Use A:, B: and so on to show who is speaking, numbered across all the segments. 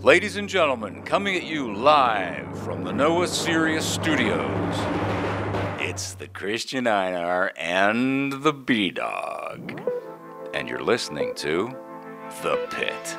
A: Ladies and gentlemen, coming at you live from the Noah Sirius Studios, it's the Christian Einar and the B Dog. And you're listening to The Pit.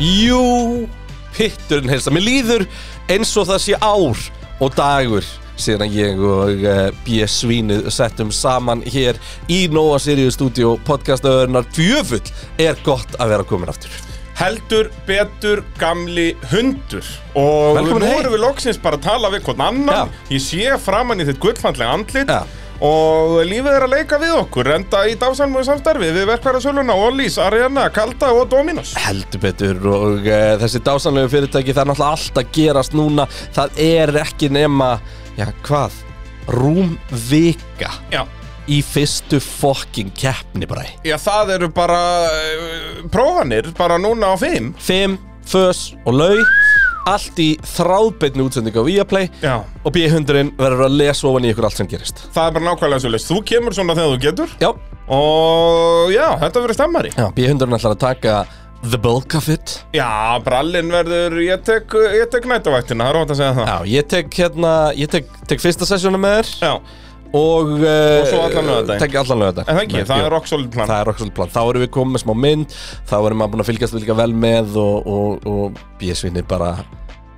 B: Jú, pitturinn helst Mér líður eins og það sé ár og dagur síðan að ég og uh, B. Svínið settum saman hér í Nóa Sirius Studio podcastöðurnar Djöfull er gott að vera komin aftur
C: Heldur, betur, gamli hundur Og
B: Velkomin
C: nú
B: heim.
C: erum við loksins bara að tala við hvern annan Ég sé framann í þitt gullfandlega andlit
B: Já.
C: Og lífið er að leika við okkur Enda í dásanmúið samstarfi Við verkværa söluna, Ollís, Ariana, Kalda og Dominos
B: heldur betur og uh, þessi dásanlegu fyrirtæki það er náttúrulega allt að gerast núna það er ekki nema, já hvað rúm vika
C: Já,
B: í fyrstu fokking keppni bara
C: já það eru bara eh, prófanir Bara núna á fimm
B: Fim, Fös og Lau Allt í þráðbeinni útsendingu á Viaplay
C: Já
B: Og B100 verður að lesa ofan í ykkur allt sem gerist
C: Það er bara nákvæmlega svo leist Þú kemur svona þegar þú getur
B: Já,
C: Og já, þetta verður stemmari
B: já B100 ætlar að taka The Bulk of It
C: Já, brallin verður Ég tek, ég tek nætavættina, það er ótt að segja það
B: Já, ég tek hérna, ég tek, tek fyrsta sessjónu með þér
C: Já.
B: Og uh,
C: Og svo allan laugardaginn.
B: Tek allan lögadaginn
C: En það ekki, það er rock solid plan
B: Það er okkur plan. Þá erum við komið með smá mynd, þá erum maður búin að fylgjast líka vel með og, og, og björsvinni bara,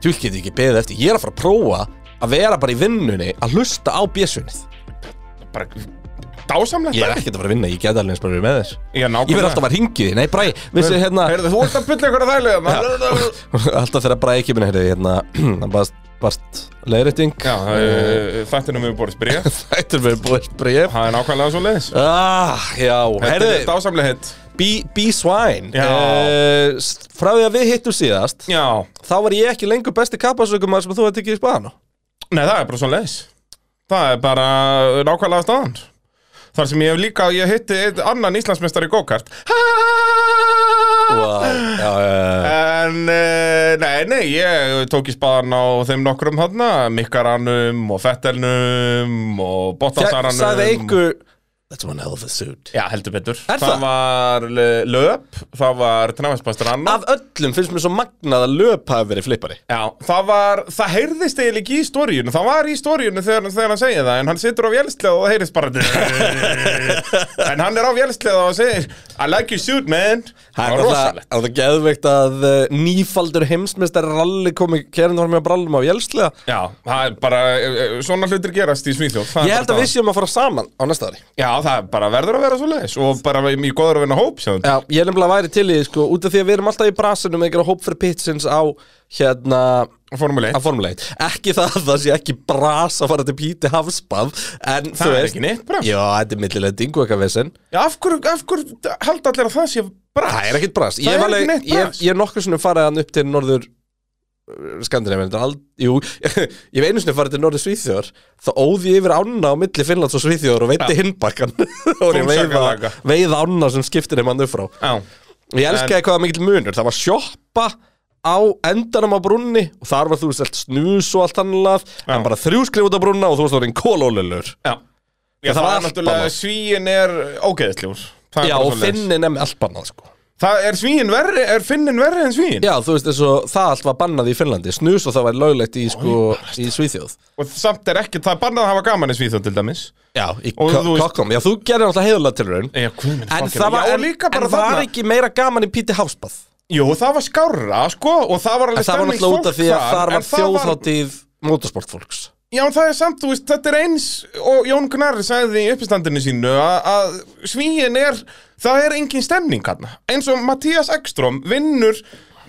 B: tjúl getur ekki beðið eftir. Ég er að fara að prófa að vera bara í vinnunni að hlusta á björsvinnið.
C: bara dásamlegt
B: Ég er ekkert að fara að vinna, ég get alveg eins bara verið með þér
C: Ég er nákvæmlega.
B: Ég verð alltaf að ringi því, nei Bræ, vissi hérna
C: Heyrðu, þú ert að bylla ykkur að þælu hérna.
B: Alltaf þegar Bræ ekki minna, heyrðu, hérna Það barst, barst leiðrétting
C: Já, eh, þættinum við borðis bregð
B: Þættur verið búið bref
C: Það er nákvæmlega svo leiðis
B: Ah, já, heyrðu,
C: Dásamlega hitt
B: Be- Be Swine
C: Já.
B: Eh, s- Frá því að við hittum síðast
C: Já
B: Þá var ég ekki lengur besti kappasökumar sem þú hefði tekið í spaðan á
C: Nei, það er bara svo leiðis Það er bara nákvæmlega staðan Þar sem ég hef líka, ég hitti einn annan Íslandsmeistar í go-kart
B: Wow, já, já, já.
C: En, eh, nei, nei, ég tók í spaðan á þeim nokkrum hann Mikkaranum og Fettelnum og
B: Ég
C: Bottasaranum
B: sagði einhver um- That's one hell of a suit
C: Já, heldur betur
B: Er það?
C: var eh, löp, það var Travis Anna
B: Af öllum finnst mér svo magnað að löp hafi verið flippari
C: Já, það var, það heyrðist eiginlega ekki í stóriunum Það var í stóriunum þegar, þegar hann segir það En hann situr á vélslega og það heyrðist bara En hann er á vélslega og segir I like your suit, man Það
B: Það
C: var
B: er rosalegt
C: rosalegt
B: Það er geðveikt að eh, nýfaldur heimsmeistar ralli komi kerinformi á brallum á Jelslega
C: Já, það er bara, eh, eh, svona hlutir gerast í Svíþjóð Það er
B: Ég
C: bara
B: held að
C: það.
B: við séum að fara saman á næsta ári
C: Já, það er bara verður að vera svo leiðis Og bara mjög góður að vinna hóp, sjáðum
B: Já, ég er nefnilega væri til í því sko Út af því að við erum alltaf í brasinu með einhverja hóp fyrir pitsins á hérna
C: Formule 1
B: á formuleit Ekki það að það sé ekki bras að fara til Píti Hafsbað En þú
C: Það er
B: veist
C: ekki neitt bras.
B: Já, þetta er millilega dingu eitthvað vesinn
C: Já, af hverju, af hverju, held allir að það sé bara
B: Það er ekkit bras
C: Það
B: Ég
C: er
B: hef alveg-
C: ekki neitt
B: Ég,
C: bras.
B: ég er nokkur sinnum farið hann upp til norður eh, Skandinavien þetta er ald- Jú, ég hef einu sinni farið til norður Svíþjóðar Þá óði ég yfir ána á milli Finnlands og Svíþjóðar og veitti hinbakkan Og ég veiða,
C: Þúsalkalaka.
B: veiða ána sem skiptir þeim hann upp frá
C: Já
B: Ég elskaði hvað það mikill munur Það var sjoppa á endanum á brunni Og þar var þú veist allt snús og allt annað En
C: Já.
B: bara þrjú skrif út á brunna og þú varst orðin kólólulur
C: Já, Já
B: það
C: það
B: var
C: er
B: allt
C: náttúrulega,
B: annað.
C: svíin er ógeðisljúr Það er
B: Já,
C: bara
B: og
C: svoleiðis.
B: finnin er með allt bannað sko
C: Það er svíin verri, er finnin verri en svíin
B: Já, þú veist eins og það allt var bannað í Finnlandi Snus og það var löglegt í, sko, í Svíþjóð
C: Og samt er ekki, það er bannað að hafa gaman í Svíþjóð til dæmis
B: Já, í
C: Og þú veist-
B: kokkom Já, þú gerir alltaf heiðulega til raun
C: Já, guð minn,
B: En
C: fucking-
B: það var,
C: Já,
B: en,
C: líka
B: en
C: bara
B: var
C: þarna
B: ekki meira gaman í Píti Hafsbað
C: Jú, það var skárra, sko Og það var
B: En
C: alveg
B: það var náttúrulega út
C: stemningsfólk
B: af því að þar
C: en
B: var þjóðháttíð motorsportfólks
C: Já, en það er samt, þú veist, þetta er eins og Jón Gnarr sagði í uppistandinu sínu að, að svíin er það er engin stemning hann eins og Mattias Ekström vinnur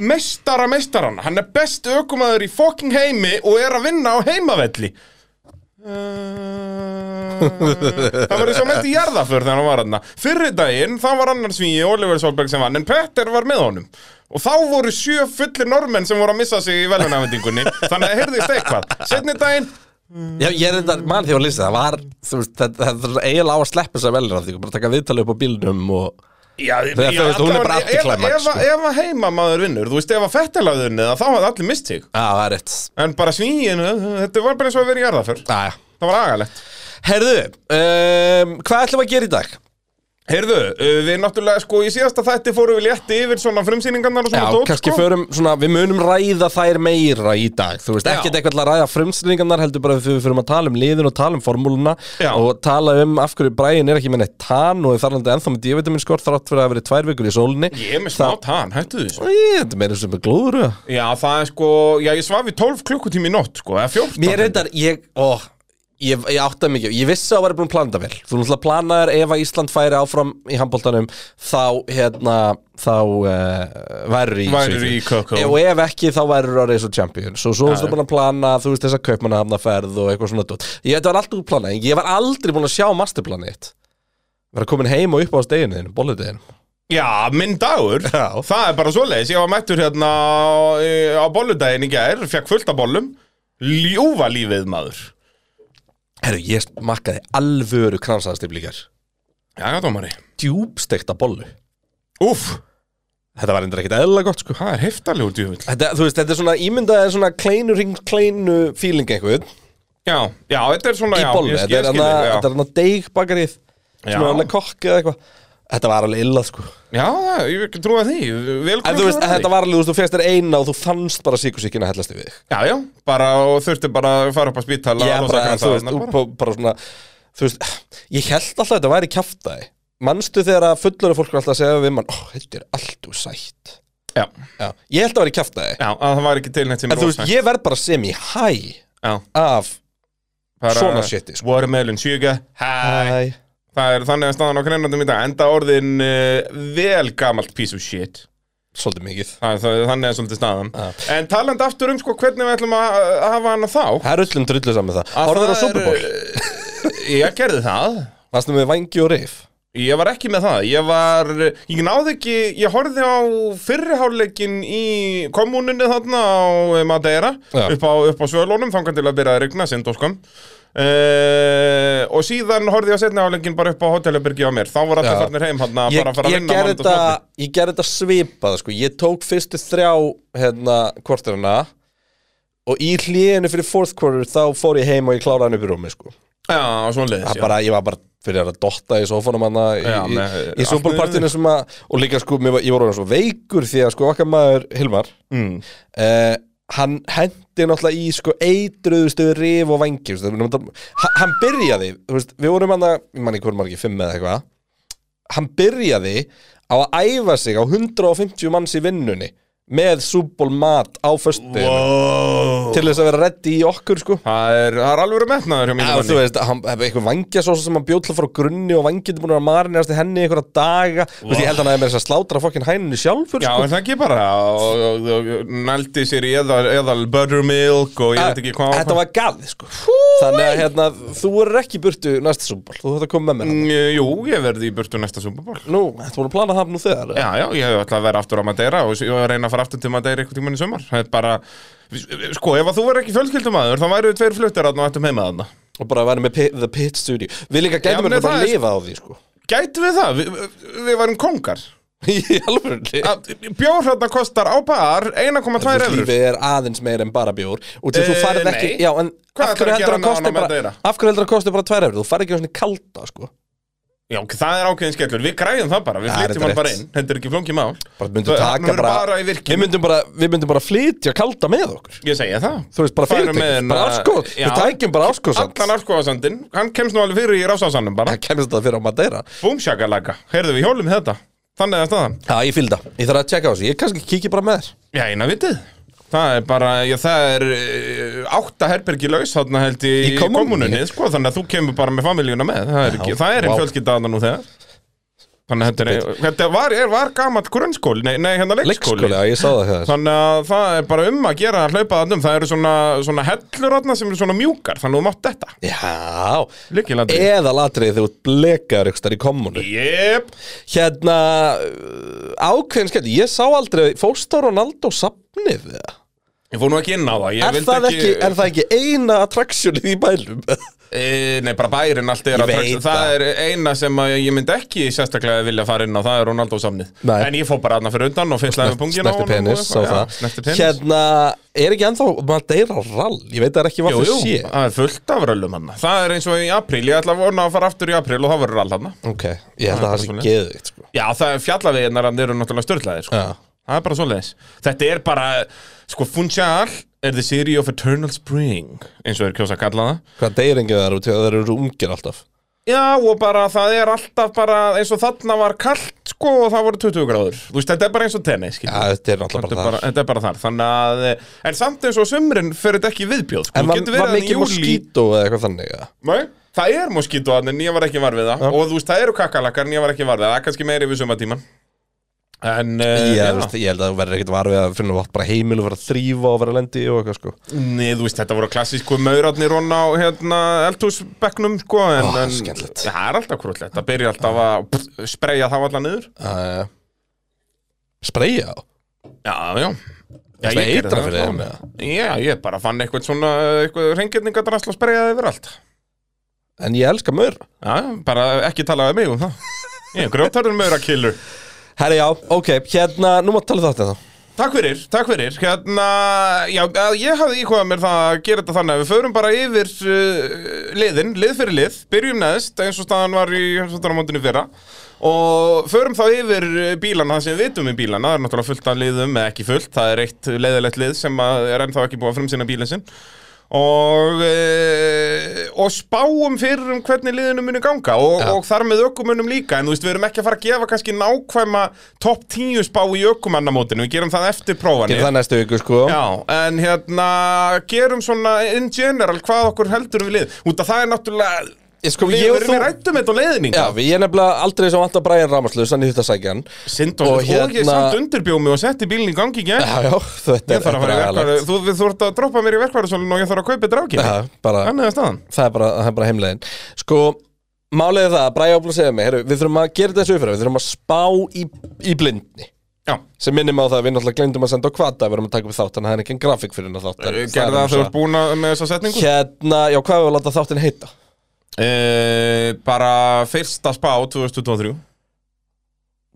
C: mestara mestaran, hann er best ökumaður í fucking heimi og er að vinna á heimavelli Uh, Það var eins og mest í jarðaför þegar hann var hann Fyrri daginn, þá var annar svíi Oliver Solberg sem vann, en Petter var með honum Og þá voru sjö fullir normenn sem voru að missa sig í velunafendingunni Þannig að heyrðist eitthvað Setni daginn,
B: Já, ég er þetta mann því að lýsa það var þú veist, það, það, það er eiginlega á að sleppa þess að velja því bara taka viðtali upp á bílnum og
C: Já,
B: Þegar þú veist, hún er bara anticlimax,
C: ef,
B: sko.
C: ef, ef að heimamaður vinnur, þú veist, ef að fettalaður neða, þá hafði allir mist sig
B: Já, það er rétt
C: En bara svíin, þetta var bara eins og að vera í jarðaför
B: Já, já
C: Það var agalegt
B: Herðu, um, hvað ætlum við að gera í dag?
C: Heyrðu, uh, við náttúrulega, sko, í síðasta þætti fórum við létti yfir svona frumsýningarnar og
B: Já,
C: svona dót,
B: kannski
C: sko.
B: förum svona, við munum ræða þær meira í dag Þú veist,
C: Já.
B: ekkert eitthvað til að ræða frumstringarnar heldur bara við förum að tala um liðin og tala um formúluna
C: Já.
B: og tala um af hverju bræin er ekki með neitt tann og þar alveg ennþá með divitamin skort þrátt fyrir að hafa verið tvær vikur í sólinni
C: Ég er með smá tann, hættu því. sko.
B: Í, Þetta er meira sem er glúður eða?
C: Já, það er sko, já, ég svaf í 12 klukkutími í nótt, sko, eða 14.
B: Mér reyndar, ég, ó, ég, ég átta mikið Ég vissi að það væri búin að plana þetta vel Þú náttúrulega planaðir ef að Ísland færi áfram í handbóltanum Þá, hérna, þá uh, væri í
C: Værirðu
B: Svíþjóð.
C: í Kókó.
B: Ef- Og ef ekki, þá væri að reysa champions Og svo varstu búin að plana, þú veist, þess að kaupmanna og eitthvað svona dót Ég þetta var allt úr planað en Ég var aldrei búin að sjá masterplanið þitt Verða komin heim og upp á steginu, bolludeginum
C: Já, minn dagur,
B: Já.
C: það er bara svoleiðis, ég var mættur hérna eh, á bolludaginn í gær, fekk fullt af bollum, ljúfa lífið maður.
B: Herru, ég makkaði alvöru kransaðastiflíkar
C: Já, já, dómari.
B: Djúbstekta bollu
C: Úf,
B: Þetta var endur ekkit eðla gott, sko
C: það er heftalegur djúvill.
B: Þetta, þú veist, þetta er svona ímyndaðið svona kleinu ring kleinu feeling einhvern
C: Já, já, þetta er svona,
B: í
C: já,
B: bollu, þetta er hana,
C: þig, já.
B: þetta er hana deigbakarið sem
C: Já.
B: er hana kokki eða eitthvað Þetta var alveg illa, sko
C: Já, það- ég ekki trúa því,
B: En
C: velkomin.
B: þú veist, þetta var alveg, þú veist, þú fegst þér eina og þú fannst bara síkusíkina hellast yfir þig
C: Já, já, bara, og þurfti bara að fara upp á spítala.
B: Ég
C: og
B: bara,
C: losa
B: þú veist,
C: kransarnar
B: bara. Bara, svona Þú veist, ég held alltaf að þetta væri kjaftaði Manstu þegar að fullari fólk var alltaf að segja við mann Ó, þetta er allt úr sætt
C: Já,
B: Já, ég held að væri kjaftaði
C: já, að það var ekki til neitt sem
B: En þú veist, ég verð bara sem í hæ
C: Já,
B: af
C: bara,
B: svona shiti, sko
C: Watermelon sugar, hæ.
B: Hæ
C: Það er þannig að staðan á krennandum í dag enda orðin uh, vel gamalt piece of shit
B: Svolítið mikið
C: Það er, það er þannig að svolítið staðan
B: Ja.
C: En talandi aftur um sko hvernig við ætlum að, að hafa hana þá
B: Það er öllum drullu saman með það
C: Að
B: Horður á
C: það
B: Super Bowl
C: er, eh, Ég gerði það
B: Varstum við vangi og reif
C: Ég var ekki með það Ég var, ég náði ekki, ég horfði á fyrriháleikin í kommununni þarna á eh, Madeira
B: Ja.
C: upp á, upp á svölunum þangar til að byrja að regna sindóskam Uh, og síðan horfði ég á setni áleikin bara upp á hótelabyrgi á mér þá voru alltaf
B: Ja.
C: farnir heim hann
B: Ég,
C: bara að fara að
B: ég
C: vinna
B: gerði
C: mánudagskvöldið.
B: þetta Ég gerði þetta svipað sko. Ég tók fyrstu þrjá hérna, kvartirina Og í hlíðinu fyrir fourth quarter Þá fór ég heim og ég kláraði hann upp í rúmi sko.
C: Já,
B: Það
C: svoleiðis, já.
B: bara, Ég var bara fyrir að dotta í sófanum hana, í,
C: Já,
B: í,
C: með-
B: í Super Bowl
C: allt niður.
B: partinu sem að, Og líka sko, mér var, ég voru svo veikur Því að sko, okkar maður Hilmar
C: Mm.
B: uh, hann hendi náttúrulega í sko eitruðustu rif og vangi þú veist, hann- hann byrjaði þú veist, við vorum hann að, ég manni hvernig margir fimm eða eitthvað hann byrjaði á að æfa sig á 150 manns í vinnunni með súból mat á föstu
C: Wow.
B: til þess að vera reddi í okkur sko
C: Það er, það er alveg metnaður hjá
B: Já,
C: mínu
B: þú
C: manni
B: veist, hann hefði eitthvað vangjasósa sem hann bjóð til að fara á grunni og vangjandi búin að vera marinast í henni í einhverja daga Þú veist, ég held hann að það er með þess að slátra fokkin hæninu sjálfur
C: Já,
B: sko.
C: er það ekki bara og, og, og, og nældi sér í eðal, eðal buttermilk og ég veit ekki hvað
B: Þetta var galið sko Þannig að hérna, þú er ekki í burtu næsta súmból Þú þarf að koma með mér hann
C: Mm, Jú, ég verði í burtu næsta Superból
B: Nú, þetta voru að plana það nú þegar eða?
C: Já, já, ég hef alltaf að vera aftur á Madeira og s- og reyna að fara aftur til Madeira eitthvað tímann í sumar Það er bara, sko, ef að þú verð ekki fjölskyldumæður þá væru við tveir fluttir aðna og ættum heima aðna
B: Og bara að vera með pi- The Pit Studio Við líka
C: Já,
B: gætum
C: nei,
B: mér bara
C: það
B: að
C: er-
B: lifa á því sko
C: Gætum við það? Vi, við værum kongar
B: Í alvörunni
C: Bjórhætna kostar á bar 1,2 eurur
B: Lífið er aðeins meir en bara bjór Og til þú
C: Eh,
B: farið ekki
C: nei.
B: Já, en
C: Hvað
B: af hverju
C: ætlarðu
B: heldur
C: að gera
B: að
C: með
B: kosti
C: hana
B: bara
C: Madeira?
B: Af hverju heldur að kosti bara tvær efri Þú farið ekki svona kalda sko
C: Já, ok, það er ákveðin skellur, við græðum það bara, við
B: Já, þetta
C: flytjum
B: er
C: hann bara
B: rétt.
C: inn, þetta er ekki flóngið mál
B: Bara myndum
C: Það-
B: taka
C: nú erum
B: bara,
C: bara í virkjun.
B: Við myndum bara Við myndum bara flytja kalda með okkur
C: Ég segja það
B: Þú veist, bara
C: Færum
B: fyrirtækið
C: með
B: Bara
C: hana-
B: áskóð
C: Já.
B: Við tækjum bara áskóðsand
C: Allan árskóðasandinn, hann kemst nú alveg fyrir í rásásanum bara
B: Það kemur þetta fyrir á Madeira
C: Búmsjakalaka, heyrðu við hjólum þetta Þannig að staðan
B: Já, ég fylg það. Ég þarf að tjekka á þessu. Ég kannski kíkja bara með þér.
C: Já, eina vitið Það er bara, já, það er eh, átta herbergi laus þarna held ég
B: Í
C: í
B: kommúnunni.
C: kommununni sko, Þannig að þú kemur bara með familjuna með Það er, ekki,
B: Já,
C: það er einn
B: vá.
C: fjölskylda þarna nú þegar Þannig að þetta, er, þetta var, er, var gamall grunnskóli Nei, nei hérna leikskóli,
B: Leikskóli, já, ég sá það hjá þér.
C: Þannig að það er bara um að gera að hlaupa þarna um Það eru svona, svona hellur þarna sem eru svona mjúkar Þannig að þú mátt þetta
B: Já,
C: Líkilandri
B: eða latrið þegar þú blekaður ykkur starf í kommunu.
C: Jep
B: Hérna, uh, ákveðin skemmt, ég sá aldrei, fórst á Ronaldo safnið eða?
C: Ég fór nú ekki inn á það Ég
B: Er
C: vildi
B: það ekki, er það ekki eina attraksjónið í bælum?
C: E, nei, bara bærin allt er
B: Ég
C: að
B: veit
C: tröxla Það
B: það.
C: er eina sem að ég myndi ekki sérstaklega vilja fara inn á Það er Ronaldo samnið
B: Nei.
C: En ég fór bara aðna fyrir undan og finnlaði með pungin
B: Snerti penis, sá það
C: Snerti penis
B: Hérna, er ekki ennþá Madeira rall? Ég veit það er ekki
C: Jú,
B: hvað
C: jú,
B: það sé
C: það er fullt af röllum hann Það er eins og í apríl, ég ætla að vona að fara aftur í apríl og það verður all hann
B: Ok, ég held að það sé
C: svoleiðis.
B: geðvikt sko.
C: Já, það er fjallaveginnar hann eru náttúrulega störtlaðir sko.
B: Já.
C: Það er bara svoleiðis Þetta er bara, sko, Funchal er the city of eternal spring eins og er kjósa að kalla það
B: Hvað deyringið það eru, til að það eru ungir alltaf
C: Já, og bara það er alltaf bara eins og þarna var kallt sko og það voru 20 gráður. Þú veist, þetta er bara eins og tennis,
B: Já,
C: skilur.
B: þetta er alltaf
C: Þetta er,
B: bara
C: bara,
B: það
C: þetta er bara þar, þannig að eh, En samt eins og sumrin fyrir þetta ekki í viðbjóð sko.
B: En
C: Þú
B: var,
C: getur verið
B: var
C: þarna í
B: mikið
C: júlí-
B: moskító eða eitthvað þannig eða?
C: Nei, það er moskítu en ég var ekki var við það Og þú veist, það eru kakalakkar en ég var ekki var við það Það er kannski meiri við sumatíman En, uh,
B: Ég, þú veist, ég held að þú verður ekkert varfið að finna út bara heimil og vera að þrýfa og vera að lendi og eitthvað sko
C: Nei, þú veist, þetta voru klassísku maurarnir hon á hérna, eldhúsbekknum sko, en,
B: Ó,
C: en
B: skemmtilegt.
C: það er alltaf krúllett Það byrja alltaf að pff, spreja þá alla niður
B: uh, Spreyja á?
C: Já, já Já,
B: Það er
C: gerði
B: eitra
C: það,
B: fyrir
C: já.
B: þeim eða?
C: Já, ég bara fann eitthvað svona eitthvað reyngjörningadrasl og sprejaði yfir allt
B: En ég elska maur
C: Já, bara ekki talaði mig um það Ég er grjótarður meira killur
B: Herri já, ok, hérna, nú maður tala þetta þá
C: Takk fyrir, takk fyrir Hérna, já, að ég hafði íhugað mér það að gera þetta þannig að við förum bara yfir uh, liðin, lið fyrir lið byrjum neðst eins og staðan var í heimsvöldanamóndinu fyrra og förum þá yfir uh, bílana, það sem við vitum um bílana það er náttúrulega fullt af liðum, eða ekki fullt það er eitt leiðilegt lið sem að er ennþá ekki búið að frumsýna bílinn sinn og, e, og spáum fyrir um hvernig liðinu muni ganga og, og þar með ökumunum líka en þú veist, við erum ekki að fara að gefa kannski nákvæma topp 10 spá í ökumannamótinu við gerum það eftir prófanir
B: Gerir það næstu viku sko
C: Já, en hérna gerum svona in general hvað okkur heldur við lið út að það er náttúrulega
B: Ég sko,
C: við
B: ég og
C: erum
B: þú
C: þú... rættum þetta á leiðning
B: Já, við- ég er nefnilega aldrei sem vantar Brian Ramaslus, hann í þetta sækja hann
C: Sindon, og,
B: Og
C: ég
B: hérna-
C: samt undirbjóð mig og setti bílinn í gangi ekki
B: Já, já, þetta
C: Ég
B: er
C: þarf að fara í verkværu, þú, við- þú ert að droppa mér í verkværu og ég þarf að kaupa drákið
B: Já, bara
C: Þannig er staðan
B: það er bara, það er bara heimlegin sko, málið er það að Bræja Óbla segja mig, heru, við þurfum að gera þessu uppfæra við þurfum að spá í, í blindni
C: Já,
B: sem minnum á það að við náttúrulega glemdum að senda á kvata við erum að taka upp þátt, en það er ekki en grafík fyrir hennar þátt
C: gerði það þegar þú ert búin að- með þessa setningu
B: hérna, já, hvað hefur að láta þáttin heita?
C: Eh, bara fyrsta spá 2023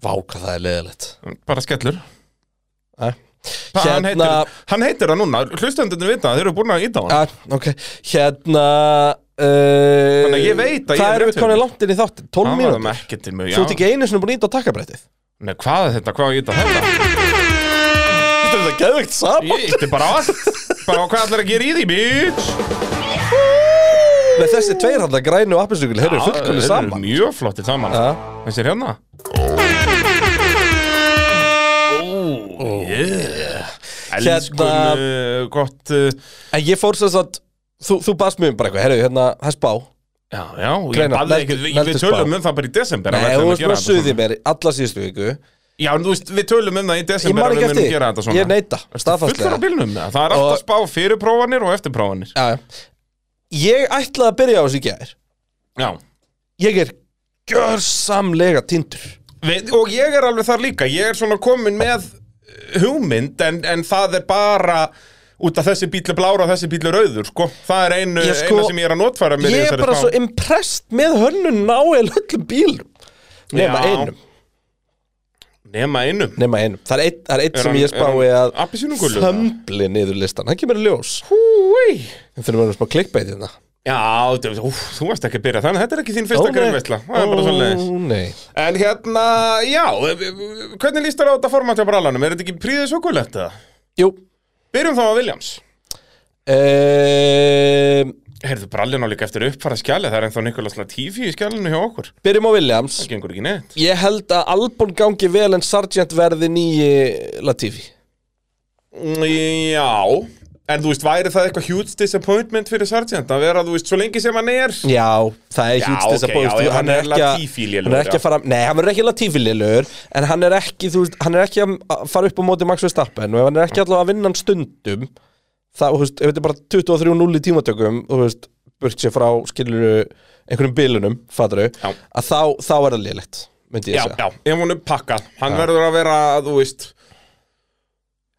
B: Vá, hvað það er leðilegt
C: Bara skellur Hva, hann,
B: hérna,
C: heitir, hann heitir það núna, hlustendurnir vita það, þeir eru búin að íta á hann
B: að, eh, ok, hérna uh,
C: Þannig að ég veit að ég
B: hvað
C: er
B: erum
C: rétt
B: við komin
C: hjá
B: langt inn í þáttin, 12
C: Hann var það
B: mínútur
C: ekki til mig,
B: þú ert
C: já
B: ekki einu sinni búin að íta á takkabrættið
C: Nei, hvað er þetta, hvað er íta þetta?
B: þetta er geðvegt saman
C: Ég ítti bara á allt Bara á hvað allir að gera í því, bitch
B: Nei, þessi tveir hann, grænu og appinsugul, þeir eru
C: Þeir
B: fullkomni
C: eru
B: saman
C: Mjög flottir saman
B: Já.
C: Þessi er hérna Oh, yeah Elskum
B: Hérna-
C: uh, gott uh,
B: En ég fór sem sagt Þú, þú baðst mjög um bara eitthvað, herru, hérna, það er spá
C: Já, já, ég
B: Greinar,
C: baði ekki
B: veldu-
C: við- Við
B: veldu spá.
C: tölum um það bara í desember að
B: Nei,
C: við
B: þú
C: ætlum að
B: veist
C: gera
B: bara
C: þetta
B: suðið
C: svona.
B: mér alla síðustu viku
C: Já, en þú veist, við tölum um það í
B: Ég
C: desember
B: man
C: að
B: ekki
C: við munum
B: eftir,
C: gera þetta
B: því.
C: svona
B: ég neita,
C: Fullur á
B: staðfastlega
C: bílnum, það er alltaf
B: Og-
C: spá fyrir prófanir og eftir prófanir
B: Já, já. Ég ætlaði að byrja á þessu í gær
C: Já
B: Ég er gjörsamlega tindur
C: Við, og ég er alveg þar líka, ég er svona komin með eh, hugmynd en, en það er bara út af þessi bíli blár og þessi bíli rauður sko. það er einu,
B: Ég sko-
C: eina sem ég er að notfæra mér í
B: Ég er
C: þessari
B: bara
C: spá.
B: svo impressed með hönnun náel öllum bílum Nema
C: Já.
B: einum,
C: nema einu
B: nema einum Það er eitt, það er eitt sem ég spái að
C: appisínugullu
B: Þömbli niður listan, það kemur í ljós Við þurfum að vera smá klikkbætið hérna
C: já, þú, úf, þú varst ekki að byrja þannig þetta er ekki þín fyrsta greinveisla það er bara svo leiðis
B: Ó, nei
C: en hérna, já, e, hvernig líst þér á þetta format hjá brallanum, er þetta ekki príðið svo gulegt eða?
B: Jú
C: byrjum þá að Williams
B: um,
C: heyrðu brallin á líka eftir uppfara skjali það er ennþá Nikolas Latifi í skjalinu hjá okkur
B: Byrjum á Williams
C: það gengur ekki neitt
B: Ég held að Albon gangi vel en Sargent verði nýji Latifi
C: Mm, Já, en þú veist, væri það eitthvað huge disappointment fyrir Sargent að vera, þú veist, svo lengi sem hann er
B: Já, það er hjúst þess
C: ok,
B: að bóðist
C: já,
B: þú-
C: ef hann er
B: ekki að-
C: Latifi lélegur,
B: Hann er ekki
C: já.
B: að fara Nei, hann verður ekki Latifi lélur En hann er ekki, þú veist, hann er ekki að fara upp á móti Max Verstappen Og ef hann er ekki allavega að vinna hann stundum Það, þú veist, ef þetta er bara 23-0 í tímatökum Þú veist, burt sér frá skiluru einhverjum bilunum, fatru
C: Já.
B: Að þá, þá er það lélegt, myndi ég
C: Já,
B: segja
C: já, ef hún er pakkað Hann verður að vera, þú veist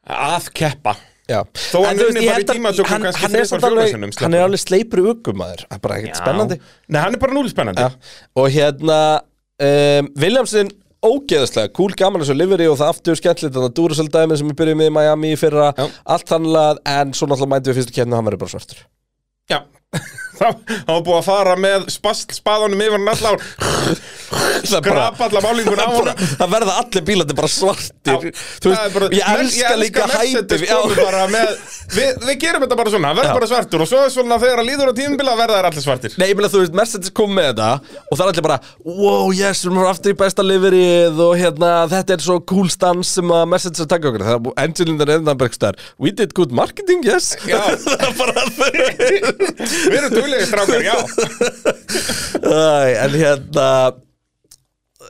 C: að keppa
B: Já.
C: Þó
B: En
C: hann
B: þú veist,
C: unni
B: ég
C: bara í
B: held að-
C: tímatökum
B: hann-
C: kannski
B: hann er
C: þrisvar,
B: samt
C: fjórum
B: alveg-
C: sinnum,
B: Hann er
C: sleppur.
B: alveg sleipur uggum maður Það er bara ekkert spennandi
C: Nei, hann er bara núl spennandi
B: Já. Og hérna um, Williamson ógeðaslega, cool gaman þessu livery og það aftur skemmtilegt þannig að Duracell dæmi sem við byrjum með í Miami í fyrra,
C: Já.
B: allt hannlega en svo náttúrulega mændi við fyrstu kemni og hann verður bara svartur
C: Já Það það var búið að fara með spast, spaðanum yfir hann allá
B: Það er bara-
C: Grapa alla málingun á
B: bara,
C: hana
B: það verða allir bílandi bara svartir
C: Já,
B: Þú
C: það er
B: veist,
C: bara-
B: ég elska líka
C: Mercedes
B: hæpi
C: komu sko, bara með, við, við gerum þetta bara svona, verður bara svartur og svo er svona þegar að líður á tímubila verða þær allir svartir
B: Nei, ég meina þú veist, Mercedes kom með þetta og það er allir bara, wow, yes, við erum bara aftur í besta liverið og hérna, þetta er svo cool stans sem að Mercedes er að taka okkur það er bú- Angelina Rendanbergstar, we did good marketing, yes
C: Já.
B: það er bara
C: Við erum duglegir strákar, já
B: Æ, en hérna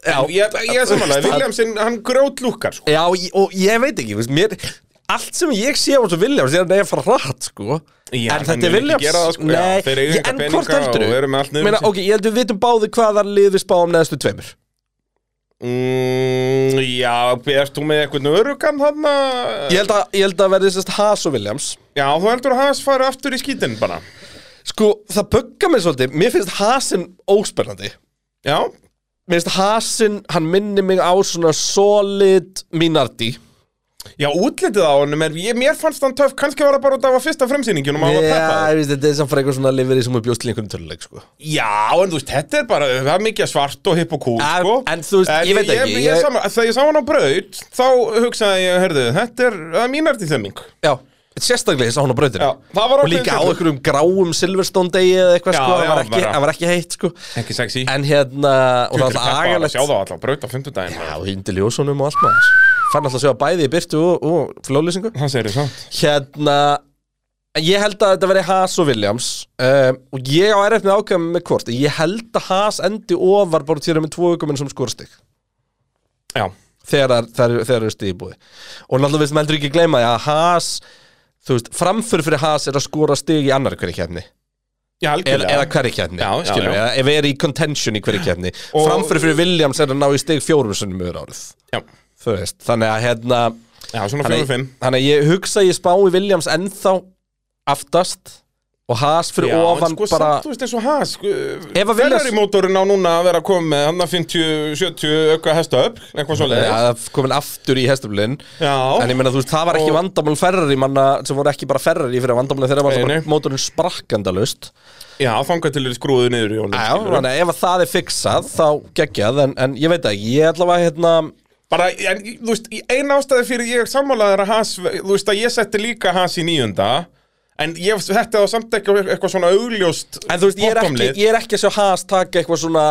B: já,
C: Ég, ég er samanlega, Williamson, hann grjót lúkar sko.
B: já, ég- og ég veit ekki, þú veist, mér allt sem ég sé á þessu Williams er að neyja að fara rætt, sko en
C: Já, hann
B: þetta er
C: mun ekki
B: Williams
C: gera það, sko. Já,
B: Nei,
C: þeir eiga
B: ég-
C: enga
B: en
C: peninga
B: hvort heldur
C: og eru með allt niður um sig.
B: ok, ég heldur við vitum báði hvaða lið við spáum neðstu tveimur
C: mm, Já, erst þú með eitthvað örugan hann að
B: Ég held að, ég held að verði sérst Haas og Williams
C: Já, þú heldur að hans fari aftur í skítin bara
B: Sko, það bugga mig svolítið Mér finnst Haasin óspennandi
C: Já,
B: Mér finnst Haasin, hann minni mig á svona solid Minardi
C: já útlitið á honum er, ég, mér fannst hann töff, kannski var það bara út af að fyrsta fremsýningunum að hann var peppaður.
B: Já, ég veist, þetta er samt fyrir eitthvað svona lifir í sem við bjóst til einhvern töluleik, sko
C: Já, en þú veist, þetta er bara, það er mikið svart og hipp og kúl,
B: Ja,
C: sko.
B: en þú veist, ég veit ekki,
C: Ég,
B: ég-
C: ég, sama, þegar ég sá hann á braut, þá hugsaði ég, hörðu, þetta er, það er mínartið þemming.
B: Já, sérstaklega þess að hún á brautinu
C: Já, það var
B: Og
C: ákveðin
B: líka á
C: tilfinning.
B: einhverjum gráum Silverstone degi eða eitthvað,
C: Já,
B: sko Það
C: já,
B: var ekki,
C: bara.
B: það var ekki heitt, sko
C: Ekki sexy.
B: En hérna, og það var
C: agalegt.
B: agalegt
C: Sjá þá alltaf, braut á fimmtudaginn.
B: Já, hindi ljósunum og allt maður Fann alltaf að sjá bæði í byrtu og, og flólýsingu
C: Það segir þið sant.
B: hérna en ég held að þetta veri Haas og Williams um, og ég á erfitt með ákveðum með hvort en ég held að Haas endi ofar bara týra með tvo aukuminn sem skorstig
C: Já,
B: þegar þær þegar eru stig í búi og náttúrulega við sem heldur ekki gleyma því að Haas þú veist, framför fyrir Haas er að skora stig í annar hverju kefni
C: já,
B: eða,
C: algjörlega.
B: eða hverju kefni,
C: Já, já,
B: skilum við
C: já.
B: eða- ef við erum í contention í hverju kefni
C: Og-
B: framför fyrir Williams er að ná í stig fjórum sunnum yfir árið,
C: Já,
B: þú veist þannig að hérna
C: já, svona
B: Þannig
C: fjóru fimm.
B: þannig að ég hugsa að ég spái Williams ennþá aftast og Haas fyrir
C: Já,
B: ofan
C: en sko,
B: bara
C: samt, þú veist, eins og hans, sko,
B: Ef að vilja-
C: Ferrari mótorinn á núna að vera að koma með hann að 50, 70 auka hesta upp, eitthvað svo
B: Já, það er komin aftur í hestuflin
C: Já.
B: En ég meina, þú veist, það var ekki
C: Og-
B: vandamál ferrari manna sem voru ekki bara ferrari fyrir vandamál þeirra var það
C: Nei,
B: bara
C: nei.
B: mótorinn sprakkandalust
C: Já, þangað til er skrúðu niður í
B: Já,
C: jólum.
B: þannig að ef að það er fiksað þá geggjað, en, en ég veit það ekki ég ætla að hérna
C: Bara, en, þú veist, eina ástæði fyrir ég sammálaður að Haas, þú veist að ég setti líka Haas í nýjunda En ég hætti það samt ekki á eitthvað svona augljóst
B: En þú veist, ég er ekki,
C: bottomlið.
B: ég er ekki að sjá Haas taka eitthvað svona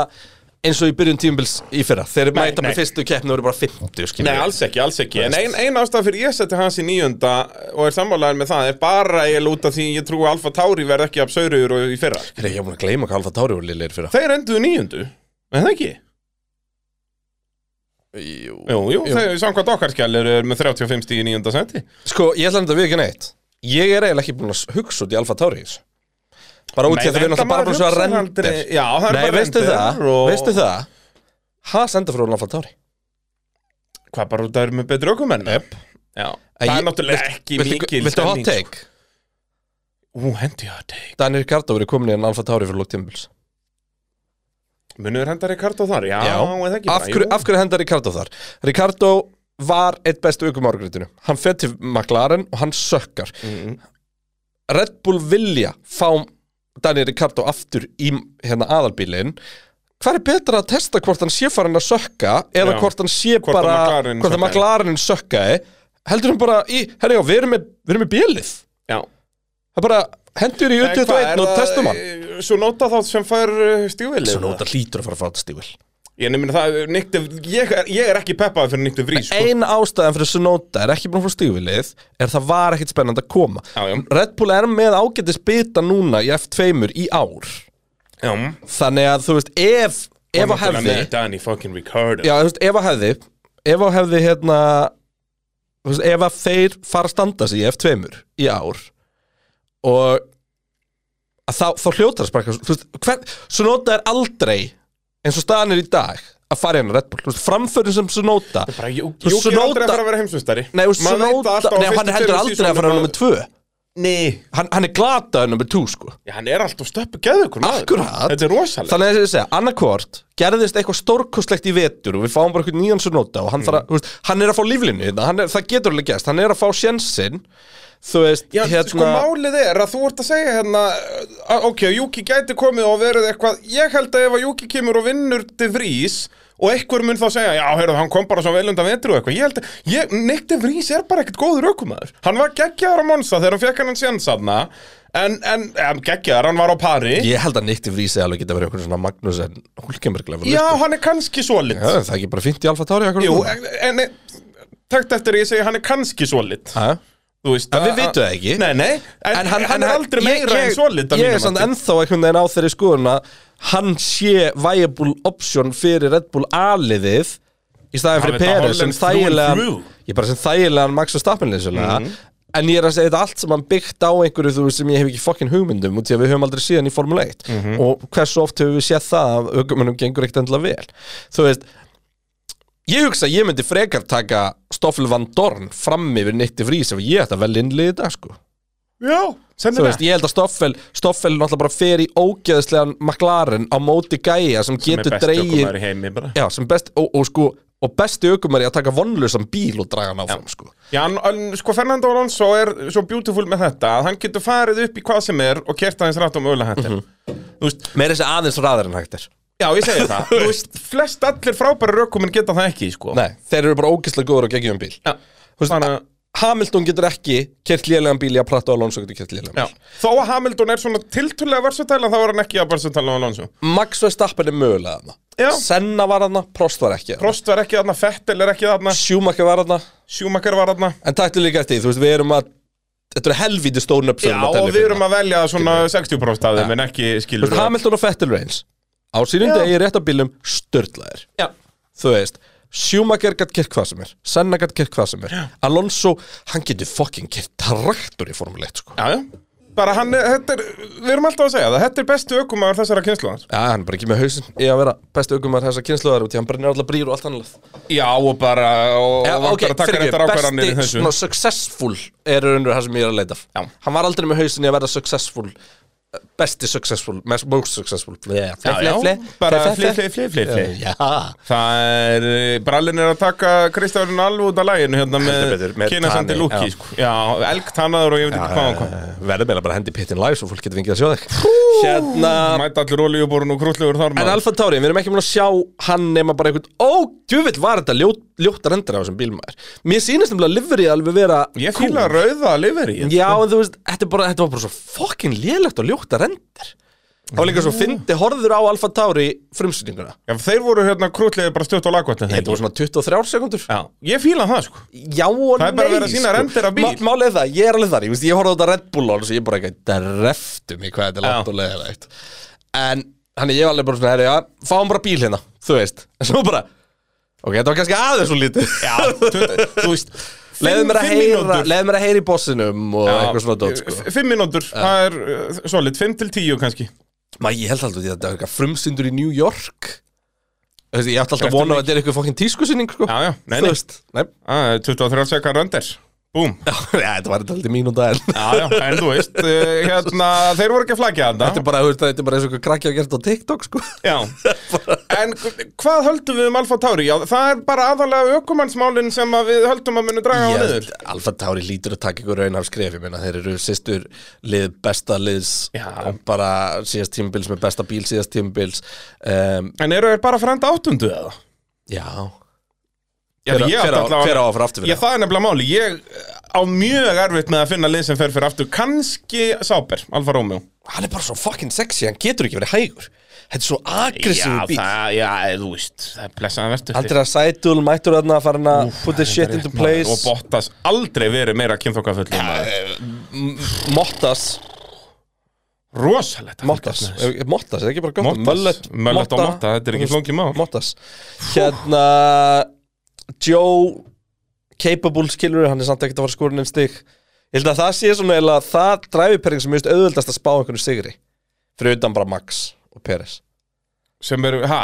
B: eins og í byrjun tímbils í fyrra Þeir
C: Nei,
B: mæta með
C: nei.
B: fyrstu keppni og eru bara 50 skilur
C: Nei,
B: við.
C: alls ekki, alls ekki En ein, eina ástæði fyrir ég setti Haas í nýjunda og er sammálaður með það Er bara eiginlega út af því ég trúi að Alfa Tauri verð ekki af saurur og í fyrra
B: Heyrðu, Ég er búin að gleyma hvað Alfa Tauri voru liðlegir í fyrra
C: Þeir enduðu nýjundu, en það ekki
B: Jú,
C: Jú, jú, þeir samkvæmt okkar skjall eru með 35 stíð í nýjunda senti
B: Sko, ég ætla að við ekki neitt Ég er eiginlega ekki búin að hugsa út í Alfa Tauri í þessu. Bara út í
C: Nei,
B: að það við erum alltaf bara
C: maður
B: búin að
C: hugsar
B: sjá
C: aldrei-
B: rendir
C: Já, það er
B: Nei,
C: bara
B: veistu
C: rendir
B: það,
C: og-
B: veistu það Haas enda frá Alfa Tauri
C: Hvað bara út að það eru með betri ökumenn
B: Jep.
C: Já,
B: En
C: það er
B: ég-
C: náttúrulega
B: vilt-
C: ekki
B: viltu-
C: mikil
B: Viltu hot
C: stemning, sko.
B: take?
C: Ú, hendi hot take
B: Daniel Ricardo verið komin í en Alfa Tauri fyrir lók tímbils
C: Munur henda Ricardo þar? Já, eða ekki
B: af
C: bara,
B: hverju,
C: jú.
B: af hverju henda Ricardo þar? Ricardo var eitt bestu aukum árgritinu Hann fer til McLaren og hann sökkar
C: Mhm.
B: Red Bull vilja fá Daniel Ricardo aftur í hérna aðalbílinn Hvað er betra að testa hvort hann sé farin að sökka eða
C: Já.
B: hvort hann sé
C: Hvort að
B: bara
C: McLaren
B: hvort að
C: sökkaði.
B: McLarenin sökkaði heldur hann bara í, herri já, við erum með, við erum með bílið það
C: Já
B: er bara, hendur í
C: En hvað, er
B: 21 og
C: það,
B: testum hann
C: eh, Svo nota þá sem fær stíðvili
B: Svo nota hlýtur að fara að fá þetta stífil
C: Ég nefnir það, eh, Nick de, ég, er, ég er ekki peppaði fyrir Nick de Vries sko.
B: Ein ástæðan fyrir þessu nota er ekki búin að fá stífilið er það var ekkit spennandi að koma
C: Já, já.
B: Red Bull er með ágætis bita núna í F2 í ár
C: Já
B: þannig að þú veist, ef, ef að hefði
C: Danny fucking Ricardo
B: Já, þú veist, ef að hefði Ef að hefði, hérna Þú veist, ef að þeir fara að standa sig í F2 í ár Og að Þá, þá hljótar að sparka Þú veist, hver, svo nota er aldrei eins og staðan er í dag að fara hérna Red Bull Þú veist, framförin sem Sonota
C: Bara Jú-
B: Þú
C: Júki er aldrei
B: Tsunoda-
C: að fara að vera heimsvistari
B: Nei, og Sonota, nei, hann er heldur aldrei að fara nummið tvö
C: Nei
B: hann, hann er glataður nummið tú, sko
C: Já, hann er alltaf stöppu geðugur maður.
B: Akkurat.
C: Þetta er rosalegt
B: Þannig að ég segja, annarkvort gerðist eitthvað stórkostlegt í vetur og við fáum bara eitthvað nýjan Sonota og hann, mm. að, þú veist, hann er að fá líflinu, hérna, hann er, það getur alveg gæst hann er að fá sjensinn þú veist, hérna-
C: Já, sko málið er að þú ert að segja hérna að, ok, Júki gæti komið og verið eitthvað ég held að ef að Júki kemur og vinnur De Vries og einhver mun þá segja já, heyrðu, hann kom bara svo velunda vetri og eitthvað ég held að, ég, Nick De Vries er bara ekkert góður aukumæður hann var geggjaðar á Monsa þegar hann fekk hann sjensanna en, en, en geggjaðar, hann var á pari
B: ég held að nýtti frísi alveg geta verið eitthvað svona Magnús en Hulkenberg level,
C: já,
B: sko.
C: hann er kannski svo lit
B: Já, það er ekki bara fint í Alfa Tauri akkur
C: Jú, eh.
B: núna?
C: en, en takt eftir að ég segja hann er kannski svo lit
B: Ha? En við vitum það ekki.
C: Nei, nei, en, en, hann, er aldrei meira
B: ég,
C: en svo lit
B: Ég er samt ennþá einhvern veginn á þeirri skoðun að hann sé viable option fyrir Red Bull A-liðið í staðin
C: Hann
B: fyrir
C: er þetta
B: Peres sem
C: Holland through and
B: þægilegan
C: through. Mhm.
B: ég er bara sem þægilegan Max og Stappinleysulega en ég er að segja þetta allt sem hann byggt á einhverju þú veist sem ég hef ekki fokkin hugmyndum út í að við höfum aldrei síðan í Formule 1
C: Mhm.
B: og hversu oft höfum við séð það að aukumennum gengur ekkert endilega vel þú veist Ég hugsa að ég myndi frekar taka Stoffel Van Dorn fram yfir Nitti Frís ef ég ætti að velja innlið í dag sko
C: Já,
B: Þú
C: sennilega
B: veist, ég held að Stoffel Stoffel náttúrulega bara fer í ógeðslegan McLaren á móti gæja sem getur dreigir
C: í heimi bara
B: Já, sem best og, og sko og besti ökumari að taka vonlösan bíl og draga hann áfram sko
C: Já, en, en sko Fernando Alonso er svo beautiful með þetta að hann getur farið upp í hvað sem er og kert aðeins rætt um öðla hættir
B: Mhm.
C: Þú veist,
B: Meira þessi aðeins ræðar en hægt er
C: já ég segi það Þú veist, flest allir frábæri rökuminn geta það ekki, sko
B: Nei, þeir eru bara ógeðslega góður og geggjum um bíl
C: Já,
B: Þú veist,
C: þannig að
B: Hamilton getur ekki kert lélegan bíl í að prata og Alonso getur kert lélegan
C: Já.
B: bíl
C: Þó að Hamilton er svona tiltulega versatæla þá er hann ekki að versatæla á Alonso
B: Max Verstappen er mögulega þarna
C: Já.
B: Senna var þarna, Prost var ekki þarna
C: Prost var ekki þarna, Fettel er ekki þarna
B: Schumacher var þarna
C: Schumacher var þarna
B: En taktu líka eftir, því, þú veist, við erum að Þetta eru helvíti stórn upp
C: Já, og við erum að velja svona 60% af þeim en ekki skilur
B: Þú veist, Hamilton og Vettel Reigns á sínum
C: Já.
B: degi rétt af bílum störtlaðir
C: Já.
B: þú veist Schumacher gætt kert hvað sem er, Senna gætt kert hvað sem er Alonso, hann getur fucking kert traktor í Formule 1 sko.
C: Já, já Bara hann, er, þetta er, við erum alltaf að segja það Þetta er bestu ökumæður þessara kynnslóðar
B: Já, hann er bara ekki með hausinn í að vera bestu aukumar þessa kynnslóðar út í hann brennir allar brýr og allt annað
C: Já, og bara, og,
B: Já,
C: og vantar að taka
B: fyrirgefðu,
C: réttar ákvarðanir í
B: besti
C: þessu
B: svona successful er raunur það sem ég er að leita af.
C: Já.
B: Hann var aldrei með hausinn í að vera successful eh, besti successful, mes- most successful Já,
C: Já, já, bara fli, fli, fli, fli, fli
B: Já,
C: Það er, eh, brallin er að taka Kristján Alvú út af læginu hérna
B: Heldur betur, með
C: með kynasandi
B: Tani,
C: lúki
B: já.
C: sko. Já, elgt hanaður og ég veit ekki hvað hann kom
B: verðum meðlega bara að hendi pittin live svo fólk getur vingið að sjá þig Hérna,
C: Mæta allir olíuborun og krútlegur þar
B: en
C: maður
B: Alfa Tauri, við erum ekki múin að sjá hann nema bara einhvern Ó, djúvill var þetta ljót, ljóttar endur á þessum bílmaður Mér sýnist nefnilega livrið alveg vera
C: Ég fýla
B: cool.
C: rauða að lifa í
B: Já, en þú veist, þetta, er bara, þetta var bara svo fucking lélegt og ljóttar endur Það var líka svo fyndi horður á Alfa Tauri frumsýninguna
C: Ef þeir voru hérna krútlegir bara stutt á lagvatni
B: Þetta var svona 23 sekundur
C: Já, ég fíla það sko
B: Já og nei sko.
C: Það er bara verið að sýna rendir af bíl.
B: Málið er það, ég er alveg þar Ég, veist, ég horfði á þetta Red Bull og ég er bara eitthvað Dreftum í hvað þetta er
C: Já.
B: langt og leðilegt En hann ég var alveg bara svona Herri, já, fáum bara bíl hérna, þú veist En svo bara, ok, þetta var kannski aðeins svo lítið
C: Já, þú- þú veist
B: Leðu
C: fimm-
B: mér að
C: fimm
B: heyra
C: mínútur.
B: Leðu mér að heyra í bossinum og
C: Já,
B: eitthvað svona dót sko.
C: f- Fimm mínútur, það er uh, solid, fimm til tíu kannski
B: Má ég held alltaf að þetta er eitthvað frumsyndur í New York Þú veist, Ég átti alltaf að vona að þetta er eitthvað fokkin tískusinning sko.
C: Já, já, nei,
B: Þú
C: nei,
B: veist, nei
C: ah, 23 sekar röndir Búm,
B: Já, þetta var þetta aldrei mínúta en
C: já, já, en þú veist uh, hérna, þeir voru ekki að flagja
B: Þetta
C: þetta
B: er bara, þú veist, þetta er bara eins og eitthvað krakkja að gera þetta á TikTok sko.
C: Já, en h- hvað höldum við um Alfa Tauri? Já, það er bara aðalega ökumannsmálin sem að við höldum að muni draga á niður
B: Ég, Alfa Tauri lítur að taka ykkur raunhaf skref ég meina þeir eru sýstur lið besta liðs
C: Já.
B: og bara síðast tímbils með besta bíl síðast tímbils um,
C: En eru þeir bara frænda áttundu eða?
B: já
C: Já,
B: Hver á-
C: ég
B: hver
C: átti
B: á-
C: allavega-
B: hver á að fara aftur fyrir
C: Já, það er nefnilega máli Ég eh, á mjög erfitt með að finna lið sem fer fyrir aftur Kannski Sáber, Alfa Romeo
B: hann er bara svo fucking sexy, hann getur ekki verið hægur þetta er svo aggressivu bíl
C: það, já, eh, þú veist Það er blessaðan verður
B: Andra Sætul mættur þarna að fara hann að put this shit into place eh,
C: Og Bottas aldrei verið meira kynþokkafull ja,
B: Mottas
C: Rosalegt
B: Mottas, Eh, Mottas, er ekki bara gott
C: Möllet Möllet og Motta, þetta er ekki
B: Þú veist,
C: flókið mál
B: Mottas Hérna Joe Capable skilur Hann er samt ekkert að fara að skora neinn stig Ég held að það sé svona eiginlega Það dræfipering sem mjög auðvöldast að spá einhvern sigri Fyrir utan bara Max og Peres
C: sem eru, ha,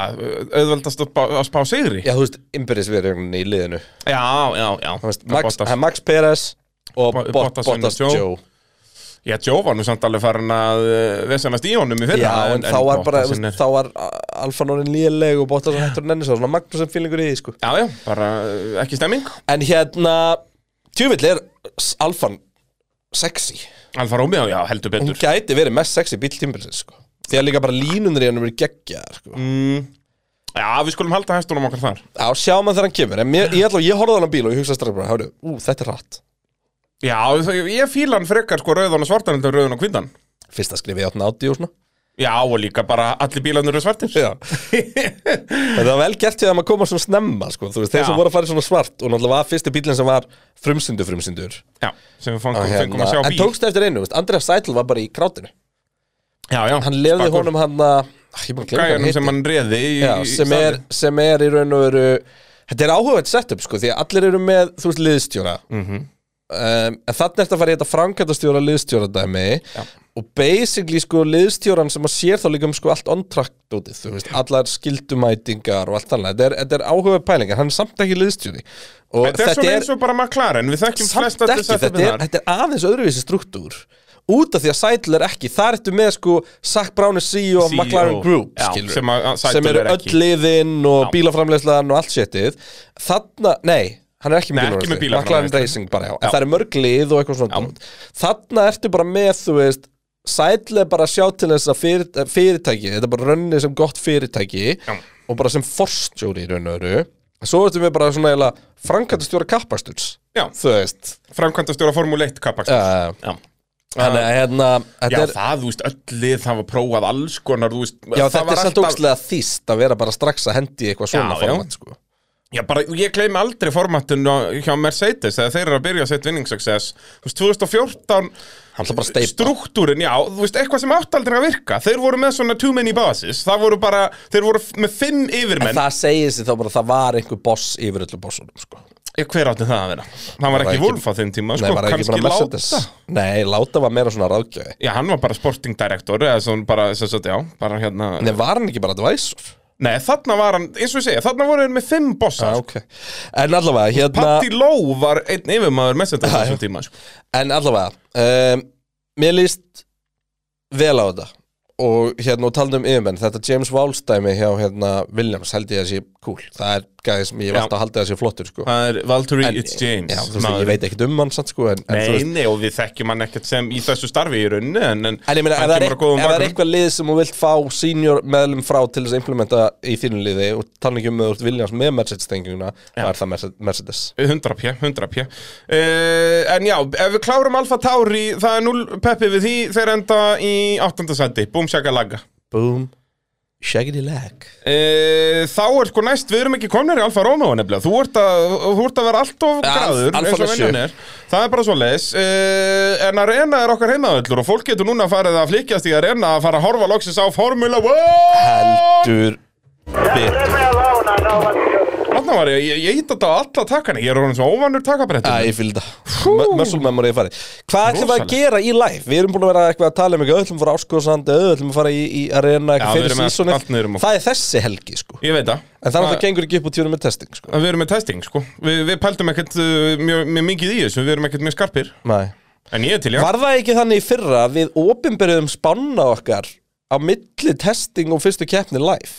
C: auðveldast að, bá- að spá sigri
B: Já, þú veist, ymbirisverjörn í liðinu Þú
C: Já, já, já
B: veist, Max,
C: Bottas-
B: það er Max Perez og
C: Bo-
B: Bottas,
C: Bottas og
B: Bottas
C: Joe.
B: Joe
C: Já, Jó var nú samt alveg farin að uh, vesanast í honum í fyrra
B: Já, en, þá var bara,
C: Bottas
B: þú
C: er-
B: veist, þá var Alfanónin líðileg og Bottas var hættur en enni svo, svona Magnussen fílingur í því, sko
C: Já, já, bara uh, ekki stemming
B: En hérna, tjúvill er s- Alfan sexy
C: Alfa Romeo, já, heldur
B: Hún
C: betur
B: gæti verið mest sexy bíl tímbilsins, sko Því að líka bara línunir í hann eru geggjaðar, sko
C: Já, við skulum halda hestunum okkar þar
B: Já, sjá maður þegar hann kemur En mér, ég, ætla, ég horfði á hann bíl og ég hugsaði strax bara Hörru, ú, þetta er rætt
C: Já, það, ég fíla hann frekar sko rauðan og svartan heldur en rauðan og hvindan
B: Fyrsta skrifið áttin átti og svona
C: Já, og líka bara allir bílarnir eru svartir
B: Já Það var vel gert til að maður koma svona snemma, sko Þú veist, þeir
C: Já.
B: sem voru að fara í svona svart Og náttúrulega var fyrsti bílinn sem var frumsyndu frumsyndur
C: Já, sem við fangum,
B: Og
C: fengum að sjá
B: hérna, En
C: bíl
B: tókst eftir einu, veist, Andreas Sætl var bara í krátinu
C: Já, já,
B: Hann lefði
C: spakur.
B: honum hann að ah, Ég bara glemur hvað hann
C: Gæjanum
B: heitir
C: sem hann reði í,
B: Já,
C: í
B: sem, er,
C: staðinn.
B: sem er í raun og veru Þetta er áhugað setup, sko Því að allir eru með, þú veist, liðstjóra
C: Mhm.
B: um, En þannig eftir að fara í þetta framkvæmtastjóra liðstjóra dæmi
C: Já.
B: Og basically, sko, liðstjóran sem að sér þá líka um, sko, allt on-track dótið, þú veist, allar skildumætingar og allt þannig, þetta er, þetta er áhugað pælingar, hann er samt ekki liðstjóri og
C: Þetta er svona eins og bara McLaren, við þekkjum
B: samt
C: flest að
B: ekki, þetta er, þetta er aðeins öðruvísi struktúr út af því að Seidl er ekki þar ertu með sko Zach Brown er CEO of
C: CEO,
B: McLaren Group
C: E já,
B: skilurðu,
C: sem að- að Seidl
B: sem eru
C: er ekki.
B: öll liðin og
C: Já.
B: bílaframleyslan og allt sétið þarna, nei, hann er ekki
C: Nei,
B: með
C: ekki með
B: bílaframleiðslu. McLaren
C: bílaframleiðslu.
B: Racing bara, já, en
C: Já.
B: það er mörg lið og eitthvað
C: Já.
B: svona dót. þarna ertu bara með, þú veist Seidl er bara að sjá til þess að fyrir, eh, fyrirtæki þetta er bara rönnið sem gott fyrirtæki
C: Já.
B: og bara sem forstjóri í raun og öru svo ertu með bara svona frangatastjóra kappasturs
C: Já,
B: þú veist
C: framkvæmdastjóra Formule 1 kapaks
B: uh,
C: Já
B: Þannig að hérna
C: uh, Já,
B: þetta er,
C: það, þú veist, öll lið hafa prófað alls konar, þú veist
B: já,
C: það
B: þetta
C: var
B: er samt
C: alltaf-
B: ógstlega þýst að vera bara strax að hendi í eitthvað svona
C: Já, já.
B: format sko.
C: Já, bara, ég gleymi aldrei formatun hjá Mercedes þegar þeir eru að byrja að setja vinning success Þú veist, 2014
B: Hann ætla bara að steypa.
C: Struktúrin, já, þú veist, eitthvað sem átt aldrei að virka Þeir voru með svona too many bosses Það voru bara, þeir voru f- með fimm
B: En
C: yfirmenn
B: það segir sér þá bara að það var einhver boss yfir öllu bossunum sko.
C: Ég, Hver átti það að vera? Hann var
B: Var
C: ekki
B: ekki-
C: Wolf á þeim tíma,
B: Nei,
C: sko,
B: var það ekki
C: kannski
B: bara Mercedes
C: Láta
B: Nei, Láta var meira svona ráðgjöfi
C: Já, hann var bara sporting director eða svona bara, sem sagt, já, bara hérna Nei,
B: Nei, var hann ekki bara advisor?
C: þarna var hann, eins og ég segja, þarna voru þeir með fimm bossar
B: Ah,
C: sko.
B: okay. En allavega, hérna
C: Patti Lowe var einn yfirmaður Mercedes á þessum tíma, sko
B: En allavega, um, mér líst vel á þetta og hérna og talandi um yfirmenn þetta James Wallstæmi hjá hérna Williams held ég að sé cool það er gæði sem ég
C: Já.
B: hef alltaf haldið að sé flottur sko.
C: Það er Valtteri
B: En-
C: It's James
B: já, þú veist,
C: maður.
B: ég veit ekkert um hann samt sko en, en, þú
C: Nei,
B: veist,
C: nei, og við þekkjum hann ekkert sem í þessu starfi í rauninni En, en,
B: en ég meina, ef það er,
C: kemur á
B: eit- ef
C: góðum
B: það er
C: bakgrunn.
B: eitthvað lið sem þú vilt fá senior meðlum frá til þess að implementa í þínu liði og tala ekki um að þú ert Williams með Mercedes tenginguna, þá er það Merce- Mercedes
C: 100 pjö, 100 pjö uh, En já, ef við klárum Alfa Tauri Það er 0 peppi við því Þeir enda í 8. sendi, búm sjaka laga
B: Boom, shaggity leg
C: uh, Þá er sko næst, við erum ekki komnir í Alfa Romeo nefnilega Þú ert að, þú ert að vera allt of
B: Ja,
C: gráður
B: Alfa
C: eins og
B: er
C: venjan
B: sjö.
C: er Það er bara svo leis uh, En Arena er okkar heimaðullur Og fólk getur núna farið að flykjast í Arena Að fara að horfa loksins á Formula 1
B: heldur betur
D: Leave me alone, I know what to do.
C: Þarna var ég, ég, ég hitt þetta á alla takkana, ég er orðin svo óvannur takkabrettum
B: Æ, ég fylgði það Muscle memory er farið Hvað ætlum við að
C: Rosalegt.
B: gera í live? Við erum búin að vera eitthvað að tala um eitthvað Öllum að fara áskóðsand Öllum að fara í, í arena
C: Já,
B: eitthvað
C: við
B: fyrir
C: erum með
B: sísonið
C: allt niður um okkur.
B: Það er þessi helgi sko
C: Ég veit það
B: En það er alltaf gengur ekki upp úr tjónum með testing sko
C: að Við erum með testing sko Við, við pældum ekkert uh, mjög, mjög mikið í þessu Við erum ekkert mjög skarpir
B: Nei
C: En ég er til, já
B: Var það ekki þannig í fyrra að Við opinberðum spanna okkar Á milli testing og fyrstu keppni live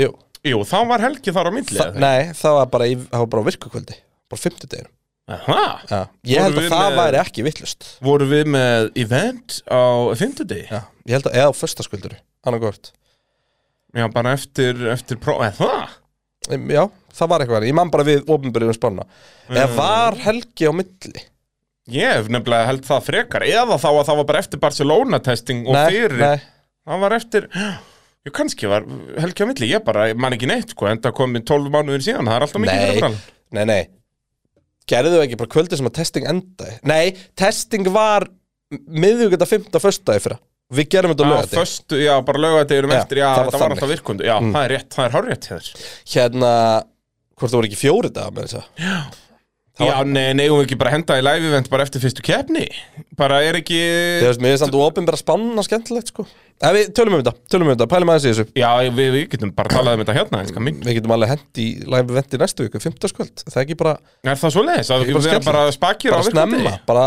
B: Jú
C: Jú, þá var helgi þar á milli
B: Þa, Nei, það var bara, í, það var bara á virkukvöldi Bara fimmtudeginu
C: Aha.
B: ja. Ég held að
C: Vorum við
B: það
C: með-
B: væri ekki vittlust
C: Voru við með event á fimmtudegi
B: Já, ég held að, eða á föstaskvölduru Annarkvort
C: Já, bara eftir, eftir pró Eða það?
B: Em, Já, það var eitthvað, ég man bara við ofinbyrjum spanna
C: Mm.
B: Eða var helgi á milli
C: Ég hef nefnilega held það frekar Eða þá að það var bara eftir Barcelona testing Og fyrir
B: nei,
C: Það var eftir Jú, kannski var helgi á milli Ég bara, ég man ekki neitt sko En það komið 12 mánuður síðan Það er alltaf mikið
B: nei,
C: fyrir að
B: nei, nei Gerðu ekki bara kvöldið sem að testing endaði Nei, testing var miðugönda 15. föstudagi fyrra Við gerum þetta á
C: tala Já,
B: lögati
C: föstu, já, bara lögadegurum
B: Já,
C: eftir Já,
B: það var
C: þetta var
B: þannig. Mm.
C: alltaf virkundu Já, það er rétt, það er hárrétt hjá þér
B: Hérna, hvort það voru ekki fjóri dag með þess að
C: Já, nei, nei, eigum við ekki bara að henda í live event bara eftir fyrstu keppni Bara er ekki
B: Ég veist, mér er samt óopinbera spanna skemmtilegt sko En við tölum um þetta, tölum um þetta, pælum aðeins í þessu
C: Já, við, við getum bara talað um þetta hérna, elskar mín
B: Við getum alveg hent í live event í næstu viku, fimmtaskvöld Það er ekki bara,
C: Er það svoleiðis? Það
B: Ég
C: er
B: bara
C: bara,
B: skella.
C: bara spakir
B: bara
C: á virkandi?
B: snemma Bara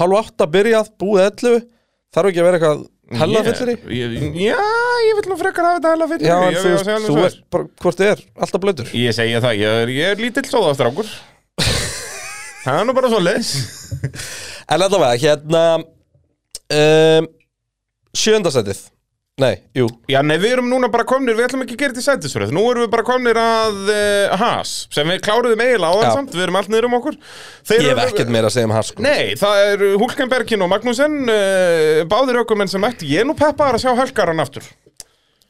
B: hálf átta byrjað, búið 11 Þarf ekki að vera eitthvað hella fyllir í
C: Ég- Já, ég vil nú frekar hafa þetta hella fyllir í
B: Já, en
C: ég-
B: þú
C: ég-
B: veist,
C: ég- ég-
B: þú
C: ég-
B: er bara, hvort þið er, alltaf blöður
C: Ég segja það, ég er, ég er lítill sóðastrákur Það er nú bara svoleiðis
B: En allavega, hérna um, Sjöndasætið Nei, jú,
C: Já, nei, við erum núna bara komnir, við ætlum ekki að gera þetta í sættisröð Nú erum við bara komnir að uh, Haas Sem við kláruðum eiginlega á
B: Já.
C: það samt, við erum allt niður um okkur Þeir
B: ég hef
C: eru-
B: ekkert meira að segja um hans sko
C: Nei, það er Hulkenbergin og Magnúsen uh, Báðir ökumenn sem mættu Ég er nú peppar að sjá Helgaran aftur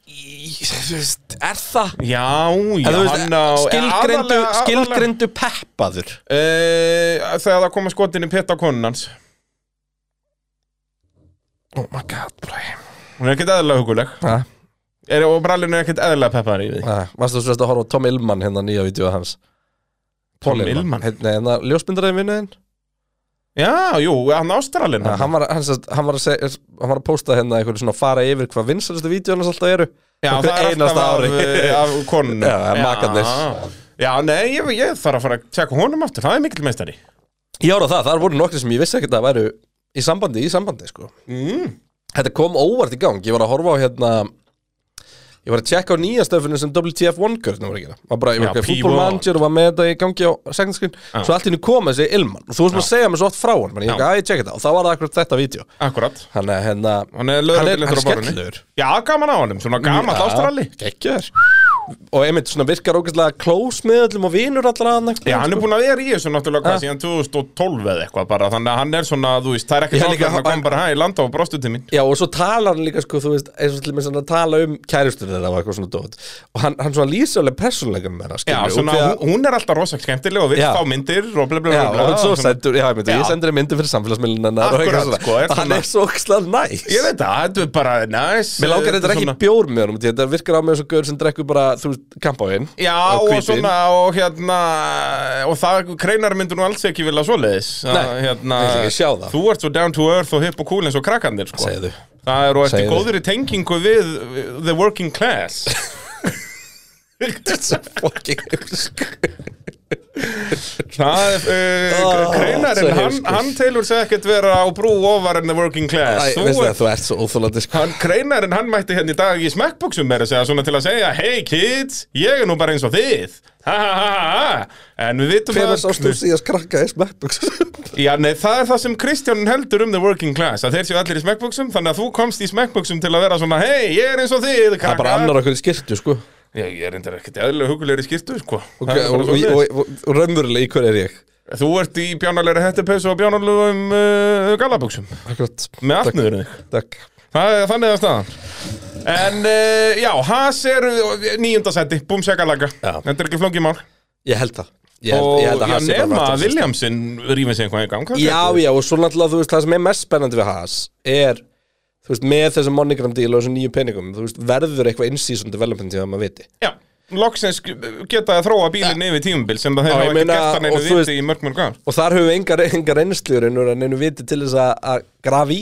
B: Ég- þú veist, Er það?
C: Já, já,
B: En þú veist,
C: hann á
B: skilgrindu,
C: aðalega- aðalega-
B: skilgrindu peppaður
C: Eh, Þegar það koma skotin í pitt á konun hans
B: Oh my god, bræði
C: Hún er ekkert eðlilega huguleg
B: Ha?
C: er, Og brallin er ekkert eðlilega peppar í því
B: Ah, Varstu svo að horfa á Tom Illman hérna nýja vídeo hans
C: Tom Illman?
B: Hérna, hérna ljósmyndarinn vinnuðinn
C: Já, jú, hann ástralinn
B: ah, hann, var, hann, sem sagt- hann, var að segja- hann var að posta hérna einhverju svona fara yfir hvað vinsalastu vídeo hans alltaf eru
C: Já,
B: Okkur
C: það er
B: einasta
C: alltaf
B: ári
C: af, eh, af konun
B: Já, það er makarnir.
C: Já, nei, ég, ég þarf að fara að tjekka honum aftur Það er mikill meistari
B: Ég ára það, það voru nokkri sem ég vissi ekkert að væru í sambandi, í sambandi sko
C: mm.
B: Þetta kom óvart í gang, ég var að horfa á hérna Ég var að tjekka á nýja stöfunum sem WTF One Girl var að gera var bara, Ég var
C: Já,
B: ekki að
C: P1.
B: fútbol manager og var með þetta í gangi á sekundskrin
C: Já.
B: Svo allt inni kom þessi Ilman Og þú veist maður að segja mér svo oft frá hann Ég
C: Já.
B: ekki að ég tjekka þetta og þá var það akkurat þetta vídeo
C: Akkurat
B: Hann er hérna
C: Hann er
B: Hann er, hann er
C: lögregluletur á borðinu
B: skellur
C: Já, gaman á honum, svona gamall ástrali
B: Gekkjör Og einmitt svona virkar ógæslega close með öllum og vinur allra hann
C: Já, hann er búin að vera í þessu náttúrulega hvað
B: Ha?
C: síðan 2012 eða eitthvað bara Þannig að hann er svona, þú veist, það er
B: Já,
C: ekki svona
B: líka-
C: hann kom bara hæ, landa á brostu til mín
B: Já, og svo talar hann líka, sko, þú veist, eins og til með svona að tala um kærustur þeirra og eitthvað svona dót Og hann, hann svona lýsir alveg persónleika með hennar,
C: Já,
B: skilur
C: svona, hún- hún er alltaf rosa skemmtileg og vill
B: Já.
C: fá myndir og blablabla
B: Já, og hann er svo
C: svona-
B: sendur, já, ég myndi, ég
C: Já.
B: sendur þér myndir fyrir samfélagsmiðlunar og eitthvað
C: Akkurat,
B: svona
C: sko, er
B: Hann
C: svona-
B: er svo ókslega næs
C: Ég veit það, þetta er bara næs
B: Mér langar þetta ekki
C: svona-
B: bjór með honum, því þetta virkar á mig eins og gaur sem drekkur bara, þú veist, kampáin
C: Já, og, svona, og hérna Og það, kreinar myndur nú alls ekki vilja svoleiðis Að, hérna,
B: ég vil ekki sjá það.
C: Þú ert svo down to earth og hip og cool eins og krakkandir sko.
B: Segðu.
C: Það er og eftir
B: Segðu.
C: góður í tengingu við við The working class Það er,
B: Ah,
C: uh,
B: svo
C: kreinarinn, hann,
B: heimskur.
C: hann telur sig ekkert vera á brú ofar en the working class
B: Æ,
C: Þú
B: veistu
C: ert-
B: það, þú ert svo óþólandi, sko
C: Hann kreinarinn, hann mætti hérna í dag í smekkbóksum meira að segja svona til að segja Hey kids, ég er nú bara eins og þið Ha ha ha ha ha En við vitum
B: Hvenær sástu síðast krakka í smekkbuxum?
C: Já, nei, það er það sem Kristján heldur um the working class Að þeir séu allir í smekkbóksum Þannig að þú komst í smekkbóksum til að vera svona Hey, ég er eins og
B: Það
C: þið,
B: er bara
C: krakka
B: annar okkur í skirtu, sko
C: Ég, ég er reyndar ekkert eðlilega hugulegur í skýrtu, sko
B: Og,
C: Það er
B: og,
C: bara
B: og,
C: svoleiðis.
B: og, og, og raunverulega í hver er ég
C: Þú ert í bjánalegri hettipeysu og bjánalegum uh, galabóksum
B: Akkurat,
C: Með allt
B: Takk.
C: niður þig
B: takk
C: Það er þannig að staðan En uh, já, Haas er nýjundasæti, búm sjakalaga
B: Já.
C: Þetta er ekki flókið mál
B: Ég held það Ég held, ég held að
C: já,
B: Haas sé bara
C: nema
B: vantar
C: að Williamson rýmið sig einhvað í gang
B: fyrst. Já, já, og svo náttúrulega, þú veist, það sem er mest spennandi við Haas er, þú veist, með þessum monogram deal og þessum nýju peningum, þú veist, verður eitthvað in-season development í það maður viti
C: já Loksins geta að þróa bílinn yfir tímumbil sem það
B: Já,
C: þeir
B: ég
C: hafa ekki
B: meina,
C: gert hann einu
B: og þú veist-
C: viti í mörg mörg ár
B: Og þar höfum við engar, engar einslurin og neinu viti til þess að- að grafi í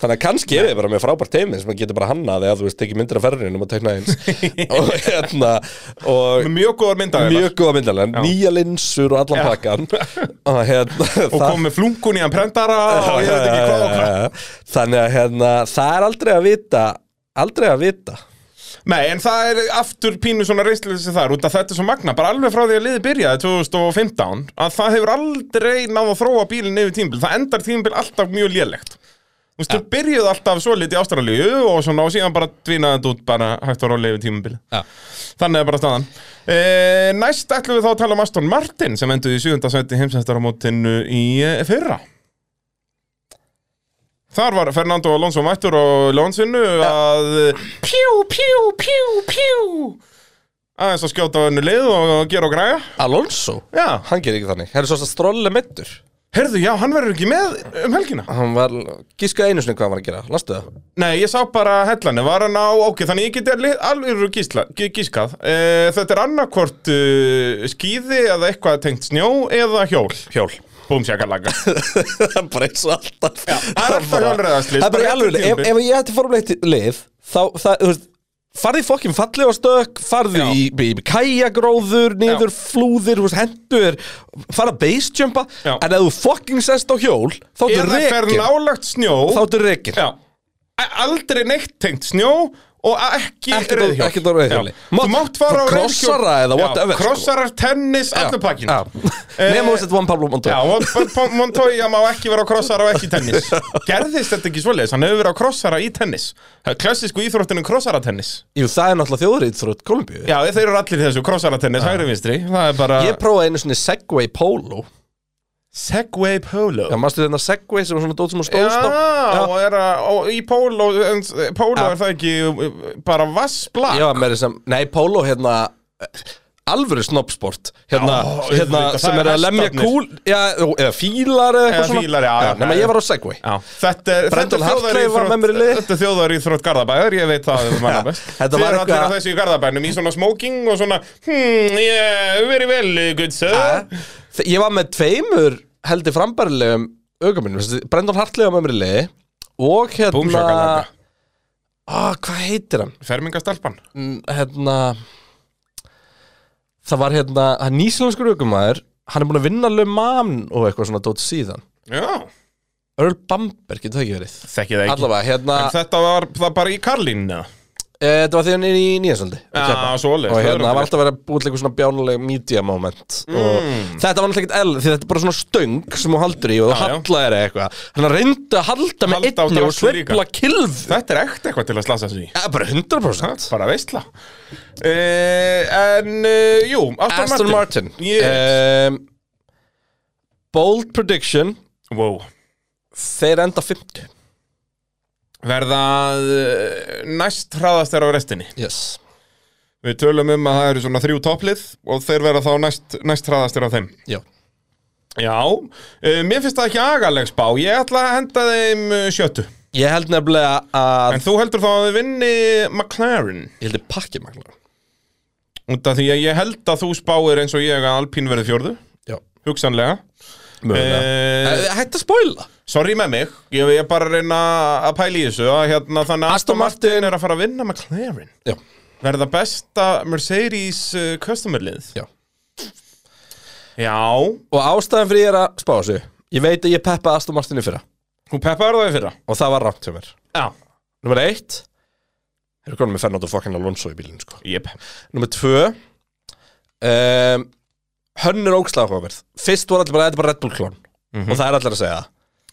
B: Þannig að kannski er við bara með frábært teimi sem að geta bara hannað eða þú veist, tekið myndir af ferðinum og tekna eins og hérna og
C: Með mjög góðar myndaðar
B: mjög góða myndalega, nýja linsur og allan
C: Já.
B: pakkan og hérna
C: Og
B: það-
C: kom með flunkun í hann prentara og ég veit ekki hvað og hvað
B: Já, Þannig að hérna, það er aldrei að vita Aldrei að vita
C: Nei, en það er aftur pínu svona reynsleysi þar út að þetta er svo magna, bara alveg frá því að liði byrjaði 2015, að það hefur aldrei náð að þróa bílinn yfir tímbil það endar tímbil alltaf mjög lélegt Þú veist, þau byrjuðu alltaf svo litið ástralíu og svona og síðan bara dvínaði þetta út bara hægt að róla yfir tímbil
B: Já.
C: Þannig er bara staðan e, Næst ætlum við þá að tala um Aston Martin sem endur í 7. seti heimsæstaramótinu í eh, fyrra Þar var Fernando Alonso mættur á lónsinu að eh, pjú, pjú, pjú, pjú aðeins að skjóta á hennu lið og gera og græja
B: Alonso,
C: Já,
B: hann gerir ekki þannig Það er svo að strólle meittur
C: Herðu, já, hann verður ekki með um helgina
B: Hann var, gískaði einu sinni hvað hann var að gera, lastu það
C: Nei, ég sá bara hellanu, var hann á, ok, þannig ég geti alveg- alveg gísla, gí- gískað. E, þetta er annarkvort uh, skíði eða eitthvað tengt snjó eða hjól. Hjól. Búm, sjakalaga.
B: Það er bara eins og alltaf
C: það er alltaf hjólreiðaslys,
B: Það er bara í
C: bara
B: alveg, ef,
C: tímabil.
B: ef ég ætti formuleitt lið Þá, það, þú veist Farði fokkin fallega stökk, farði
C: Já.
B: í, í, í kæjagróður, niður flúðir, þú veist, hendur, farða basejumpa,
C: Já.
B: en ef þú fokkin sest á hjól, þá ertu
C: Eða fer
B: rekin,
C: nálagt snjó.
B: þá ertu rekin.
C: Já. A- Aldrei neitt tengt snjó og a- ekki
B: Ekkert á-
C: reiðhjól.
B: ekkert á reiðhjóli.
C: Já. Þú
B: Mátt-
C: mátt fara á reiðhjól.
B: krossara eða whatever,
C: Já,
B: sko.
C: Krossarar, tennis, allir pakkin. Eh,
B: Nefnum þess að One Pablo Montoya.
C: Já, og P- P- Montoya má ekki vera á krossara og ekki í tennis Gerðist þetta ekki svoleiðis, hann hefur verið á krossara í tennis Það er Klassísku íþróttinu krossara tennis
B: Jú, það er náttúrulega þjóðrið þrjótt Kolumbíu.
C: Já, þeir eru allir í þessu, krossara tennis, hægri vinstri Það er bara
B: Ég prófaði einu svona Segway Polo.
C: Segway Polo
B: Já, maður stuði þarna Segway sem var svona dót sem að
C: Já,
B: stóðst á.
C: og er að, og í polo, en s- polo
B: Já.
C: er það ekki uh, bara vassbla
B: Ég var með þessum, nei, póló hérna alvöru snobbsport hérna,
C: Já,
B: hérna
C: auðvitað,
B: sem
C: það
B: er
C: er
B: að lemja
C: hestarnir.
B: kúl já, eða fílar eða
C: Eða
B: eitthvað svona
C: fílar, já, já,
B: nema
C: já.
B: ég var á Segway
C: Já. Þetta er þetta
B: Brendel
C: er þjóðaríþrótt-
B: Hartley var með mér í liði.
C: Þetta er þjóðar í þrótt Garðabæður, ég veit það um hana best
B: þetta
C: Þið
B: var
C: eru allir
B: eitthvað-
C: að þessu í Garðabænum í svona smoking og svona Hmm, yeah, very well, good sir
B: Þe- Eh, ég var með tveimur heldur frambærilegum auguminnum Brendon Hartley var með mér í liði og hérna
C: Búmsjakalaka
B: ah, hvað heitir hann?
C: Fermingastelpan
B: N- hérna það var hérna hann er nýsjálfskur augumæður hann er búin að vinna lög mann og eitthvað svona dót síðan
C: Já,
B: Earl Bamberg, getur það ekki verið
C: þekki það ekki
B: allavega, hérna
C: En þetta var það bara í Karlínu
B: Eh, Þetta var því hann er í nýjansöldi
C: Já,
B: Og
C: svoleiðis, það er
B: hérna það var
C: örugglega.
B: alltaf að vera búið til eitthvað svona bjánuleg media moment og Þetta var náttúrulega ekkert ell Því þetta er bara svona stöng sem hún haldur í og þú
C: Mm. Já, já.
B: hallar þér eitthvað Þannig að reyndu að halda með
C: Halda á
B: einni og
C: drasli líka.
B: sveifla kilf
C: Þetta er ekkert eitthvað til að slasa sig í
B: Já, bara 100%
C: Bara veistla uh, En, uh, jú, Aston,
B: Aston Martin um,
C: yes.
B: Bold prediction
C: Wow
B: Þeir enda 50
C: Verða uh, næst hraðast þeirra á restinni
B: Yes
C: Við tölum um að það eru svona þrjú topplið og þeir verða þá næst, næst hraðast þeirra á þeim
B: Já
C: Já, uh, mér finnst það ekki agaleg spá Ég ætla að henda þeim eh, sjöttu
B: Ég held nefnilega að
C: En þú heldur þá að þið vinni McLaren
B: Ég held ég pakki magla
C: Út af því að ég held að þú spáir eins og ég að Alpín verði fjórðu
B: Já
C: Hugsanlega
B: Mögulega
C: Eh,
B: Eh, Hættu að spoila
C: Sorry með mig, ég ég er bara að reyna að pæla í þessu að hérna þannig að
B: Aston
C: Aston Martin er að fara að vinna McLaren
B: Já
C: verða besta Mercedes uh, customer lið
B: Já
C: Já,
B: Og ástæðan fyrir ég er að spá þessu Ég veit að ég peppa Aston Martin í fyrra
C: hún peppaði það í fyrra
B: Og það var rámt hjá mér
C: Já,
B: Númer eitt Þeir eru konum með Fernando fucking Alonso í bílinn sko
C: jöp
B: Númer tvö um, Hönn er ógslag áhugaverð Fyrst voru allir bara, þetta er bara Red Bull klón Og það er allir að segja það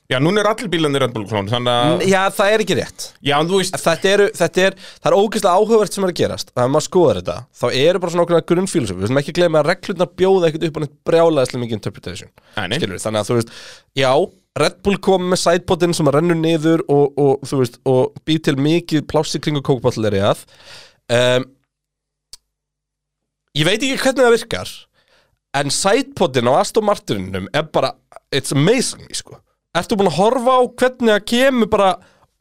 C: Já, núna er allir bílanir Red Bull klón þannig að,
B: Já, það er ekki rétt
C: já, en þú veist
B: Þetta eru, þetta er, það er ógæslega áhugavert sem er að gerast Það er maður skoðar þetta Þá eru bara svona okkur grunnfílosofi Við sem ekki gleyma að reglurnar bjóða ekkert upp á neitt brjálaðislega mikið interpretation
C: Nei, nei.
B: Skilurðu? Þannig að þú veist, já, Red Bull kom með sidepotinn sem að rennur niður og, og þú veist, og býr til mikið plássi kringu kókbotlir í að um, Ég veit ekki hvernig það virkar En sidepotinn á Aston Martininum er bara, it's amazing, sko Ertu búin að horfa á hvernig það kemur bara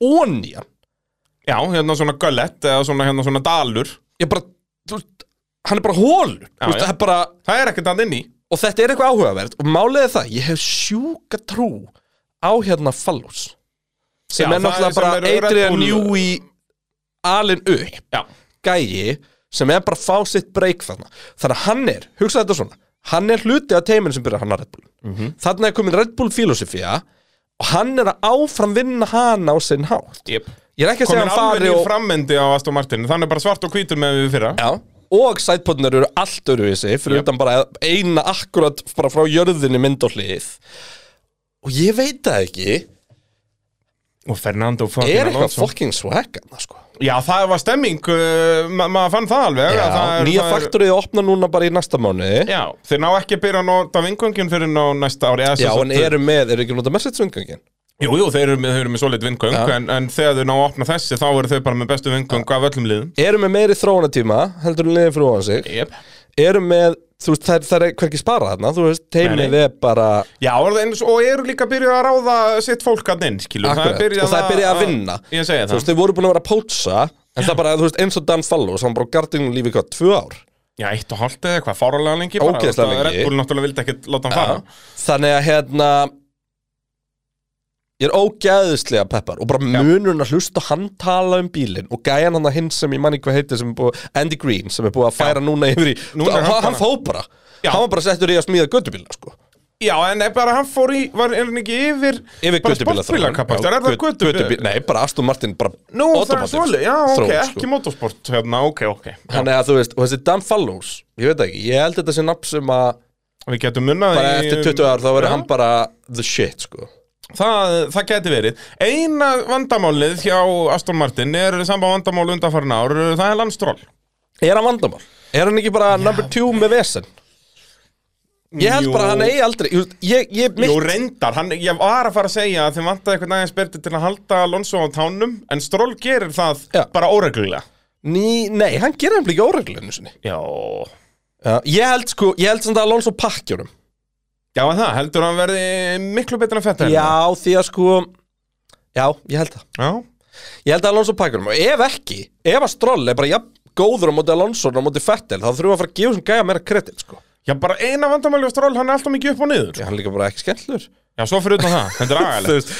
B: onýjan
C: Já, hérna svona gullett eða svona, hérna svona dalur
B: ég bara, þú veist, hann er bara hólur
C: Já,
B: þú veist,
C: já.
B: það er bara,
C: Það er ekkert að inn í
B: og þetta er eitthvað áhugavert og málið er það, ég hef sjúka trú á hérna Fallows sem
C: Já,
B: er
C: það
B: náttúrulega
C: sem
B: bara
C: eru Red
B: Adrian
C: Bull-
B: Newey alin upp
C: Já,
B: gæi sem er bara að fá sitt break þarna þannig að hann er, hugsa þetta svona hann er hluti af teiminn sem byrjar hann að Red Bull mm
C: Mhm.
B: -hmm. þannig er komin Red Bull filosofía og hann er að áframvinna hana á sinn hátt
C: jöp
B: ég er ekki að segja
C: Komin
B: hann
C: alveg
B: fari
C: nýr
B: og
C: frammendi á Aston Martin Þannig bara svart og hvítur með við fyrra
B: Já Og sætpotnar eru allt öruvísi Fyrir utan bara eina akkurat bara frá jörðinni mynd og hlið Og ég veit það ekki
C: Og Fernando fucking
B: Er eitthvað
C: Alonso.
B: fucking swaggarna sko
C: Já, það var stemming, uh, ma maður fann það alveg að það
B: Já,
C: er,
B: nýja
C: það er-
B: faktorið opna núna bara í næsta mánuði
C: Já, þeir ná ekki að byrja að nota vingöngin fyrir ná næsta ári eða sem
B: Já,
C: sagt-
B: en eru með, eru ekki að nota message-sungangin
C: Jú, jú, þeir eru með, þeir eru með solid vingöng
B: Já.
C: en, en þegar þau ná að opna þessi þá eru þau bara með bestu vingöng af öllum liðum
B: Eru með meiri þróunatíma heldur en liðin fyrir ofan sig
C: yep.
B: eru með þú veist, það, það er hverki sparað þarna þú veist,
C: Nei,
B: teimið
C: nei.
B: er bara
C: Já, og það- eins- og eru líka byrjuð að ráða sitt fólk að inn, skilur
B: akkurat, og það er byrjað að vinna
C: Ég segi
B: þú
C: það
B: veist, þau voru búin að vera að pótsa en það bara, þú veist, eins og Dan Fallows hann bara á gardinu lífi hvað, tvö ár
C: Já, eitt og hálft eða eitthvað, fárálega lengi bara,
B: Ógeðslega
C: þú veist, að
B: lengi.
C: Red Bull náttúrulega vildi ekkert láta hann fara
B: þannig að hérna ég er ógæðislega peppar og bara munurinn að hlusta á hann tala um bílinn og gæjan hann að hinn sem ég manni hvað heitir sem er búið, Andy Green sem er búið að færa núna yfir í
C: Núna
B: hann,
C: er hann bara-
B: hann fó bara,
C: Já.
B: hann var bara settur í að smíða göttubíla sko
C: Já, en er bara hann fór í, var er hann ekki yfir
B: yfir
C: bara
B: göttubíla
C: sportbílakappaktur, er það göttubíla?
B: nei, bara Aston Martin bara
C: Nú, það er
B: automatic
C: svolítið, já,
B: þróun,
C: ok,
B: sko.
C: ekki motorsport hérna, ok, ok Já,
B: Þannig að þú veist, og þessi Dan Fallows, ég veit það ekki, ég held þetta sé nafn sem að
C: Við getum munnað
B: bara
C: í-
B: eftir 20 ár þá verður
C: Já.
B: hann bara the shit, sko.
C: Það, það geti verið. Eina vandamálið hjá Aston Martin er samba vandamál undanfarin ár, það er landstról.
B: Er hann vandamál? Er hann ekki bara number two með vesen? Ég held
C: Jú.
B: bara að hann eigi aldrei, ég, ég, ég
C: Jú,
B: mitt,
C: reyndar, hann, ég var að fara að segja að þeim vantaði eitthvað aðeins berti til að halda Alonso á tánum, en stról gerir það
B: Já.
C: bara óreglulega.
B: ný, nei, hann gerir hann líka óreglunum sinni.
C: Já.
B: Já, ég held sko, ég held samt að Alonso pakki honum.
C: Já, en það, heldur hann verði miklu betur en fættar.
B: Já, því að sko, já, ég held það.
C: Já.
B: Ég held að Alonso pakki honum og ef ekki, ef að Stroll er bara, já, góður á móti Alonso og á móti Fettel, þá þurfum við að fara að gefa sem gæja meira kredit, sko.
C: Já, bara eina vandamáli á stról, hann er alltaf mikið upp og niður.
B: Já,
C: Já,
B: hann er líka bara ekki skemmtlur.
C: svo fyrir utan það, þetta er
B: Þú
C: agalegt.
B: veist,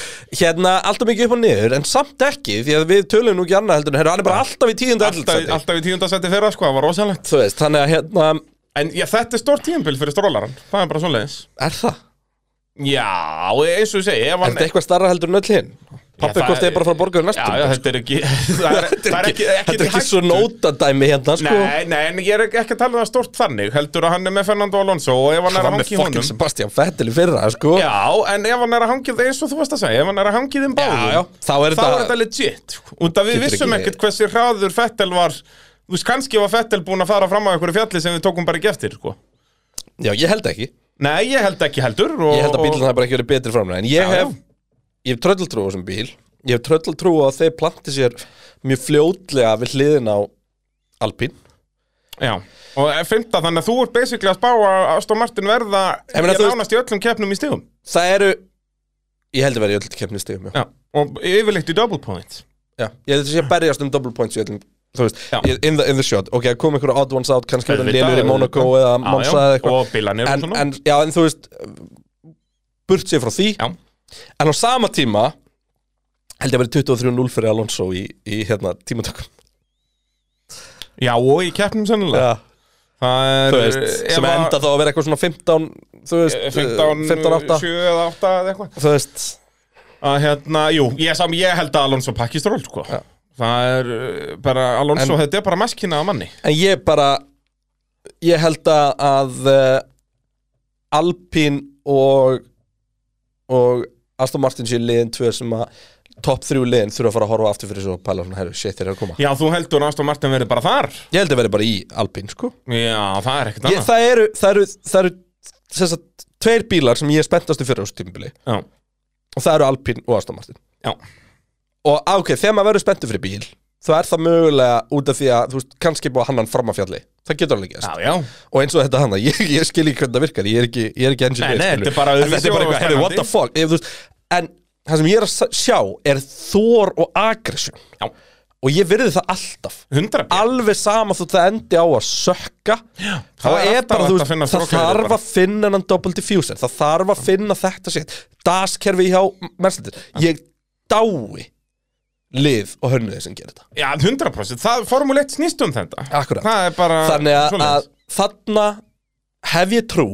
B: hérna alltaf mikið upp og niður en samt ekki því að við tölum nú ekki annað heldur en herru, hann er bara alltaf í tíundu
C: alltaf,
B: alltaf
C: alltaf í tíundasetti fyrra, sko, það var rosalegt.
B: þú veist, þannig að hérna
C: En já, þetta er stórt tíumbil fyrir strólaran, það er bara svoleiðis.
B: er það,
C: Já, eins og ég segi, ef
B: er
C: hann
B: þetta eitthvað starra heldur en öll hinn pappi
C: það-
B: hvort er bara að fara að borga þér
C: Já,
B: næstum
C: já, þetta er ekki Það er, það er ekki, ekki,
B: þetta er
C: til
B: ekki svo
C: hættu.
B: nótadæmi hérna sko
C: Nei, nei, en ég er ekki ekki að tala um það stort þannig Heldur að hann er með Fernando Alonso og ef hann
B: hann
C: er
B: var
C: að
B: með
C: hangi í
B: fokkin
C: honum
B: Sebastian Vettel í fyrra sko
C: Já, en ef hann er að hangi, eins og þú varst að segja Ef hann er að hangi þeim báðum
B: já, þá er
C: Þá er
B: þetta
C: þetta legit Út að við
B: Getur
C: vissum
B: ekki-
C: ekkert hversi hraður Fettel var Þú veist, kannski var Fettel búin að fara fram á einhverju fjalli sem við tókum bara ekki eftir sko.
B: já, ég held ekki,
C: Nei, ég held ekki heldur og,
B: ég held að bílun
C: og,
B: hafi bara ekki verið betri framlega en ég
C: Já, já.
B: hef, ég hef trölltrú á þessum bíl ég hef trölltrú á að þeir planti sér mjög fljótlega við hliðin á Alpín
C: Já, og fymta þannig að þú ert basically að spá að Aston Martin verða
B: Ég
C: Ég
B: meina, þú veist-
C: nánast í öllum keppnum í stigum
B: Það eru Ég held að vera í öll keppni stigum já.
C: Já, og yfirleitt í double point
B: Já. Ég held að sé að berjast um double points í öllum Þú veist,
C: Já.
B: í- in the, in the shot Ok, kom einhverja odd ones out, kannski verðan
C: Auðvitað,
B: lélur í Monaco
C: auðvitað.
B: eða
C: Já,
B: Monsa
C: já,
B: eða eitthvað
C: Og bilanir og
B: en,
C: svona
B: en, já, en þú veist Burt sér frá því
C: Já.
B: En á sama tíma Held ég að vera 23-0 fyrir Alonso í, í hérna, tímatökum
C: Já, og í keppnum sennilega
B: Já,
C: Það
B: þú
C: er
B: veist, sem
C: eh, ef að- Eh,
B: enda þá að vera eitthvað svona 15 Þú veist,
C: 15,
B: 15-8
C: 7 eða 8 eða eitthvað
B: Þú veist,
C: að hérna, jú, ég, sam, ég held að Alonso pakki stról, sko það er uh, bara, Alonso,
B: En-
C: þetta er bara maskina að manni
B: En ég bara Ég held að, að uh, Alpín og og Aston Martin sé liðin tvö sem að topp þrjú liðin þurfa að fara að horfa aftur fyrir svo og pæla svona, herru, shit, þeir eru að koma
C: Já, þú heldur að Aston Martin verið bara þar
B: Ég held að vera bara í Alpín, sko
C: Já, það er ekkert
B: ég,
C: annað
B: Það eru, það eru, það eru sem sagt, tveir bílar sem ég er spenntastu fyrir á þessu tímabili
C: Já,
B: og það eru Alpín og Aston Martin
C: já,
B: og á, ok, þegar maður verður spenntur fyrir bíl þá er það mögulega út af því að þú veist, kannski er búið að hanna hann fram af fjalli það getur alveg gerst
C: já, já.
B: og eins og þetta hann ég, ég skil ekki hvernig það virkar, ég er ekki, ég er ekki engineer
C: Nei, nei,
B: skilur.
C: þetta er bara
B: En
C: öðruvísi
B: þetta er bara
C: og
B: eitthvað, hey, what the
C: spennandi.
B: fuck Ef, þú veist, en það sem ég er að s- sjá er þor og aggression
C: já.
B: og ég virði það alltaf
C: 100
B: alveg sama þú það endi á að sökka Já, þá
C: það er
B: er
C: alltaf
B: bara, þú
C: hægt að finna
B: veist, það
C: strokleðrið
B: þarf
C: bara.
B: að finna hann double diffuser, það þarf að finna þetta sitt, daskerfi hjá Mercedes, ég dái lið og hönnuði sem gerir þetta
C: Já, 100% Það Formule 1 snýst um þetta
B: Akkúrat.
C: Það er bara
B: Þannig að,
C: Ah, svoleiðis.
B: að þarna hef ég trú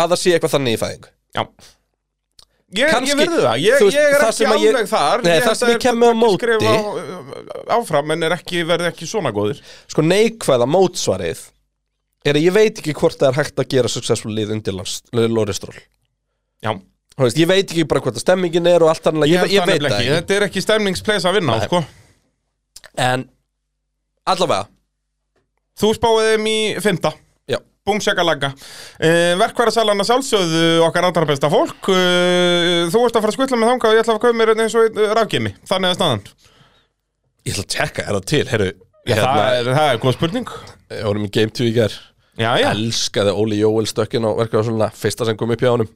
B: að það sé eitthvað þannig í fæðingu
C: Já Ég,
B: Kannski-
C: ég verði það, ég,
B: þú veist,
C: ég er
B: það
C: ekki
B: sem að ég-
C: alveg þar
B: Nei,
C: held
B: það sem
C: að
B: ég kem með á
C: þetta
B: móti-
C: skref á- Áfram, en er ekki, verði ekki svona góðir
B: Sko neikvæða mótsvarið er að ég veit ekki hvort það er hægt að gera successful lið undir Lóristról
C: Já,
B: Ég veit ekki bara hvort að stemmingin er og allt annað Ég, ég,
C: held
B: veit
C: það nefnilega
B: það
C: ekki. Þetta er ekki stemningspleis að vinna, á,
B: Nei.
C: sko
B: ekki En allavega,
C: Þú spáði þeim í fymta
B: já
C: Búm, sjaka, lagga e, Verkværasalana sjálfsögðu okkar allra besta fólk e, Þú ert að fara að skvilla með þangað og ég ætla að köpa mér einn eins og rafgemi Þannig að staðan
B: Ég ætla að tjekka, er það til, herru
C: Já, það, er, það er góð spurning
B: Ég vorum í Game 2 í gær
C: Já, já,
B: Elskaði Óli Jóel stökkin og verkaði svona fyrsta sem kom upp hjá honum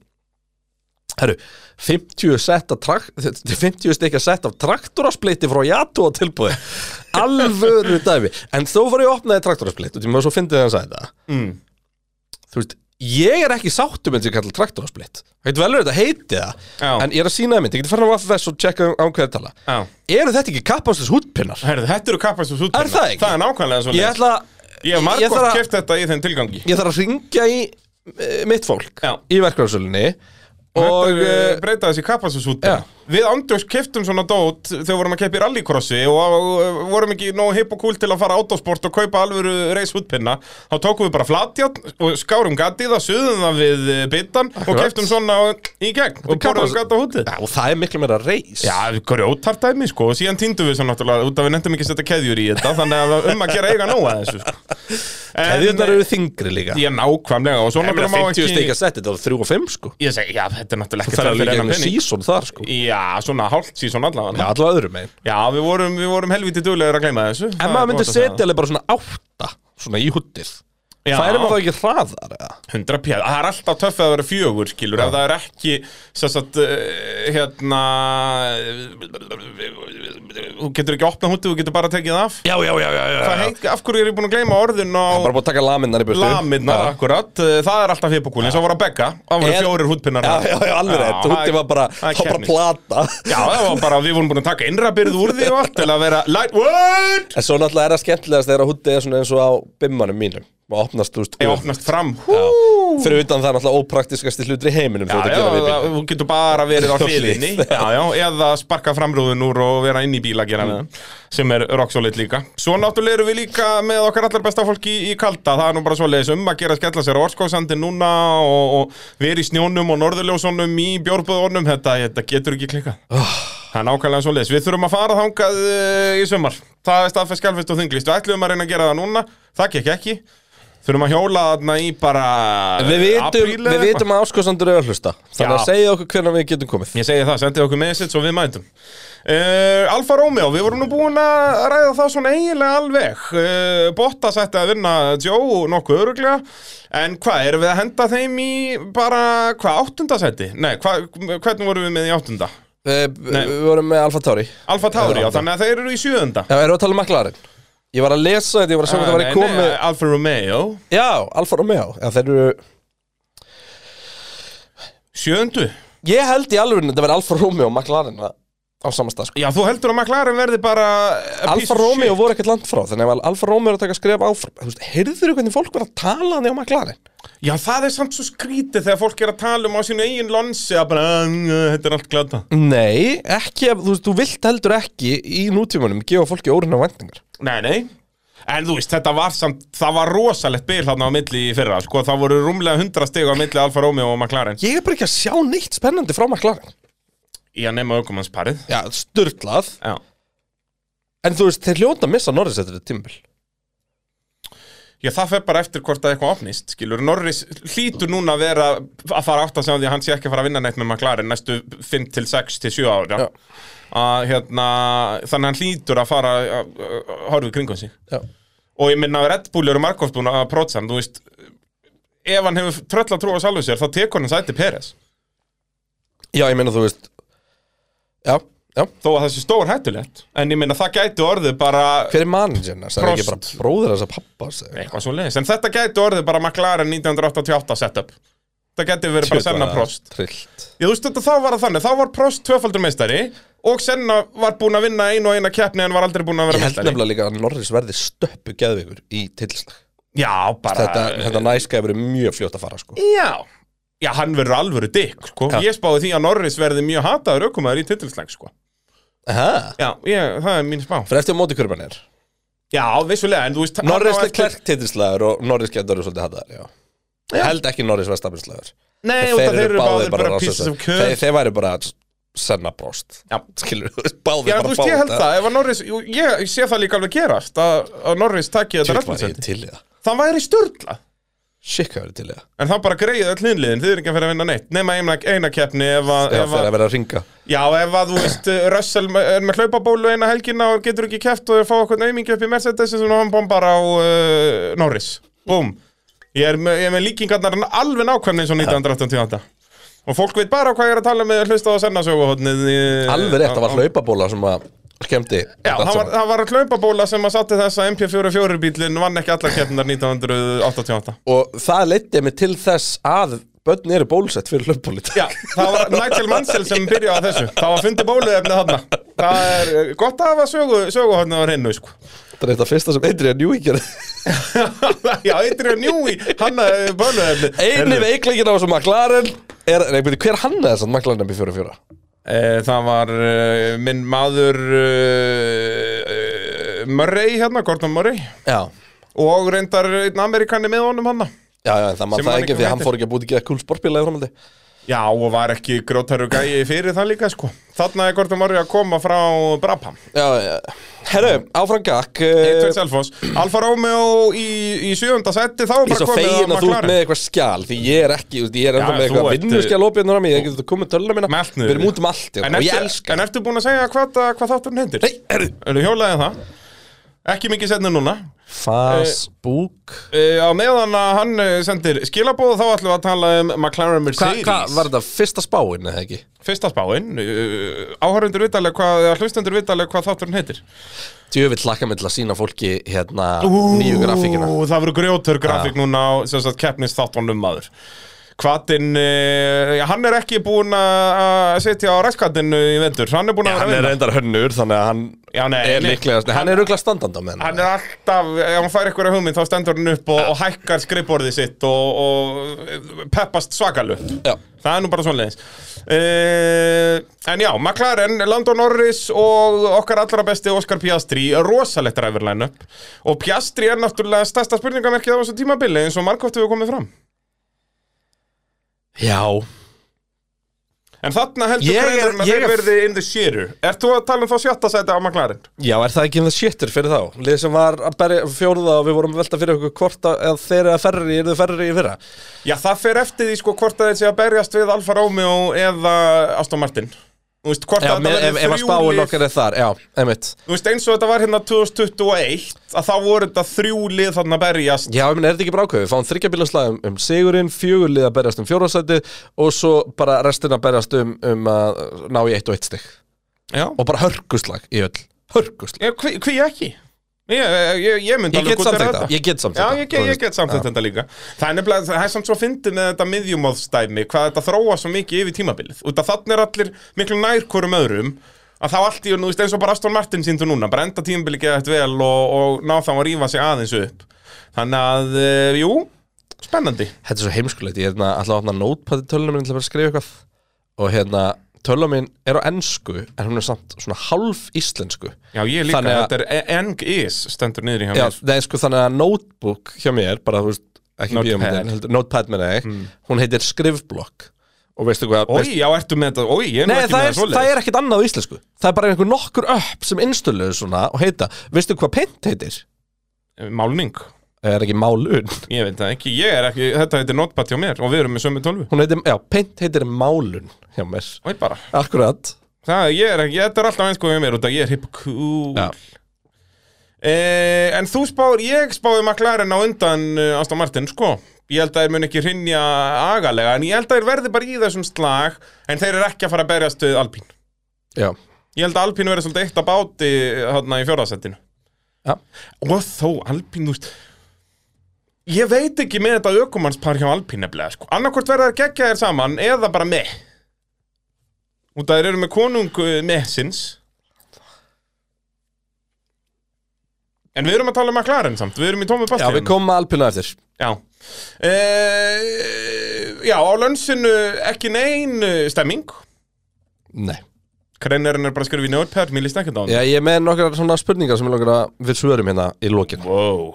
B: Herru, 50 set af trak, 50 stikja set af traktoraspliti frá Jato á tilbúði Alvöru dæmi En þó var ég að opnaði traktorasplit og því maður svo fyndið hann sagði þetta
C: mm.
B: Þú veist, ég er ekki sáttum en sem kallar traktorasplit Það getur vel verið að heiti það
C: Já.
B: En ég er að sína það mynd, ég getur farin á VFS og checka um- á hvað er tala
C: já
B: Eru þetta ekki kappanslis hútpinnar?
C: Herðu, þetta eru kappast og sútpennar
B: Er það ekki?
C: Það er nákvæmlega svona
B: Ég ætla
C: Ég hef
B: ég
C: margótt
B: þarf að-
C: keft þetta í þeim tilgangi
B: ég þarf að ringja í eh, mitt fólk
C: Já.
B: í verkvæðarsölunni
C: og
B: og eh,
C: breyta þessi kappasúsút
B: Já.
C: við ándjóks keftum svona dót þegar vorum að keppa í rallycrossi og uh, vorum ekki nógu hip og cool til að fara á autosport og kaupa alvöru reisútpinna þá tókum við bara flatjátt og skárum gatið það, suðum það við eh, bitann og
B: Akkurat.
C: keftum svona í gegn og
B: kappas-
C: borðum gata hútið
B: Já, og það er miklu meira reis
C: Já, grjótar dæmi sko og síðan týndum við svo náttúrulega út af við nefndum ekki að setja keðjur í þetta þannig að um að gera eiga nóga þessu sko. En- eh,
B: Keðjurnar eru þyngri líka
C: Já, nákvæmlega og svo
B: Ég meina,
C: náttúrulega má
B: 50
C: ekki
B: stíka setti, þetta var 3 og 5 sko
C: Ég segi, já, þetta er náttúrulega ekki
B: Það er
C: fyrir
B: alveg
C: þennan
B: gegnum
C: pening.
B: sísón þar sko
C: Já, svona hálft síðan allavega
B: Já, allavega öðrum megin
C: Já, við vorum, við vorum helviti duglegur að gleyma þessu
B: En
C: Það
B: maður
C: er
B: myndi
C: gott að segja.
B: setja alveg bara svona 8 svona í húttið
C: Já.
B: Færi maður þá ekki hraðar eða?
C: 100 pjæð, það er alltaf töff að vera fjögur skilur, ef það er ekki sessat, hérna þú getur ekki opnað hútið, þú getur bara tekið það af
B: Já, já, já, já, já.
C: Hvað heit, af hverju er ég búin að gleyma orðin
B: Bara
C: á
B: búið að taka laminnar í burtu
C: laminnar akkurat, Eh, það er alltaf hippokúlin, svo voru að begga það voru
B: Er-
C: fjórir hútpinnar
B: Já,
C: þar.
B: já, já, alveg rétt,
C: það-
B: húttið var bara,
C: það er
B: það var bara
C: keppni.
B: plata
C: Já, það var bara, við vorum búin að taka innrabyrð úr því og allt til að vera lightweight
B: En svo náttúrulega er það skemmtilegast þegar húttið er svona eins og á bimmanum mínum og opnast, þú veist,
C: Ég
B: úr.
C: opnast fram, hú
B: fyrir utan það er náttúrulega ópraktiskasti hlutur í heiminum
C: Já,
B: þú ert
C: já,
B: að gera við
C: það-
B: bíl
C: þú getur bara verið á
B: Á
C: hliðinni
B: hlið.
C: Já, já, eða sparka framrúðin úr og vera inn í bíl að
B: Mm.
C: gera með hann sem er rock solid líka Svo náttúrulega erum við líka með okkar allar besta fólki í kalda það er nú bara svoleiðis um að gera að skella sér á orskóðsandi núna og, og verið í snjónum og norðurljósunum í bjórböðunum þetta, þetta getur ekki klikað
B: Ah.
C: Það er nákvæmlega svoleiðis. Við þurfum að fara þangað uh, í sumar. Það er staðfest, skjálfist og þinglist. Við ætlum að reyna að gera það núna. Það gekk ekki. Þurfum að hjóla þarna í bara
B: Við vitum,
C: apríl eða
B: við
C: eitthvað.
B: vitum að áskoðsandur er að hlusta Þannig að
C: Já.
B: segja okkur hvernig við getum komið
C: Ég segi það, sendið okkur message og við mætum uh, Alfa Romeo, við vorum nú búin að ræða það svona eiginlega alveg uh, Bottas ætti að vinna Joe nokkuð öruglega En hvað, erum við að henda þeim í bara, hvað, áttundasæti? Nei, hva, hvernig vorum við með í áttunda?
B: Við,
C: Nei.
B: við vorum með Alfa Tauri Já,
C: Alfa Tauri,
B: Já,
C: já, þannig að þeir eru í sjöunda Eh,
B: erum við að tala um maklarinn? Ég var að lesa þetta, ég var að sjá
C: Ah,
B: hvað það var í komið
C: Alfa Romeo
B: Já, Alfa Romeo Já, þeir eru
C: Sjöndu?
B: Ég held í alveg að þetta verði Alfa Romeo og maklarinn á samastað sko.
C: Já, þú heldur að McLaren verði bara a piece
B: Alfa
C: of
B: Romeo
C: shit.
B: voru ekkert langt frá Þannig að Alfa Romeo er að taka skref áfram Þú veist, Heyrður þú hvernig fólk var að tala þannig á maklarinn?
C: Já, það er samt svo skrítið þegar fólk er að tala um á sínu eigin lonsi að bara, "Æ, þetta er allt glata
B: Nei, ekki, ef- þú veist, þú vilt heldur ekki í nútímanum gefa fólki órinna vendingar
C: Nei, nei En þú veist, þetta var samt, það var rosalegt bil þarna á milli í fyrra, sko, það voru rúmlega 100 stig á milli Alfa Romeo og McLaren
B: Ég er bara ekki að sjá neitt spennandi frá maklarinn
C: í að nema aukumannsparið
B: Já, styrlað
C: Já,
B: En þú veist, þeir hljóta að missa Norris eftir þetta tímbil
C: Já, það fer bara eftir hvort að eitthvað opnist, skilur Norris hlýtur núna að vera að fara átt að segja því að hann sé ekki að fara að vinna neitt með McLaren næstu 5 til 6 til 7 ára
B: Já.
C: að, hérna, Þannig að hann hlýtur að fara að að horfa í kringum sig
B: Já,
C: og ég minna að Red Bull eru margóft búin að prótsa hann, þú veist ef hann hefur tröll að trúa sjálfu sér, þá tekur hann sæti Peres
B: ég meina þú veist Já, já
C: þó að það sé stór hættulegt en ég minna það gæti orðið bara
B: Hver er managern? Það er ekki bara
C: Prost.
B: bróður þess að pappa segja.
C: eitthvað svo leiðis, en þetta gæti orðið bara McLaren 1988 setup það gæti verið bara Senna Prost
B: Trillt
C: ég þú veist þetta þá var það þannig, þá var Prost tvöfaldur meistari og Senna var búin að vinna einu og eina keppni en var aldrei búin
B: Ég
C: að vera
B: held
C: meistari
B: nefnilega líka að Norris verði stöppu geðveikur í tilslag
C: já, bara
B: Þetta, þetta næskæði verið mjög fljótt að fara sko
C: já Já, hann verður alvöru dykk, sko.
B: Já.
C: Ég spáði því að Norris verði mjög hataður aukumæður í titilslæg, sko.
B: Aha.
C: Já, ég, það er mín spá.
B: Fyrir eftir á móti hverjum hann er
C: Já, vissulega, en þú veist...
B: Norris
C: hann á eftir-
B: Leclerc titilslagur og Norris getur verið svolítið hataðar, já. Ég held ekki Norris Vestafinslagur
C: Nei, út af þeir eru báðir bara pieces of curve.
B: þeir, þeir væri bara senna bróst
C: Já.
B: Skilur, báðir
C: Já,
B: bara
C: þú veist, ég held það, ef að Norris, jú, ég, ég sé það líka alveg gerast að, að Norris takki þetta
B: Tjótt var ég
C: rættmænsætti.
B: til í það
C: Það væri störla.
B: Shit, hvað verður til í það?
C: En þá bara greið öll hinliðin, þið er ekki að fyrir að vinna neitt Nefna eina, eina keppni ef að,
B: Já,
C: ef
B: fyrir
C: að
B: að vera að ringa
C: Já, ef að þú veist, Russell me- er með hlaupabólu eina helgina og getur ekki keppt og er að fá okkur naumingi upp í Mercedes sem hann bombar á uh, Norris Búm Ég er með, ég er með líkingarnar alveg nákvæmni eins og 1988 Og fólk veit bara hvað ég er að tala með hlusta á sennasöguhotnið
B: Alveg rétt, það var hlaupabóla sem að skemmti
C: Já, það var, það var hlaupabóla sem að satti þess að MP44 bílinn vann ekki allar keppnar 1988
B: Og það leiddi mig til þess að Bönn eru bólusett fyrir hlaupabólit
C: Já, það var Nigel Mansell sem byrjaði að þessu Það var fundið bóluefni þarna Það er eh, gott að hafa sögu, söguhotnið á reynu sko.
B: Það er þetta fyrsta sem Adrian Newey gerði
C: Já, Adrian Newey, hann að bóluefni
B: Einu
C: Heyrðu,
B: veikleikin á þessu McLaren er, Nei, byrju, hver hann er þessan McLaren MP44?
C: eh, Það var uh, minn maður uh, Murray hérna, Gordon Murray
B: Já
C: Og reyndar einn Amerikani með honum hann
B: Já, já, en það
C: Sem
B: maður það
C: hann
B: ekki
C: ekki
B: því að hann
C: heitir.
B: fór ekki að búti ekki að kúl sportbíla í framhaldi
C: Já, og var ekki grótarur gæi fyrir það líka sko. Þarna er Gordon Murray að koma frá Brabham
B: Já, já Herru, áfram gakk eh,
C: Eitt Selfoss Alfa Romeo í, í sjöfunda seti Þá er
B: Ég er
C: bara
B: svo
C: komið að
B: fegin að þú ert
C: McLaren.
B: með eitthvað skjál Því ég er ekki, þú veist, ég er ennþá
C: Já,
B: með
C: þú
B: eitthvað
C: ert- eh,
B: vinnuskjál opið Þannig að ég get að koma með töluna mína
C: Með allt niður.
B: Við erum út um allt já,
C: En
B: Og ég
C: ertu,
B: elska
C: en ertu búin að segja hvað, það- hvað þátturinn hendur?
B: Nei, herru
C: Eru hjólaðið það? Ekki mikið setna núna
B: Facebook
C: e, Á meðan að hann eh, sendir skilabóð Þá ætlum við að tala um McLaren
B: Hvað
C: Mercedes
B: hva, var þetta? Fyrsta spáin eða ekki?
C: Fyrsta spáin uh, Áhörundur vitalega hvað eða Hlustendur vitalega hvað þátturinn hendur
B: Djöfitt laka mig til að sína fólki hérna nýju grafíkina
C: Það verður grjótur grafík núna á sem sagt, keppnist þáttunum maður Kvatinn, uh, hann er ekki búin að að sitja á ræskatinu í vendur Hann er búin að vera að vinna
B: reyndar hönnur þannig að hann
C: Já, nei,
B: er
C: nei.
B: líklegast Hann er auðvitað standanda með
C: hann er alltaf, ef hann fær eitthvað hugmynd þá stendur hann upp og, og hækkar skrifborðið sitt og, og peppast svakalu
B: Já.
C: það er nú bara svoleiðis uh, en já, McLaren, Landon Norris og okkar allra besti Oscar Piastri rosalegt ræfurlæn upp og Piastri er náttúrulega stærsta spurningamerkið á þessu tímabili eins og margótt hefur komið fram
B: Já
C: en þarna heldur
B: Ég er-
C: greinin að
B: ég
C: þeir
B: er-
C: verði in the shearer ert þú að tala um þá sjötta sæti á McLaren?
B: Já, er það ekki um það shittur fyrir þá? Lið sem var að berja fjóruða og við vorum að velta fyrir okkur hvort að að þeir eru ferri, eru ferri í fyrra
C: Já, það fer eftir því sko hvort að þeir sé að berjast við Alfa Romeo eða Aston Martin Þú veist, hvort
B: Já,
C: að
B: með, ef, ef
C: þetta
B: að
C: verður
B: spáin
C: þrjúlið
B: okkar er þar, já, emitt
C: Þú veist, eins og þetta var hérna 2021 að þá voru þetta þrjúlið þarna að berjast
B: Já, ég meina, er þetta ekki bara ákveð? Við fáum þryggjabilaslag um, um sigurinn, fjögurlið að berjast um fjórðarsæti og svo bara restina berjast um, um að ná í eitt og eitt stygg.
C: Já
B: Og bara hörkuslag í öll. Hörkuslag.
C: Ég- Hví, hví ekki? Ég, ég, ég myndi
B: Ég get
C: gútera
B: samþykkt
C: þetta.
B: það, ég get samþykkt
C: Já,
B: það,
C: ég, get-
B: þú
C: ég
B: veist.
C: get samþekkt þetta líka Það er nefnilega, það er samt svo fyndið með þetta miðjumóðstæmi hvað þetta þróa svo mikið yfir tímabilið út að þannig er allir miklu nær hverjum öðrum að þá allt í, þú veist, eins og bara Aston Martin síndu núna, bara enda tímabilið geða þetta vel og, og ná þá að rífa sig aðeins upp Þannig að, eh, jú, spennandi
B: Þetta er svo heimskulegt, ég er hérna alltaf að opna nótpadi tölunum minn til að bara skrifa eitthvað. Og hérna, tölunum minn er á ennsku, en hún er samt svona hálf íslensku.
C: Já, ég líka,
B: Þannig að-
C: þetta er E- eng is stendur niður í hjá
B: Já,
C: mér
B: nei, sko, þannig að notebook hjá mér, bara, þú veist, ekki
C: Notepad. Mm.
B: bíómyndin, heldur- notepad með þeir, hún heitir skrifblokk. Og veistu hvað,
C: Ói, já, ertu með þetta, ói, ég er nú
B: Nei,
C: ekki
B: það
C: með
B: er, það er ekkert annað á íslensku Það er bara einhver nokkur upp sem innstöluðu svona og heita, veistu hvað pent heitir? Eh,
C: svoleiðis. Málning
B: Er ekki málun
C: Ég veit það ekki, ég er ekki, þetta heitir notepad hjá mér og við erum með sömu tölvu
B: Hún heitir, já, pent heitir málun hjá mér
C: Oi bara,
B: Akkurat
C: það, ég er ekki, þetta er alltaf eins hvað hjá mér út að ég er hippkúl
B: Já.
C: eh, En þú spáir, ég spáði McLaren á undan uh, Aston Martin, sko Ég held að þeir mun ekki hrinja agalega en ég held að þeir verði bara í þessum slag en þeir eru ekki að fara að berjast við Alpín
B: Já,
C: Ég held að Alpín verði svolítið eitt að báti eh, þarna í fjórðasettinu
B: já.
C: Og þó Alpín, þú veist Ég veit ekki með þetta ökumannspar hjá Alpín nefnilega sko. Annarkvort verða þær geggja þér saman eða bara með Út að þeir eru með konung eh, með sinns En við erum að tala um McLaren samt Við erum í tómi
B: já
C: bastið
B: við komum að alpina eftir
C: Já Eh, Já, á lönsinu ekki nein eh, stemming
B: Nei
C: Krennerinn er bara að skrifa í notepad, mér líst ekkert á hann
B: Já, ég er með nokkrar svona spurningar sem er langar að við svörum hérna í lokin
C: Wow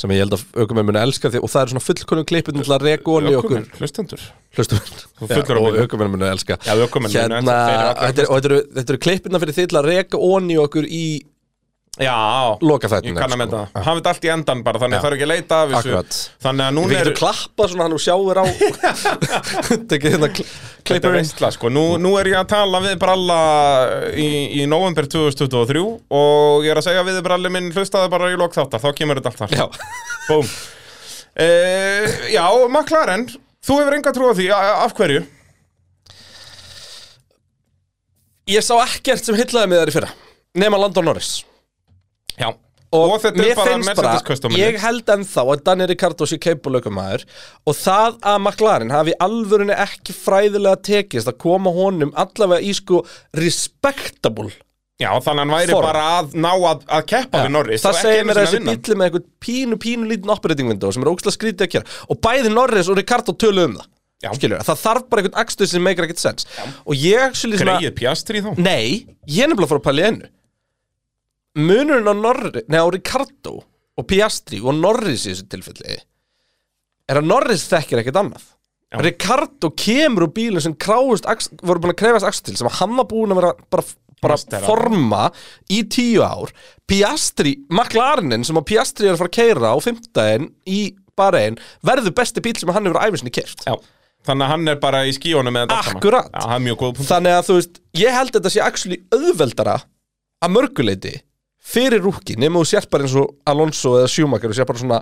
B: sem ég held að aukumenn muni elska því og það er svona fullkonum klippin til að reka onni okkur
C: Ökumenn, Hlustendur
B: hlustum
C: fullur
B: og
C: muni.
B: aukumenn muni elska
C: Já, ökumenn muni
B: hérna,
C: elska, þeir eru allir að
B: þetta er- og þetta eru- þetta eru klippina fyrir því til að reka onni okkur í sko.
C: Já,
B: loka
C: ég
B: þættinum
C: kann að með það Hann veit allt í endan bara, þannig þarf ekki að leita af þessu
B: Ah. Akkurat.
C: Þannig að
B: Við
C: núna er
B: getum klappað svona hann og sjáir á Tekið hérna kl-
C: Þetta er
B: klippurinn
C: veistla, sko. Nú, nú er ég að tala við Bralla eh, í, í november 2023 og ég er að segja við Bralli minn hlustaði bara í lok þáttar, þá kemur þetta allt þar.
B: Já,
C: Búm. Uh, já, McLaren, þú hefur enga trú á því, a- af hverju?
B: ég sá ekkert sem hillaði mig þar í fyrra Nema Landon Norris
C: Já. Og, þetta er bara Mercedes Custom.
B: ég held ennþá að Danny Ricardo sé keipulaukumæður og það að McLaren hafi alvörunni ekki fræðilega tekist að koma honum allavega í sko respectable
C: Já, þannig að hann væri
B: Form.
C: bara að ná að, að keppa við Norris.
B: það
C: og ekki
B: segir
C: einu
B: mér
C: sinni
B: að þessi
C: vinna.
B: bíli með eitthvað pínu, pínu lítinn operating window sem er ógstlega skrítið að gera og bæði Norris og Ricardo tölu um það
C: Já.
B: Skilur, það þarf bara eitthvað axtur sem meikir ekkert sens og ég actually
C: Greið pjastri þá.
B: Nei, ég er nefnilega að fara að pæla í ennu Munurinn á Norri Nei, á Ricardo og Piastri og Norris í þessu tilfelli er að Norris þekkir ekkert annað
C: Já.
B: Ricardo kemur úr bílum sem kráust, ax- voru búin að krefast axtil sem hann var búin að vera bara, bara
C: Mastera.
B: forma í tíu ár Piastri, McLarenin sem að Piastri er að fara að keira á fimmtæðin í bara einn, verður besti bíl sem hann hefur æfinsinni kert
C: Já. Þannig að hann er bara í skíónu með þetta. allt saman.
B: Akkurat.
C: Já, það er mjög góð punkt.
B: Þannig að þú veist, ég held þetta sé actually auðveldara að mörguleiti fyrir rúki, nema þú sér bara eins og Alonso eða Schumacher og sér bara svona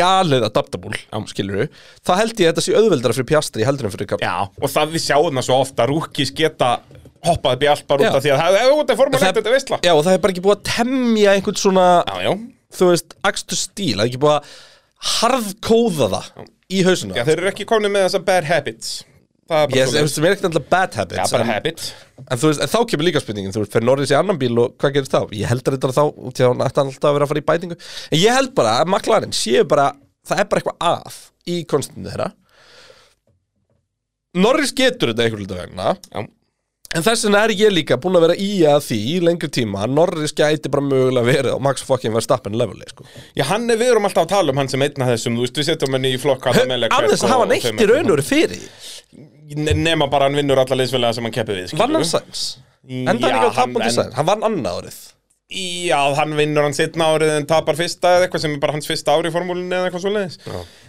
B: galið adaptable, skilur við þá held ég að þetta sé auðveldara fyrir Piastri heldur en fyrir Ricardo
C: Já, og það við sjáum það svo ofta Rúkis geta hoppað upp í allt bara út
B: Já.
C: af því að það er út af
B: En
C: formule 1
B: það-
C: þetta veistla
B: Já, og það er bara ekki búið að temja einhvern svona,
C: Já, já,
B: þú veist, axtu stíl það er ekki búið að harðkóða það í hausuna
C: já þeir eru ekki komin með þessa bad habits Það er bara
B: Yes,
C: svoleiðis.
B: sem er ekkert alltaf bad
C: Já,
B: habits
C: bara
B: en,
C: habit
B: en, þú veist, en þá kemur líka spurningin Þú veist, fer Norris í annan bíl og hvað gerist þá? Ég held þetta þá, því að hann ætti alltaf að vera að fara í bætingu En ég held bara að McLaren séu bara Það er bara eitthvað að í konstinu þeirra Norris getur þetta einhvern veginn vegna
C: Já,
B: En þess vegna er ég líka búin að vera í að því í lengri tíma að Norris gæti bara mögulega verið og Max fucking Verstappen leveli sko.
C: já hann er, við erum alltaf að tala um hann sem einna þessum Þú veist, við setjum henni í flokk hann með
B: Af þess að hafa neitt í raun og veru fyrir því.
C: Nefna bara hann vinnur alla leysfélaga sem hann keppið við skilurðu.
B: Vann hann sæns Enda hann
C: Já,
B: ekki að
C: hann-
B: tapa til
C: en-
B: sæns Hann vann annað árið
C: Já, hann vinnur hann sittna árið en tapar fyrsta eða eitthvað sem er bara hans fyrsta ári í formúlinni eða eitthvað svoleiðis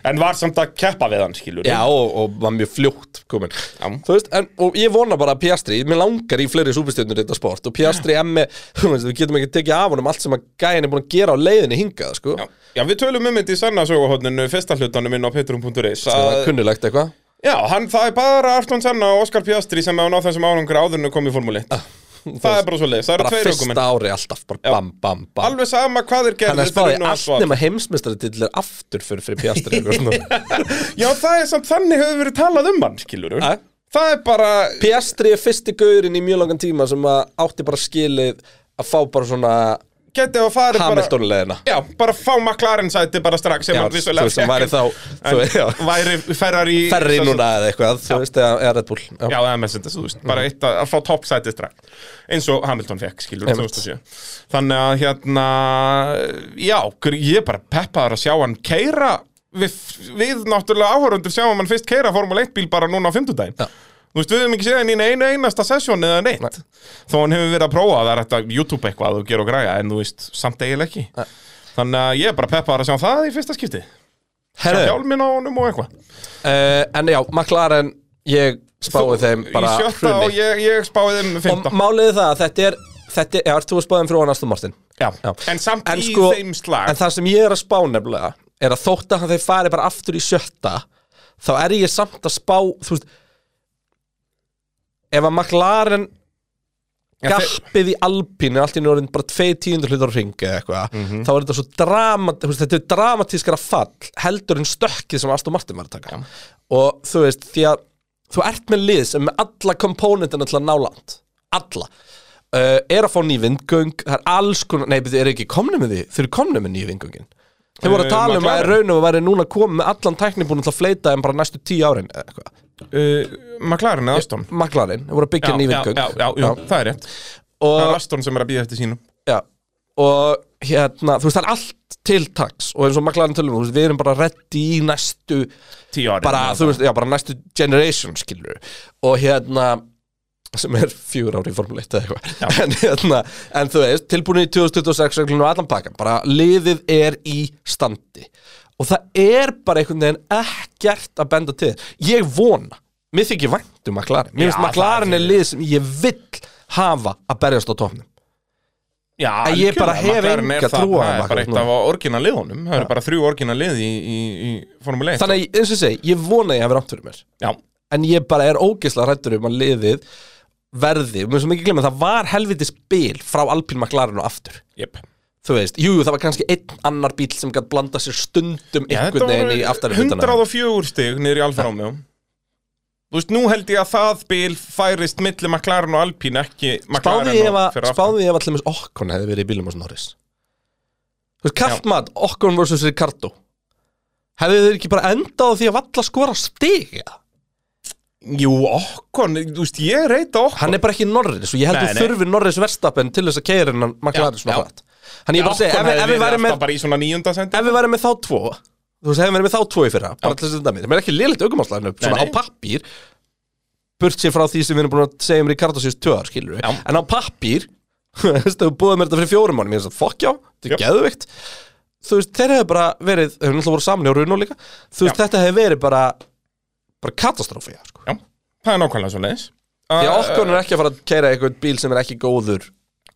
C: En var samt að keppa við hann, skilur
B: Já, og, og var mjög fljótt komin
C: Já.
B: Þú veist, en, og ég vona bara að Piastri Mér langar í fleiri súpistjörnur í þetta sport Og Piastri emmi, þú veist, við getum ekki tekið af honum Allt sem að gæin er búin að gera á leiðinni hingað sko.
C: Já, já við tölum um þetta í sanna söguhóðninu fyrsta hlutanum inn á petrum.is
B: Það
C: að-
B: er kunnulegt eitthvað
C: Já, hann, það er bara Arton Senna og Óskar Piastri sem hefur náð þessum árangur áður en kom í formúli 1. Það er bara svo leiðis, það
B: Ah.
C: eru
B: Bara
C: tveir
B: fyrsta
C: ökumenn
B: ári alltaf, bara bam, bam, bam
C: Alveg sama hvað þeir gerðu
B: Þannig að spáði
C: þeir unnu allt
B: allt
C: val.
B: nema heimsmeistaradillir aftur fyrir, fyrir Piastri eitthvað svona.
C: Já, það er samt þannig hefur verið talað um hann, skilur
B: Ja.
C: Það er bara
B: Piastri er fyrsti gaurinn í mjög langan tíma sem að átti bara skilið að fá bara svona
C: Getið að fara bara
B: Hamilton-leðina
C: Já, bara fá McLaren sæti bara strax sem
B: Já,
C: hann
B: þú
C: vissulega
B: veist, sem
C: fékk,
B: væri
C: en-
B: þá- þú veist, já.
C: en Væri ferrar í
B: Ferri núna eða eitthvað, þú veist, eða eða Red Bull
C: Já, eða Mercedes, þú veist,
B: Mm.
C: bara eitt að, að fá toppsæti strax eins og Hamilton fekk, skilur
B: Einmitt.
C: 2007 Þannig að hérna já, gr- ég er bara peppaður að sjá hann keira við, við náttúrulega áhörundur sjáum hann fyrst keira Formule 1 bíl bara núna á fimmtudaginn
B: Já.
C: Þú veist, við höfum ekki séð hann í einu einasta sessjón eða neitt þó hann hefur verið að prófa það er hægt að YouTube eitthvað að þú gera og græja en þú veist, samt eiginlega ekki Þannig að ég er bara peppaður að sjá það í fyrsta skipti
B: Herru,
C: Hjálmin á honum og eitthvað
B: Uh, en já, McLaren, ég spáði þeim bara
C: Í sjötta og
B: hruni.
C: ég, ég spáði þeim
B: Og,
C: fimmta
B: málið er það að þetta er, þetta er, já, ert þú að spáði þeim frá hann Aston Martin?
C: Já. En samt í þeim slag.
B: sko, En það sem ég er að spá nefnilega er að þótt að þeir fari bara aftur í sjötta, þá er ég samt að spá, þú veist, ef að McLaren
C: Já, þeir-
B: gappið í Alpínu allt í norðin bara tvei tíundur hlutur á ringi eða eitthvað
C: Mhm.
B: þá er þetta svo dramat, veist, þetta er dramatískara fall heldur en stökkið sem Aston Martin var að taka og þú veist því að þú ert með lið sem með alla komponentina til að ná land alla uh, er að fá ný vindgöng það er alls konar, nei betur, eru ekki komnir með því þau eru komnir með nýju vindgöngin þau voru að
C: Eh,
B: tala um að
C: McLaren.
B: raunum að væri núna komið með allan tæknibúin til að fleita en bara næstu tíu árin eða eitthvað
C: uh, McLaren eða Aston
B: maklarinn, þau voru að byggja
C: Mm. já,
B: ný
C: já,
B: vindgöng
C: já, já, já, það er rétt
B: og
C: Það er Aston sem er að býða eftir sínum
B: Já, og hérna, þú veist, það er allt til taks og eins og McLaren tölum, þú veist, við erum bara reddi í næstu,
C: Tíu ári
B: bara, þú veist, já, bara næstu generation, skilur og hérna, sem er fjör ári í Formule 1 eða eitthvað en, hérna, en þú veist, tilbúin í 2026 reglunum og allan pakkan, bara liðið er í standi og það er bara einhvern veginn ekkert að benda til ég vona, mér þykir vænt um McLaren mér
C: Já,
B: finnst
C: það er
B: McLaren er
C: fyrir-
B: lið sem ég vill hafa að berjast á topnum
C: Já,
B: En ég bara hef
C: McLaren er
B: enga
C: það-
B: trú á
C: Það
B: McLaren
C: er bara eitt
B: núna.
C: af orginaliðunum Það eru bara þrjú orginalið í, í, í Formule 1
B: þannig, að ég- eins og ég segi, ég vona að ég hafi rátt fyrir mér
C: Já,
B: en ég bara er ógeðslega hrættur um að liðið verði, mér sem ekki glemma það var helvitis bil frá Alpine McLaren og aftur
C: jep
B: þú veist, jú, jú, það var kannski einn annar bíl sem gætt blanda sér stundum
C: Já,
B: einhvern veginn í aftarri hlutana.
C: 104 stig niður í Alfa Romeo Þú veist, nú held ég að það bil færist milli McLaren og Alpine ekki McLaren
B: spáði ég ef
C: og
B: að,
C: fyrir aftan.
B: spáði ég ef að til dæmis Okkon hefði verið í bílum hos Norris þú veist, kallmat, Okkon versus Ricardo hefði þeir ekki bara endað á því að valla skora stiga
C: Jú, okkon, þú veist, ég reyta okkon
B: hann er bara ekki Norris og ég held
C: Nei,
B: að
C: nei.
B: þurfi Norris verstappen til þess að keira hennan McLaren
C: Já,
B: svona
C: já.
B: hratt hann ég bara segi, ef, við- ef við væri með
C: bara í svona nýjunda sendi
B: ef við værum með þá tvo þú veist, ef við værum með þá tvo í fyrra bara til þess að dæmi, það er ekki liðlegt aukumáslæðinu svona
C: Nei,
B: á
C: nei.
B: pappír burt sér frá því sem við erum búin að segja um Ricardo síðust tvö ár, skilur við,
C: Já.
B: en á pappír þú veist, þau búið mér þetta fyrir fjórum mánum ég er þess að fokkjá, þetta er
C: Jöp.
B: geðvikt þú veist, þeir hefur bara verið þau hefur náttúrulega voru saman í Runo líka þú veist,
C: Já.
B: þetta hefur verið bara bara katastrófi, já, sko
C: Já, það er nákvæmlega svo leiðis
B: því að okkur er ekki að fara að keira eitthvað bíl sem er ekki góður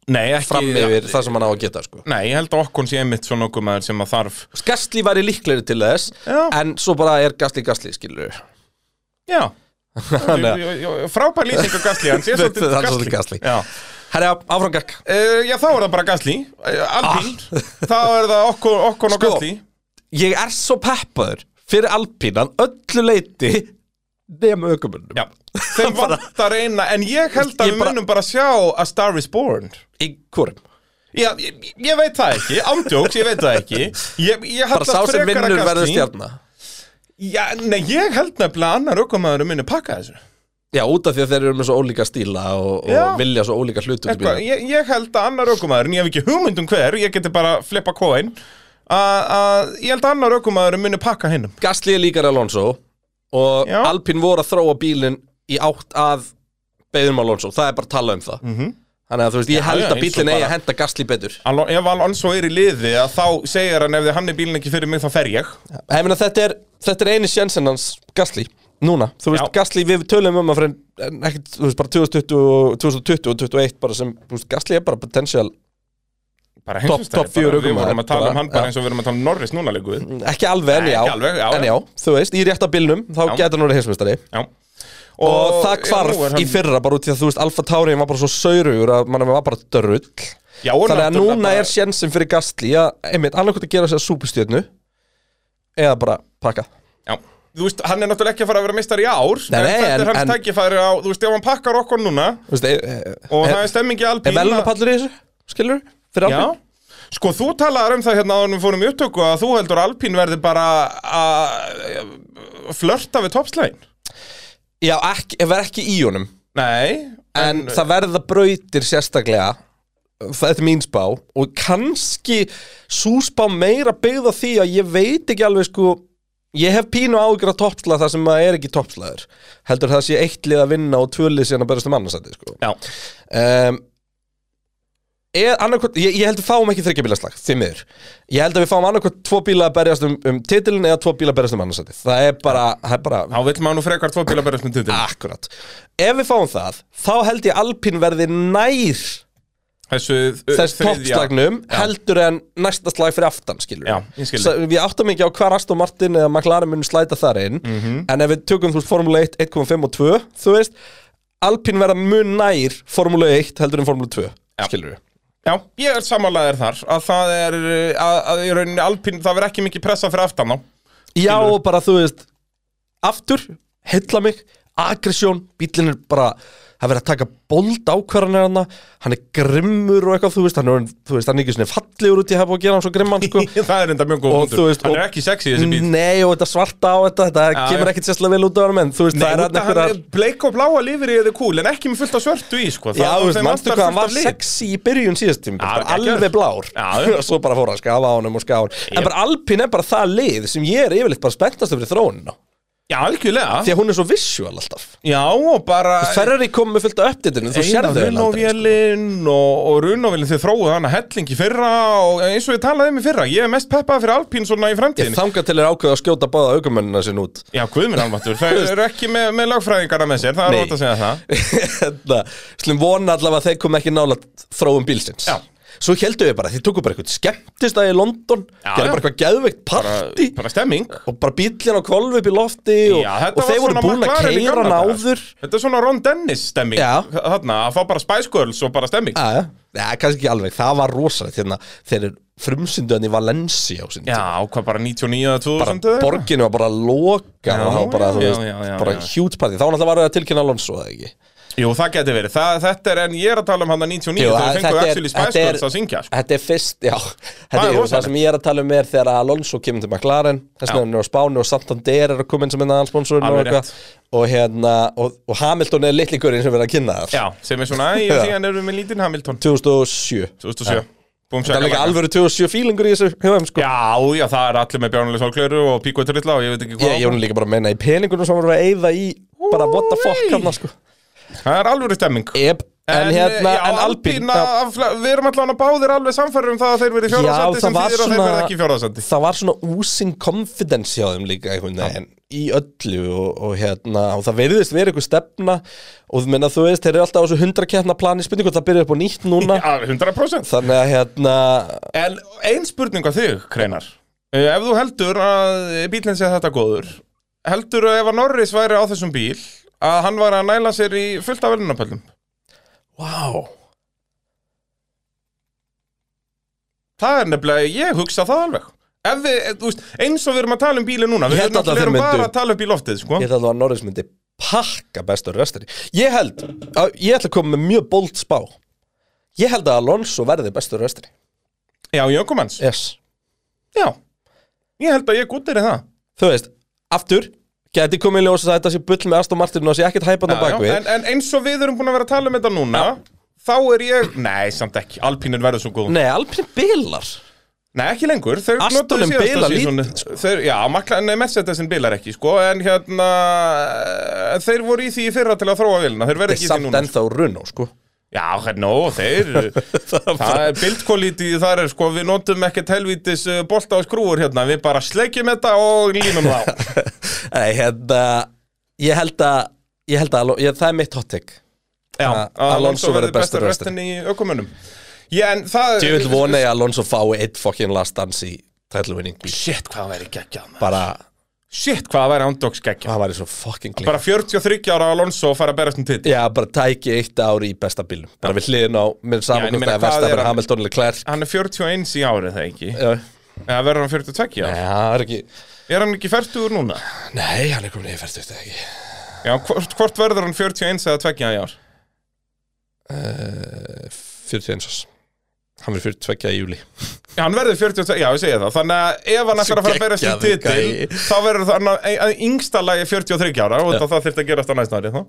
C: Nei, ekki
B: fram yfir það sem hann á að geta, sko
C: Nei, ég held að okkon sé einmitt svona okkur maður sem að þarf
B: Gastli væri líklegri til þess
C: Já.
B: en svo bara er Gastli Gastli, skilur við
C: Já,
B: Þannig að-
C: frábær lýsing á Gasly, hann sé
B: Þetta-
C: svolítið
B: hann er svolítið Gasly.
C: Já.
B: Herra, áfram gakk
C: Uh, já, þá er það bara Gasly, uh, Alpín, þá er það okkon, okkon og
B: Ah. Sko.
C: Gasly
B: Ég er svo peppaður fyrir alpínan öllu leiti nema aukumönnum
C: Já, þeim vantar eina, en ég held að
B: Ég
C: við
B: bara-
C: munum bara sjá að Star is Born
B: Í hvorum
C: Já, ég, ég veit það ekki, ándjóks, ég veit það ekki Ég, ég
B: Bara
C: held
B: sá
C: að
B: sem
C: frekar að
B: vinnur verður
C: Gasly
B: stjarna
C: Já, nei, ég held nefnilega að annar aukumæður muni pakka þessu
B: Já, út af því að þeir eru með svo ólíka stíla og,
C: Já.
B: og vilja svo ólíka hluti út í
C: Eitthvað,
B: bílum
C: Sko, ég, ég held að annar aukumæður, en ég hef ekki hugmynd um hver, ég geti bara flippa kóin að ég held að annar aukumæður muni pakka hinnum
B: Gastli er líkar Alonso og
C: Já.
B: Alpín voru að þróa bílinn í átt að beðum Alonso, það er bara að tala um það -hmm. Þannig að þú veist, ég held að
C: Mhm. já, eins og
B: bílinn eigi
C: bara-
B: að henda Gastli betur
C: Alon, Ef Alonso er í liði, að þá segir hann ef þið hann er bílinn ekki fyrir mig, þá fer ég
B: Ég meina, þetta er, þetta er eini sjensin hans Gasly, núna, þú veist,
C: Já.
B: Gasly við tölum um að fyrir, en ekkert, þú veist, bara 2020 og 2020 og 2021 bara sem, þú veist, Gasly er bara potential
C: Bara
B: Topp-
C: heimsumstæði,
B: topp fjögur
C: bara- Við vorum
B: ökumaður,
C: að tala
B: bara,
C: um hann bara
B: já. Mm.
C: eins og við erum að tala um Norris núna líkuð
B: ekki alveg, en
C: Nei,
B: já,
C: ekki alveg, já,
B: en
C: já.
B: já, þú veist, í rétta bílnum, þá
C: Já.
B: getur hann orðið heimsmyndstari og,
C: Já.
B: það
C: Já, nú
B: hvarf
C: er hann-
B: í fyrra bara út í að, þú veist, Alfa Tauri var bara svo saurugur að mann var bara dörrull
C: Já, og
B: þannig að
C: náttúrulega
B: núna
C: bara-
B: er sjensin fyrir Gasly að, einmitt, annarkvæmt að gera sér súpustjörnu eða bara pakka
C: Já. Þú veist, hann er náttúrulega ekki að fara að vera meistar í ár
B: Nei,
C: en
B: nei,
C: Þetta
B: en-
C: er hans
B: en-
C: tækifæri á, þú veist, ef hann pakkar okkur núna
B: Þú veist, er,
C: Og það
B: er,
C: er stemmingi
B: er
C: alpín
B: velunapallur í þessu, skilur, fyrir
C: Já
B: Alpín
C: Sko, þú talaðar um það hérna áður en við fórum í upptöku að þú heldur að alpín verði bara að flörta við toppslægin
B: Já, ekki, ef er ekki í honum
C: Nei
B: En það verða brautir sérstaklega Þetta er mín spá Og kannski sú spá meira byggð á því að ég veit ekki alveg sko Ég hef pínu ágjur að toppsla það sem maður er ekki toppslaður Heldur það sé eitt lið að vinna og tvö lið síðan að berast um annarsæti sko.
C: Já,
B: um, er, annarkot, ég, ég held við fáum ekki þryggjabílaslag, því miður Ég held að við fáum annarkot tvo bíla að berjast um, um titilin eða tvo bíla að berjast um annarsæti Það er bara, það er bara
C: þá vill maður nú frekar tvo bíla berjast með titil
B: Akkurat Ef við fáum það, þá held ég Alpín verði nær
C: Þessu uh,
B: þess
C: þriðja-
B: toppslagnum
C: Já.
B: heldur en næsta slag fyrir aftan skilur
C: Já, ég skil
B: Svo Við áttum ekki á hvar Aston Martin eða McLaren mun slæta þar inn
C: Mhm.
B: En ef við tökum þú veist Formule 1, 1.5 og 2 Þú veist, Alpín verða mun nær Formule 1 heldur en Formule 2
C: Já.
B: Skilur
C: Já, ég er samanlegaðir þar að það er, uh, að, að í rauninni alpín, það verð ekki mikið pressa fyrir aftan á
B: Já, og bara þú veist Aftur, heilla mig Aggresjón, bílinn er bara Það er verið að taka bold ákvarðanir hann Hann er grimmur og eitthvað Þú veist, hann er, orðinn- þú veist, hann er ekki svona fallegur út í hef og gera hann svo grimman sko.
C: Það er enda mjög góð
B: Og
C: hundur,
B: þú veist,
C: hann
B: og- Mm,
C: er ekki sexy þessi bíl
B: Nei, og þetta svarta á þetta Þetta
C: Já,
B: kemur
C: já.
B: ekkit sérslega vel út af hann En þú veist,
C: Nei,
B: það er
C: út
B: hann
C: að hann
B: einhverjar
C: er bleik og bláa lifir í eða kúl en ekki með fullt af svörtu í sko.
B: Já, þú veist, manstu hvað hann var
C: sex
B: sexy í byrjun síðast tíma
C: Já,
B: bara
C: geggjaður.
B: Alveg blár
C: Já.
B: Svo bara fór hann að skafa á honum og skafa á honum En bara Alpín er bara það lið sem ég er yfirleitt bara spenntast fyrir þróun
C: Já, algjörlega
B: Því að hún er svo visual alltaf
C: Já, og bara
B: Ferrari kom með fullt af uppdýttinu, þú
C: Einar
B: sérðu henni aldrei, sko.
C: Runovélinn og, og Runovélinn þið þróuðu hana helling í fyrra og eins og ég talaði um í fyrra Ég er mest peppað fyrir Alpín svona í
B: Ég
C: framtíðin
B: þanga til er ákveða að skjóta báða aukumennina sinn út
C: Já, guðminn almatur, það eru ekki með, með lagfræðingarna með sér, það er
B: Nei.
C: rót að segja það
B: Hérna, Slum vona allavega að þeir kom ekki nála þróum bílsins
C: Já.
B: Svo heldur við bara, þeir tóku bara eitthvað skemmtistæði í London
C: Já,
B: Gerðu
C: já.
B: bara eitthvað geðveikt party
C: Bara stemming
B: Og bara bílinn á kolvi upp í lofti Og,
C: Já, þetta
B: og
C: var
B: þeir voru
C: svona
B: búin að
C: McLaren í
B: keira
C: gamla
B: hann
C: daga.
B: áður
C: Þetta er svona Ron Dennis stemming
B: Já. Ah.
C: Þarna, að fá bara Spice Girls og bara stemming
B: Já, já, Já, kannski ekki alveg, það var rosalegt hérna, Þeir eru frumsyndu hann í Valencia á sinni
C: Já, hvað bara 99 eða 2000
B: bara
C: eða eitthvað?
B: borginu var bara loka
C: Já,
B: og það var bara, þú
C: já,
B: veist,
C: já, já,
B: bara
C: já.
B: huge party þá var náttúrulega var það að tilkynna Alonso eða ekki
C: Jú, það geti verið, það, þetta er en ég er að tala um hann að 99
B: Jú,
C: Jú,
B: að-
C: það fengur
B: þetta er-
C: actually Spice
B: þetta er-
C: Girls að syngja sko.
B: þetta er fyrst, já þetta er,
C: er
B: það
C: rosalegt.
B: sem ég er að tala um er þegar Alonso kemur til McLaren þess
C: Já.
B: vegna hann er á Spáni og Santander er að koma inn sem hérna allsponsorinn og
C: Alveg
B: eitthvað og hérna, og, og Hamilton er litli gurinn sem verður að kynna það
C: Já, sem er svona, æ, ég
B: Já.
C: sé hann erum með lítinn Hamilton
B: 2007
C: 2007 Búm,
B: það er líka alvöru 2007 feelingur í þessu hefum, sko.
C: Já, já, það er allir með Bjarnuleg Solklöru og Píko Trilla og ég veit ekki
B: ég,
C: hvað
B: ég var nú líka bara að menna í peningunum sem voru að eyða í bara what the fuck hann sko.
C: Það er alvöru stemming eh,
B: yep. en, hérna,
C: já,
B: en Alpín
C: Alpína,
B: já.
C: afla- Við erum allan að báðir alveg samfærum það að þeir verið
B: Já,
C: fjóðarsandi
B: það
C: sem
B: var
C: þýðir að þeir
B: svona-
C: verið ekki fjóðarsandi
B: það var svona úsinn confidence hjá þeim líka einhvern veginn í öllu og, og hérna og það verðist verið einhver stefna og þú meina þú veist, þeir eru alltaf á þessu 100 keppna plani spurning hvort það byrja upp á nýtt núna
C: 100%
B: þannig að hérna
C: En ein spurning á þig, Kreinar Eh, Ef þú heldur að bílinn sé þetta góður Heldur að ef að Norris væri á þessum bíl að hann var að næla sér í fullt af velunapöllum
B: wow.
C: Það er nefnilega, ég hugsa það alveg Ef við, eh, þú veist, eins og við erum að tala um bíli núna
B: Ég
C: Við
B: held
C: erum
B: alltaf
C: náttúrulega
B: þeir myndu-
C: bara að tala um bíl loftið, sko
B: ég held að það var Norris myndi pakka bestur restari ég held, að, ég ætla að koma með mjög bold spá ég held að Alonso verði bestur restari
C: Já, Jökumans
B: yes.
C: Já, ég held að ég gúttir í það
B: þú veist, aftur geti komið í ljós að þetta sé bull með Aston Martin og það sé ekkert hæpandi á
C: Já,
B: bakvið
C: en, en eins og við erum búin að vera að tala um þetta núna Þá er ég, nei, samt ekki Alpínur verður svo góð Nei,
B: Nei, Alpine bilar
C: ekki lengur Þau
B: Astonin
C: notuðu síðasta
B: bilar
C: season-
B: lítið,
C: þeir, Já, makla, nei, Mercedesin bilar ekki, sko En hérna, eh, þeir voru í því í fyrra til að þróa vilna Þeir verður ekki í því
B: Samt
C: núna
B: ennþá Runo, sko
C: Já, hérna, ó, þeir Það er bildkvalíti þar er, sko Við notum ekkert helvítis uh, bolta og skrúur hérna Við bara sleikjum þetta og línum þá
B: Nei, hérna Ég held að, ég held að ég, Það er mitt hot take
C: Já,
B: Að Alonso verður bestur restin.
C: restin í ökumunum Já, en það
B: Ég vil vona ég að Alonso fái eitt fokkin last dance í tætluvinning bíl
C: Shit, hvað það væri geggjað maður
B: Bara,
C: Shit, hvað það væri ándóks geggjað
B: hann var í svo fokkin glík
C: Bara 43 ára Alonso að fara að berast um titil
B: Já, bara tæki eitt ár í besta bílum Bara við hliðin á, með
C: Já, en ég
B: saman hvort
C: meina,
B: það er
C: hvað er
B: Vestapen,
C: hann-
B: Hamilton eða Klerk
C: Hann er 41 í árið það ekki
B: Já,
C: Eða verður hann 42
B: Nei,
C: ára
B: það er ekki
C: Er hann ekki 40 úr núna?
B: Nei, hann er komin í fært þetta ekki
C: Já, hvort, hvort verður hann 41 eða 2 í ár?
B: Eh, 41 árs Hann verður 42 í júli
C: Já, hann verður 42, já, ég segja það Þannig að ef hann ætlar að fara að berast um
B: geggjaður gæi.
C: titil Þá verður hann að- að yngsta lagi 43 ára Og það, það þurfti að gerast á næsta ári þá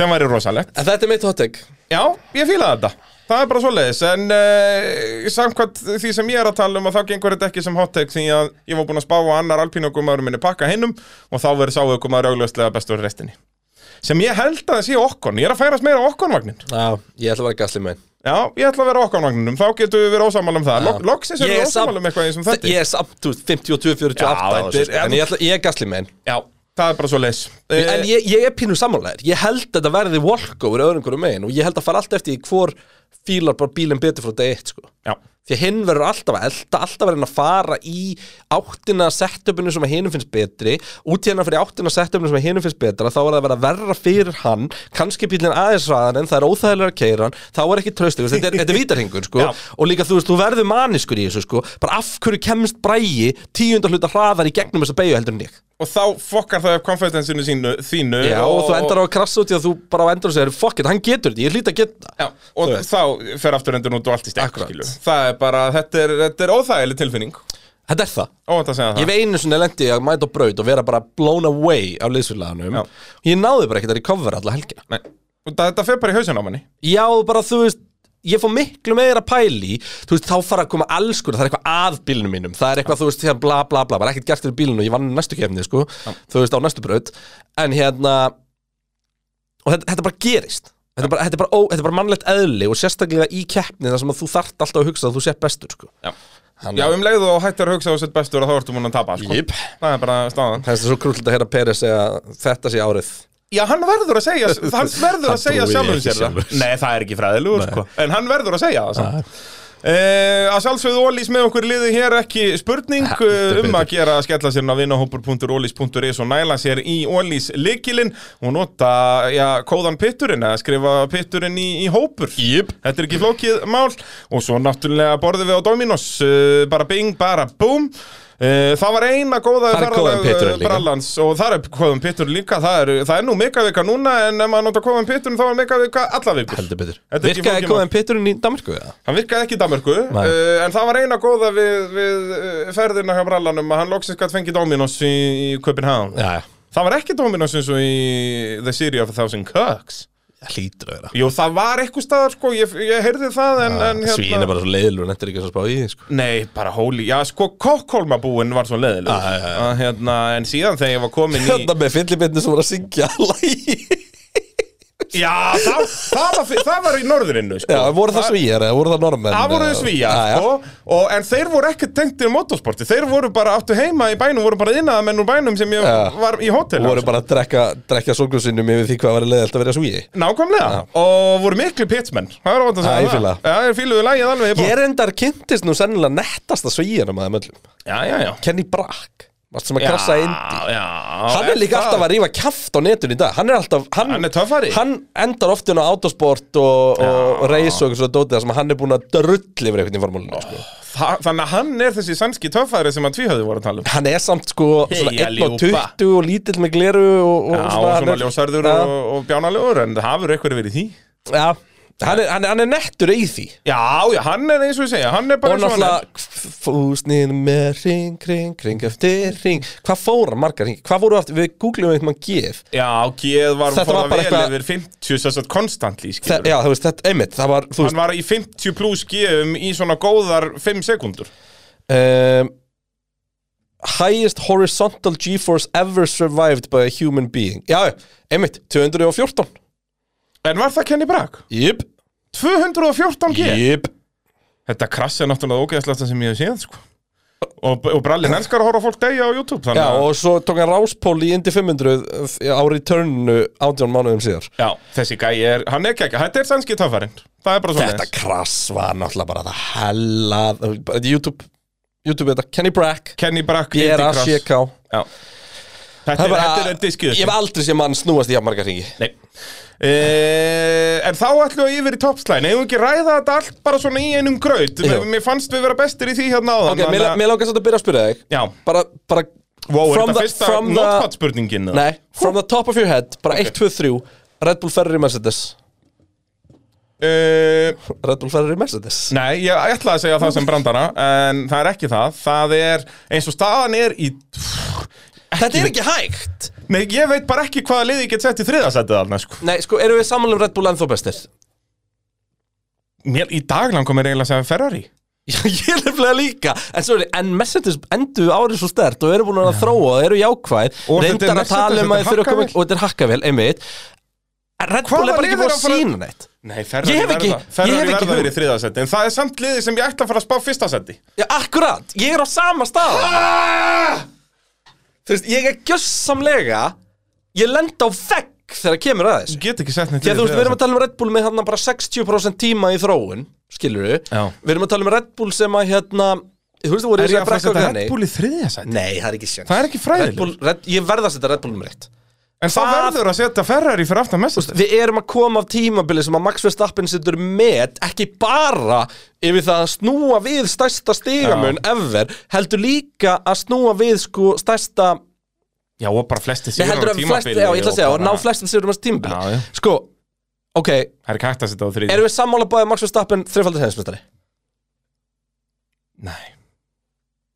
C: Sem væri rosalegt
B: En þetta er mitt hot take
C: Já, ég fíla þetta Það er bara svoleiðis, en uh, samkvæmt því sem ég er að tala um að þá gengur þetta ekki sem hot take því að ég var búin að spá að annar alpínokumaður minni pakka hinnum og þá verður sáukumaður augljóðslega bestur restinni sem ég held að það sé okkon, ég er að færast meira okkon-vagnin
B: Já, ég ætla að vera gasli með
C: Já, ég ætla að vera okkon-vagninum, þá getum við verið ósamála um það Lok, Loksins erum
B: Ég
C: við
B: er samt-
C: ósamála um eitthvað eins og þetta
B: Ég er samt, þú veist, 52, 48
C: Já,
B: á
C: þetta
B: þessu,
C: er-
B: sko. En ég, ætla, ég er gasli með henn
C: Já, það er bara svoleiðis Eh,
B: En ég, ég er pínu sammálaðir Ég held að þetta verði walkover öðrum hverju megin Og ég held að fara allt eftir í hvor fílar bara bílinn betur frá dag 1 sko.
C: Já,
B: Því að hinn verður alltaf að elta Alltaf verður hann að fara í áttina setupinu sem að hinnum finnst betri Út í hennar fyrir áttina setupinu sem að hinnum finnst betra Þá er það að vera verra fyrir hann kannski bílinn aðeins ræðan en það er óþægilega að keira hann Þá er ekki traustu, þetta er, þetta er vítarhingur sko.
C: Já.
B: Og líka þú veist, þú verður maniskur í þessu sko. Bara af hverju kemst bræi tíundar hluta hraðar í gegnum þessa beigju heldur en ég
C: og þá fokkar það upp konfidensinu sínu, þínu
B: Já, og þú endar á að krassa út í að þú bara á endur og segir Fuck it, hann getur þetta, ég hlýt að geta
C: Já, og
B: Þú veist.
C: þá fer aftur endur út og allt í stekk
B: Akkurat.
C: Það er bara, þetta er, þetta er óþægileg tilfinning
B: Þetta er það
C: Ó, þetta segja það
B: Ég hef einu svona lendi að mæta á braut og vera bara blown away af liðsfélaganum
C: Já.
B: Ég náði bara ekkert að recover alla helgina
C: Nei. Og það- Þetta fer bara í hausin á manni
B: Já, bara þú veist ég fór miklu meira pæli þú veist, þá fara að koma alls konar, það er eitthvað að bílnum mínum, það er eitthvað, þú veist, hérna, bla bla bla var ekkert gert fyrir bílnum og ég vann næstu kefni, sko þú veist, á næstu braut, en hérna og þetta, þetta bara gerist þetta er bara, þetta, er bara ó, þetta er bara mannlegt eðli og sérstaklega í keppni þar sem að þú þart alltaf að hugsa að þú sér bestur, sko
C: Já. Já, um leið og hættir að hugsa á sitt bestur að þá ertu múin að tapa, sko.
B: Jep.
C: Það er bara staðan.
B: Það er svo krúllilegt að hérna Peri segja þetta sé árið
C: Já, hann verður að segja, hann verður
B: Hann
C: að segja
B: trúir
C: sjálfum
B: ekki
C: sér það.
B: sjálfur Ah. sér.
C: Nei, það er ekki fræðilugur, sko. En hann verður að segja það, samt. Uh, að sjálfsögðu Ólís með okkur liði hér ekki spurning
B: heldur
C: uh, um að
B: betur.
C: gera að skella sér inn á vinahópur.ólís.is og næla sér í Ólís likilinn og nota já, kóðan pitturinn eða skrifa pitturinn í, í hópur
B: Jip.
C: Þetta er ekki flókið mál og svo náttúrulega borðið við á Dominos uh, bara bing, bara búm uh, Það var eina góða
B: Þar er kóðan
C: ferðalag,
B: pitturinn
C: uh,
B: líka.
C: brallans og það er kóðan pittur líka það er, það er nú megavika núna en ef maður nota kóðan pitturinn þá er megavika alla vikur
B: heldur betur
C: Þetta er ekki
B: Virkaði
C: flókið mál.
B: KM Peturinn í Danmarku eða?
C: Hann virkaði ekki í Danmörku uh,
B: Nei.
C: en það var eina góða við, við uh, ferðina hjá brallanum að hann loksins gætt fengið Dominos í, í Copenhagen
B: Já, já,
C: Það var ekki Dominos eins og í The City of a Thousand Cooks
B: það hlýtur að vera
C: Jú, það var eitthvað staðar sko, ég, ég heyrði það en, en
B: hérna... Svín er bara svo leiðilur og nettir ekki að spá í því sko.
C: Nei, bara hóli, já sko Kokkolmabúin var svo leðileg
B: Ah, já, já.
C: hérna, En síðan þegar ég var komin í
B: Hérna með fyllibindni sem voru að syngja lægi
C: Já, það, það, var, fyr- það var í norðurinnu sko.
B: Já, voru það svíjar eða voru það normenn
C: Það voru svíja, sko, og, en þeir voru ekki tengt í motorsporti, þeir voru bara áttu heima í bænum, voru bara innaðamenn úr bænum sem ég
B: Já.
C: var í hótel. sko.
B: Voru bara að drekka, drekka sorgursinnum yfir því hvað var leiðilt að vera svíji
C: Sko- Nákvæmlega, og voru miklu pitsmenn, það er óvænt að
B: Já,
C: segja
B: ég fíla
C: það. Já, ég fíluðu lægið alveg.
B: Ég er endar kynntist nú sennilega nettasta svíjanum að þeim öllum
C: Já, já, já.
B: Kenny Brack, varst sem að krassa indi
C: Já,
B: Hann er líka alltaf að rífa kjaft á netun í dag Hann er alltaf Hann,
C: Hann er töffari.
B: Hann endar oft inn á autosport og, og reis og eitthvað svo dótið þar sem hann er búin að drulli yfir einhvern í formúlinu sko.
C: Þa, þannig að hann er þessi sannski töffæri sem að tvíhöðu voru að tala um.
B: Hann er samt sko svona
C: Heya,
B: 1 og
C: ljúpa.
B: 20 og lítill með gleru og, og
C: Já, og
B: hann
C: svona
B: er-
C: ljósarður
B: Já,
C: og, og bjánalegur, en það hafur eitthvað verið í því.
B: Já, hann er, hann, er, hann er nettur í því
C: Já, já, hann er eins og ég segja, hann er
B: Og
C: bara eins og hann er.
B: náttúrulega fúsnið með ring, ring, ring eftir ring Hvað fóra margar ring? Hvað voru aftur? Við googlum einhvern mann gef
C: Já, Geð var
B: Þetta var
C: fór að
B: bara
C: vel
B: eitthvað-
C: yfir 50, þess að konstantli, skilur.
B: Það, já, þú veist, þetta, einmitt, það var, þú veist
C: hann var í 50 pluss gefum um í svona góðar 5 sekundur
B: um, Highest horizontal G-force ever survived by a human being Já, einmitt, 214
C: En var það Kenny Bragg?
B: Jip
C: 214 G?
B: Jip
C: Þetta krass er náttúrulega ógeðslasta sem ég hef séð sko. og, og brallin elskar að horfa á fólk degja á YouTube þannig
B: Já,
C: að-
B: og svo tók hann ráspól í Indy 500 á returnu 18 mánuðum síðar
C: já, þessi gæi er, hann er ekki þetta er sannski töffarinn, það er bara svona
B: Þetta krass var náttúrulega bara það hella bara YouTube, YouTube þetta, Kenny Brack
C: Kenny Bragg, Indy Krass.
B: B-R-A-C-K
C: Já. Þetta
B: Það
C: er,
B: er bara-
C: þetta er diskið
B: Ég hef aldrei sé mann snúast í jafnmarga hringi
C: Nei Uh, en þá ætlum við yfir í toppslæðin Eða ekki ræða þetta allt bara svona í einum graut
B: Jú.
C: Mér fannst við vera bestir í því hérna áðan
B: Ok, mér
C: þannig að-
B: mér langar svolítið að byrja að spyrja þig
C: Já.
B: Bara, bara
C: Wow, er
B: from
C: þetta
B: the-
C: fyrsta
B: from the-
C: notepad spurningin?
B: Nei, from the top of your head, bara 1, 2, 3 Red Bull Ferrari Mercedes
C: Uh,
B: Red Bull Ferrari Mercedes
C: nei, ég ætlaði að segja það sem brandara En það er ekki það Það er eins og staðan er í
B: Þetta er ekki hægt
C: Nei, ég veit bara ekki hvaða liði ég get sett í þriðasætið þarna sko.
B: Nei, sko, erum við samanlega um Red Bull ennþá bestir?
C: Mér í daglan komir eiginlega að segja Ferrari
B: Já, ég er nefnilega líka En sorry, en Mercedes endur árið svo stert og eru búin að þróa, það eru jákvæð
C: Og þetta er
B: reyndar að
C: Mercedes,
B: tala um
C: þetta
B: að
C: er
B: þeir eru að koma
C: hakkavél.
B: og þetta er hakkavél, einmitt En Red
C: Hvaða
B: Bull er bara
C: lið
B: ekki
C: er
B: búin
C: að
B: að
C: fara-
B: sína neitt
C: Nei, Ferrari
B: Ég hef ekki-
C: verða, Ferrari
B: ég hef ekki
C: verða
B: hug.
C: verið í þriðasætið En það er samt liði sem ég ætla að fara að spá fyrsta sæti
B: Já, akkurat, ég er á sama stað
C: ah!
B: Þú veist, ég er gjössamlega Ég lenda á vegg þegar kemur að þessu
C: Get ekki sett neitt
B: Já,
C: í
B: þú veist, við erum að
C: þriðja sæti.
B: tala um Red Bull með hérna bara 60% tíma í þróun, skilur við
C: Já.
B: Við erum að tala um Red Bull sem að hérna Þú veist, þú voru
C: Er ég að fara að
B: brekka
C: setja
B: og
C: Red
B: þannig.
C: Bull í þriðasæti?
B: Nei, það er ekki sjans
C: Það er ekki fræðilegt.
B: Red Bull, Red, Ég verð að setja Red Bull nummer 1
C: En það
B: Hvað-
C: verður að setja Ferrari fyrir aftan mest
B: Við erum að koma af tímabili sem að Max Verstappen setur met ekki bara yfir það að snúa við stærsta stigamun ever heldur líka að snúa við sko stærsta
C: Já, og bara flesti
B: Nei,
C: sigur
B: heldur að flest, já, ég ætla að segja, og ná flestin sigur um þessu tímabili
C: Já, já.
B: Sko, ok,
C: Það er ekki hægt að setja á þriðja
B: erum við sammála báðið Max Verstappen þreifaldur heimsmyndari?
C: Nei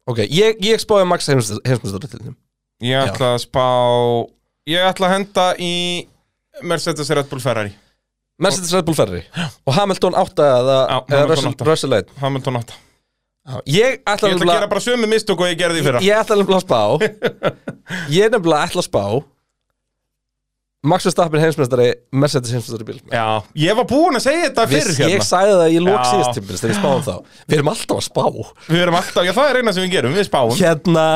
B: Ok, ég, ég spáði Max heimsmyndsdóttilinum
C: Ég ætla að spá Ég ætla að henda í Mercedes Red Bull Ferrari
B: Mercedes Red Bull Ferrari og Hamilton 8 eða,
C: Já,
B: eða
C: Hamilton
B: Russell,
C: átta.
B: Russell 1
C: Hamilton 8
B: Ég ætla
C: Ég ætla að
B: nefnilega-
C: gera bara sömu mistök og ég gerði í fyrra
B: Ég ætla nefnilega að spá Ég er nefnilega ætla að spá Max Verstappen heimsmeistari Mercedes heimsmeistari bíl
C: Já, ég var búinn að segja þetta
B: Við,
C: fyrir hérna
B: Ég sagði það í lók
C: Já.
B: síðast tímpils þegar ég spáði um þá Við erum alltaf að spá
C: Við erum alltaf, já það er eina sem við gerum, við spáum
B: Hérna,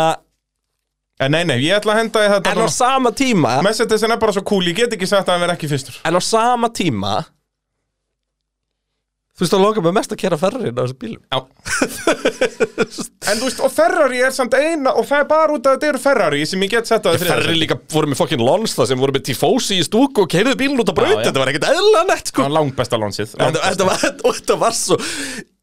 C: En nei, nei, ég ætla að henda í þetta
B: en á
C: núna.
B: sama tíma
C: Mercedesen er bara svo cool, ég get ekki sagt að hann verð ekki fyrstur
B: En á sama tíma Þú veist að loka með mest að kera ferrin á þessum bílum
C: Já En þú veist, og Ferrari er samt eina Og það er bara út af að þetta eru Ferrari sem ég get sett á það
B: líka voru með fokkin lons það sem voru með tifosi í stúku og keirðu bílun út á braut
C: Já, já.
B: Þetta var ekkert eðlanett sko
C: Það er langbesta lónsið
B: Þetta, þetta, var, og þetta var svo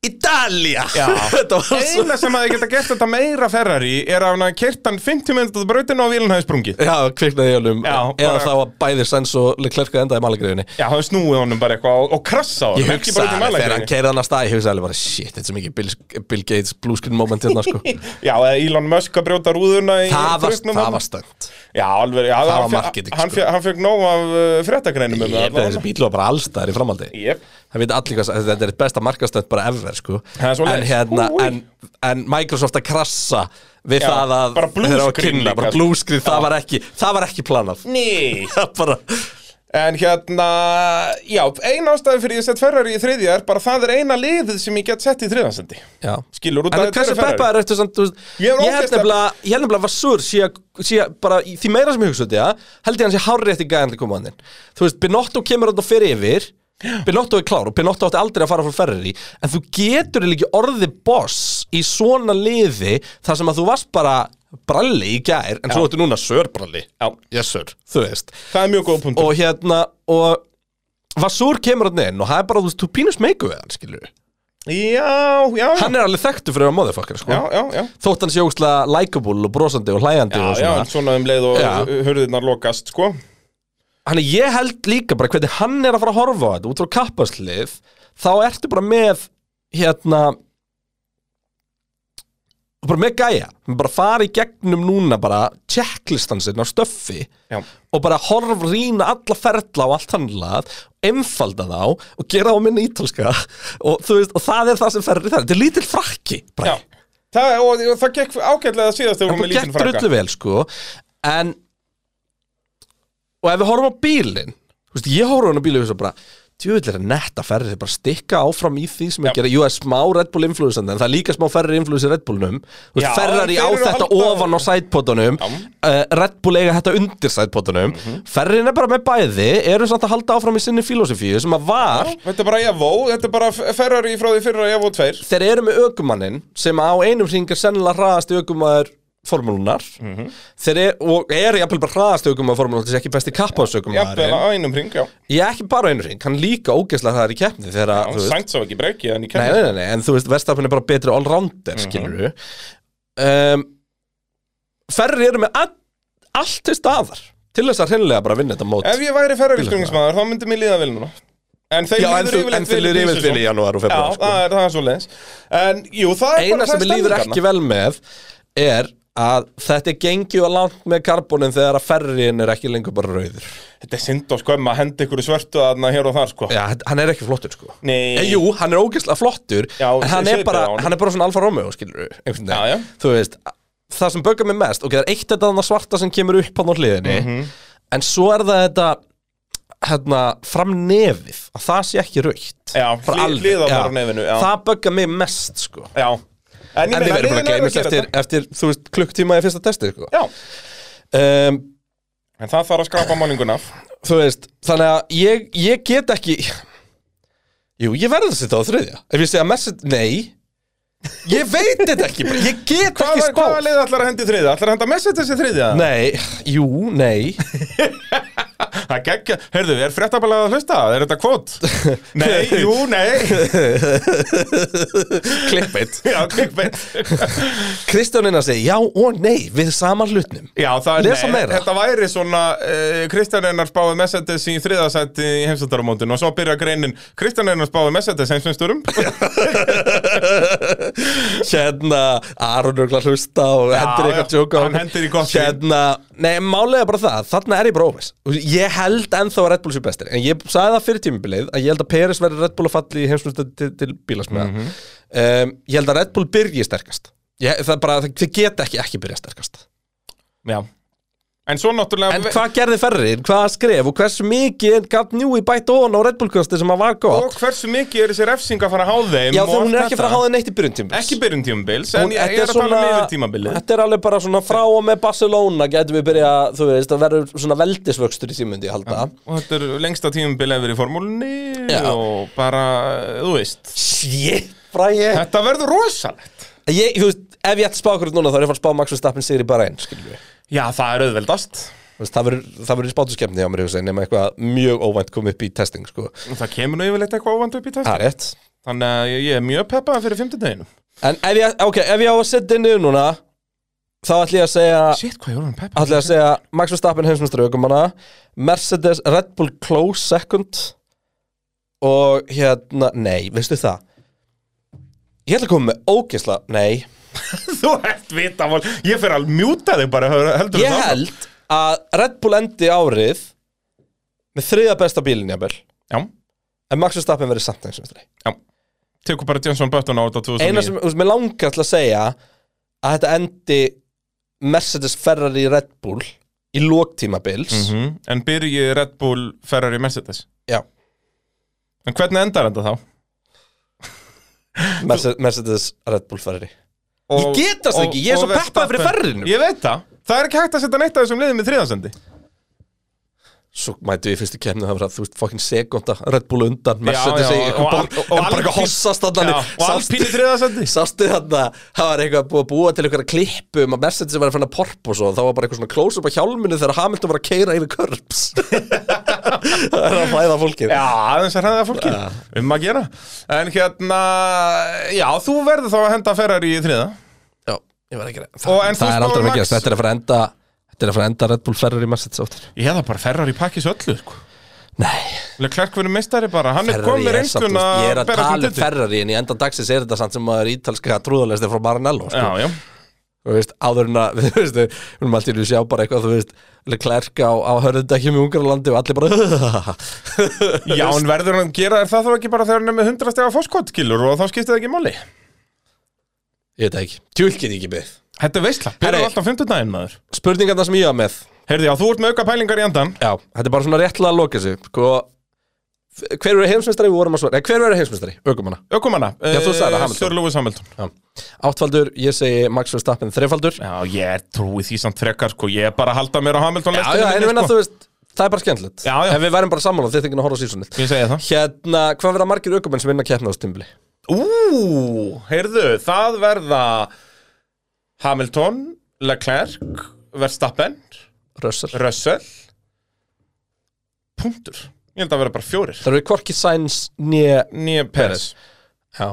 B: Ídalia
C: Já.
B: Þetta var svo
C: Eina sem að ég geta gert þetta meira Ferrari Er að hann kert hann 50 minnútur brautinu og vílun hafi sprungið
B: Já, kviknaði í honum
C: Já,
B: Eða
C: bara-
B: þá að bæði sens og klerka endaði malagriðinni
C: Já, það snúið honum bara eitthvað og, og krassa honum
B: Ég
C: ekki
B: hugsa
C: bara út í
B: alveg, þegar hann
C: mælægrinni.
B: keirði hann að stað Ég hugsa alveg bara, shit, þetta er svo mikið Bill, Bill Gates blue screen moment hérna sko
C: Já, eða Elon Musk að brjóta rúðuna í
B: Það var,
C: truknum
B: það
C: hann.
B: var stönd
C: Já, alveg, já,
B: var
C: hann, fe-
B: marketing,
C: hann,
B: sko.
C: fe- hann fekk nóg af uh, fréttagreinum um
B: Ég
C: það
B: veit að þessi bíl var bara allstæðar í framhaldi
C: Jep.
B: Það veit allir hvað, þetta er eitt besta markastönd bara ever sko
C: Það er svoleiðis.
B: En hérna,
C: Úi.
B: en, en Microsoft að krassa Við
C: Já,
B: það að
C: bara blue
B: þegar það var
C: screen
B: kynna,
C: líka,
B: bara
C: sko.
B: blue screen, það var ekki Það var ekki planað
C: Ný
B: Það bara,
C: En hérna, já, ein ástæði fyrir ég sett Ferrari í þriðja er bara það er eina liðið sem ég get sett í þriðansendi
B: já
C: Skilur út
B: En
C: að þetta
B: hversu
C: eru Ferrari.
B: peppaður ertu samt, þú veist
C: Ég
B: Ég
C: er
B: held
C: ógeðslega-
B: nefnilega, ég held nefnilega var sur síðan, síðan bara, í- því meira sem ég hugsa út í það held ég hann sé hárrétt í gæðan til koma hann Þú veist, Binotto kemur hann og fer yfir Binotto er klár og Binotto átti aldrei að fara frá Ferrari En þú getur eiginlega ekki orði boss í svona liði þar sem að þú varst bara bralli í gær en svo ertu núna sörbralli
C: Já.
B: yes sir, þú veist
C: Það er mjög góð punktur
B: og hérna, og Vasur kemur hann inn og það er bara, þú veist, þú pínust meiku við hann, skilur
C: Já, já, já,
B: Hann er alveg þekktu fyrir að motherfucker, sko
C: já, já, já.
B: þótt hann sé ógstlega likeable og brosandi og hlæjandi
C: Já,
B: og
C: já,
B: svona
C: en svona um leið og
B: Já.
C: hurðirnar lokast, sko
B: hann er ég held líka bara hvernig hann er að fara að horfa á þetta út frá kappaslið þá ertu bara með hérna bara með gæja bara fara í gegnum núna bara checklistan sinn á stöffi
C: Já,
B: og bara horf rýna alla ferla og allt handlað, einfalda þá og gera þá minna ítalska og, þú veist, og það er það sem ferri það þetta er lítill frakki bara.
C: já Það, og, og það gekk ágætlega síðast þegar við
B: Það bara
C: vorum með lítinn
B: gekk
C: frakka
B: drullu vel sko En Og ef við horfum á bílinn þú veist, Ég horfum á bílinn og hugsa bara Djúvill er að netta ferri þeir bara stikka áfram í því sem
C: Já.
B: ég gera Jú, það er smá Red Bull influensandi En það er líka smá ferri influensi Red Bullnum Þú veist,
C: Já,
B: Ferrari
C: þeir
B: á
C: eru
B: þetta
C: alltaf-
B: ofan á sætpotunum
C: Já. Mhm.
B: uh, Red Bull eiga þetta undir sætpotunum mm Ferrin er bara með bæði Eru samt að halda áfram í sinni filosofíu Sem að var
C: Þetta er bara Evo, þetta er bara Ferrari frá því fyrra Evo 2
B: þeir eru með ökumannin sem á einum hring er sennilega hraðast ökumæður formúlunar
C: Mhm.
B: þeir eru, og eru jafnvel bara hraðast ökumæður formúlunar þessi ekki besti
C: Jafnvel
B: kappaðsökumæðurinn
C: á einum ring, já
B: ég er ekki bara á einum hring, hann er líka ógeðslega hraðar í keppni þegar að, þú veist,
C: Sankt sá ekki breyki, en ég
B: nei,
C: kenni
B: nei, nei, nei, en þú veist verðstafin er bara betri allrounder,
C: Mhm.
B: skilur við um, ferri eru með all, allt til staðar til þess að hreinlega bara vinna þetta mót
C: Ef ég væri Ferrari stjórnismæður, þá myndi mér líða vel núna En þeir
B: já, en
C: líður
B: þú, en
C: yfirleitt
B: þeir
C: vel
B: eru
C: í
B: yfirleitt vel í
C: prísisón.
B: janúar og sko.
C: Já,
B: februar
C: það er, það er svo leiðis En jú, það er
B: eina
C: bara
B: sem
C: það
B: ég líður ekki vel með er að þetta er gengið á langt með karbonin þegar að ferrin er ekki lengur bara rauður
C: Þetta er synd og skömm að henda ykkur í svörtu þarna hér og þar sko
B: Já, hann er ekki flottur sko
C: Nei.
B: Eh, Jú, hann er ógeðslega flottur
C: Já,
B: en hann
C: ég
B: er,
C: sé
B: bara,
C: það á honum.
B: hann er bara svona Alfa Romeo skilur við
C: Já, já.
B: Þú veist, það sem böggar mig mest ok, það er eitt þetta þarna svarta sem kemur upp hann á hliðinni
C: Mhm.
B: en svo er það þetta hérna, framnefið að það sé ekki raukt
C: Já,
B: Bara
C: hlið-
B: alveg, já.
C: hliðarnar á nefinu, já.
B: Það böggar mig mest sko
C: Já. En ég
B: En við
C: meina,
B: verðum bara að
C: liðin eru
B: gleymast
C: gera
B: eftir,
C: þetta.
B: eftir, þú veist, klukktíma í fyrsta testi, sko.
C: Já,
B: Um,
C: en það þarf að skrapa málinguna af
B: þú veist, þannig að ég, ég get ekki... Jú, ég verður að setja á þriðja. Ef ég segja message, nei, ég veit þetta ekki, bara, ég get
C: Hvað,
B: ekki
C: hvaða
B: spáð.
C: leið ætlar að henda í þriðja? Ætlar að henda Mercedes í þriðja?
B: Nei, jú, nei
C: Það geggja, heyrðu, er fréttabalega að hlusta? Er þetta kvot? nei, jú, nei
B: Klippið
C: Já, klikkbeitt
B: Kristján Einar segi já og nei Við saman hlutnum
C: Já, það er
B: Lesa meira.
C: Þetta væri svona uh, Kristján Einar spáði Mercedes í þriðasætti í heimsöndaramótin og svo byrja greinin Kristján Einar spáði Mercedes heimsöndurum
B: Hérna, Aron er örugglega að hlusta og hendur
C: já,
B: eitthvað tjóka á
C: hann
B: okkur.
C: hendir í gott grín.
B: Hérna, Nei, málega bara það, þarna er ég bara óviss Þú veist, Ég held ennþá að Red Bull sé bestir En ég sagði það fyrir tímubilið að ég held að Peres verði Red Bull að falli í heimsmyndstöð til, til bílasmiða
C: Mhm.
B: um, Ég held að Red Bull byrji sterkast ég, Það er bara, það- þið geta ekki ekki byrja sterkast
C: Já En svo náttúrulega
B: En hvað gerði ferrin, hvað skref og hversu mikið gaf Njúi bætt ofan á Red Bull kosti sem að var gott
C: Og hversu mikið er þessi refsing að fara að há þeim
B: Já,
C: og
B: þegar hún
C: allt
B: er ekki að fara að háða neitt í byrjun tímubils
C: Ekki byrjun tímabils, en ég, ég er að tala um yfir tímabilið
B: Þetta er alveg bara svona frá og með Barcelona getum við byrja, þú veist, það verður svona veldisvöxtur í tímundi, ég halda
C: Og þetta er lengsta tímabil eða verið í formúlunni
B: Já.
C: Og bara, þú veist
B: Shit, fræði
C: Þetta verður rosalegt
B: ég, Þú veist, ef ég ætti að spá okkur núna þá er ég að fara að spá Max Verstappen sigri bara einn skilur við
C: Já, það er auðveldast
B: Þú veist, Það verður- það verður spátuskefni á mér ég hugsa, nema eitthvað mjög óvænt kom upp í testing sko.
C: Og það kemur nú yfirleitt eitthvað óvand upp í test
B: Það er rétt
C: Þannig að ég, ég er mjög peppað fyrir fimmtudeginum
B: En ef ég, okay, ef ég á að setja inn yfir núna þá ætlum ég að segja
C: Shit, hvað ég voru hann peppað
B: ætlum ég að segja Max Verstappen heimsmyndstari aukumanna Mercedes Red Bull close second og hérna, nei, veistu það Ég ætla að koma með ógisla, nei
C: Þú ert vitavál Ég fer að mjúta þig bara heldur
B: Ég held að Red Bull endi árið með þriða besta bílinn jafnvel
C: Já,
B: en Max Verstappen verið samt eins og þetta
C: já Tekur bara Jansson Böttun á þetta
B: eina
C: 2009
B: sem, þú veist, mér langar til að segja að þetta endi Mercedes Ferrari Red Bull í lóktímabils mm
C: Mhm. En byrji Red Bull Ferrari Mercedes
B: já,
C: En hvernig endar þetta þá?
B: Mercedes, Mercedes Red Bull Ferrari
C: Og,
B: Ég get það ekki, ég er
C: og
B: svo peppaður fyrir
C: Verstappen.
B: Ferrarinu.
C: Ég veit það, það er ekki hægt að setja neitt af þessum liðum í þriðansendi
B: svo mætu ég fyrstu kemni það var að þú veist fokkin sekunda Red Bull undan Mercedes í
C: já, og
B: eitthvað bara-
C: Al-
B: en
C: og
B: bara eitthvað
C: Alpine-
B: hossast
C: Já,
B: allan
C: og Alpine í þriðasendi
B: Sástu þarna, það var eitthvað búið að búa til eitthvað klippum að Mercedes var að finna porp og svo þá var bara eitthvað svona close-up á hjálminu þegar Hamilton var að keira yfir körps Það er að fæða fólkið
C: Já, aðeins að hræða fólki Um að gera En hérna, já, þú verður þá að henda Ferrari í þriða
B: Já, ég var ekki að
C: Og
B: Það,
C: en þú
B: það er
C: spáir
B: aldrei að
C: Max?
B: gerast, þetta er að fara að enda Þetta er að fara að enda Red Bull Ferrari Mercedes áttir
C: Ég hefða bara Ferrari pakkis öllu sko.
B: Nei,
C: Leclerc verður meistari bara, hann er
B: Ferrari
C: komið
B: er samt
C: reynsluna
B: Ég er að
C: bera
B: tala
C: sem
B: um
C: titil.
B: Ferrari en í enda dagsins er þetta samt sem maður ítalska trúðalestir frá Maranello sko.
C: Já, já,
B: Þú veist, áður en að, þú veist, við erum alltaf að sjá bara eitthvað, þú veist Leclerc á, á hörðundakjum í Ungarlandi og allir bara
C: já, en verður hann gera þér það þá ekki bara þegar hann er með 100 stega fóskottkilur og þá skiptir það ekki máli
B: Ég veit það ekki, tjúl get ég ekki beð
C: Þetta er veistla,
B: Herri.
C: byrjar alltaf 50 daginn maður
B: Spurningarna sem ég var með
C: Heyrði, já, þú ert með auka pælingar í andan
B: Já, þetta er bara svona réttlega að loka sig sko, Hver verður heimsmeistari, við vorum að svara Nei, hver verður heimsmeistari, aukumanna
C: Ökumanna, eh,
B: Já, þú sagði það, Hamilton.
C: Sir Lewis Hamilton
B: Áttfaldur, ég segi Max Verstappen þrefaldur
C: Já, ég er trúið því samt frekar, sko Ég er bara að halda mér á Hamilton sko.
B: Já, já, en ég meina þú veist, það er bara skemmtilegt
C: Já, já.
B: En við verðum bara sammála, þið þingin að horfa á sísunnið
C: Ég segi það
B: Hérna, hvað verða margir aukumenn sem vinna keppna á stimbli?
C: Ú, heyrðu, það verða Hamilton, Leclerc Verstappen,
B: Russell
C: Russell Punktur Ég held að vera bara fjórir
B: Það eru hvorki Sainz nýja
C: Nýja Peres
B: Já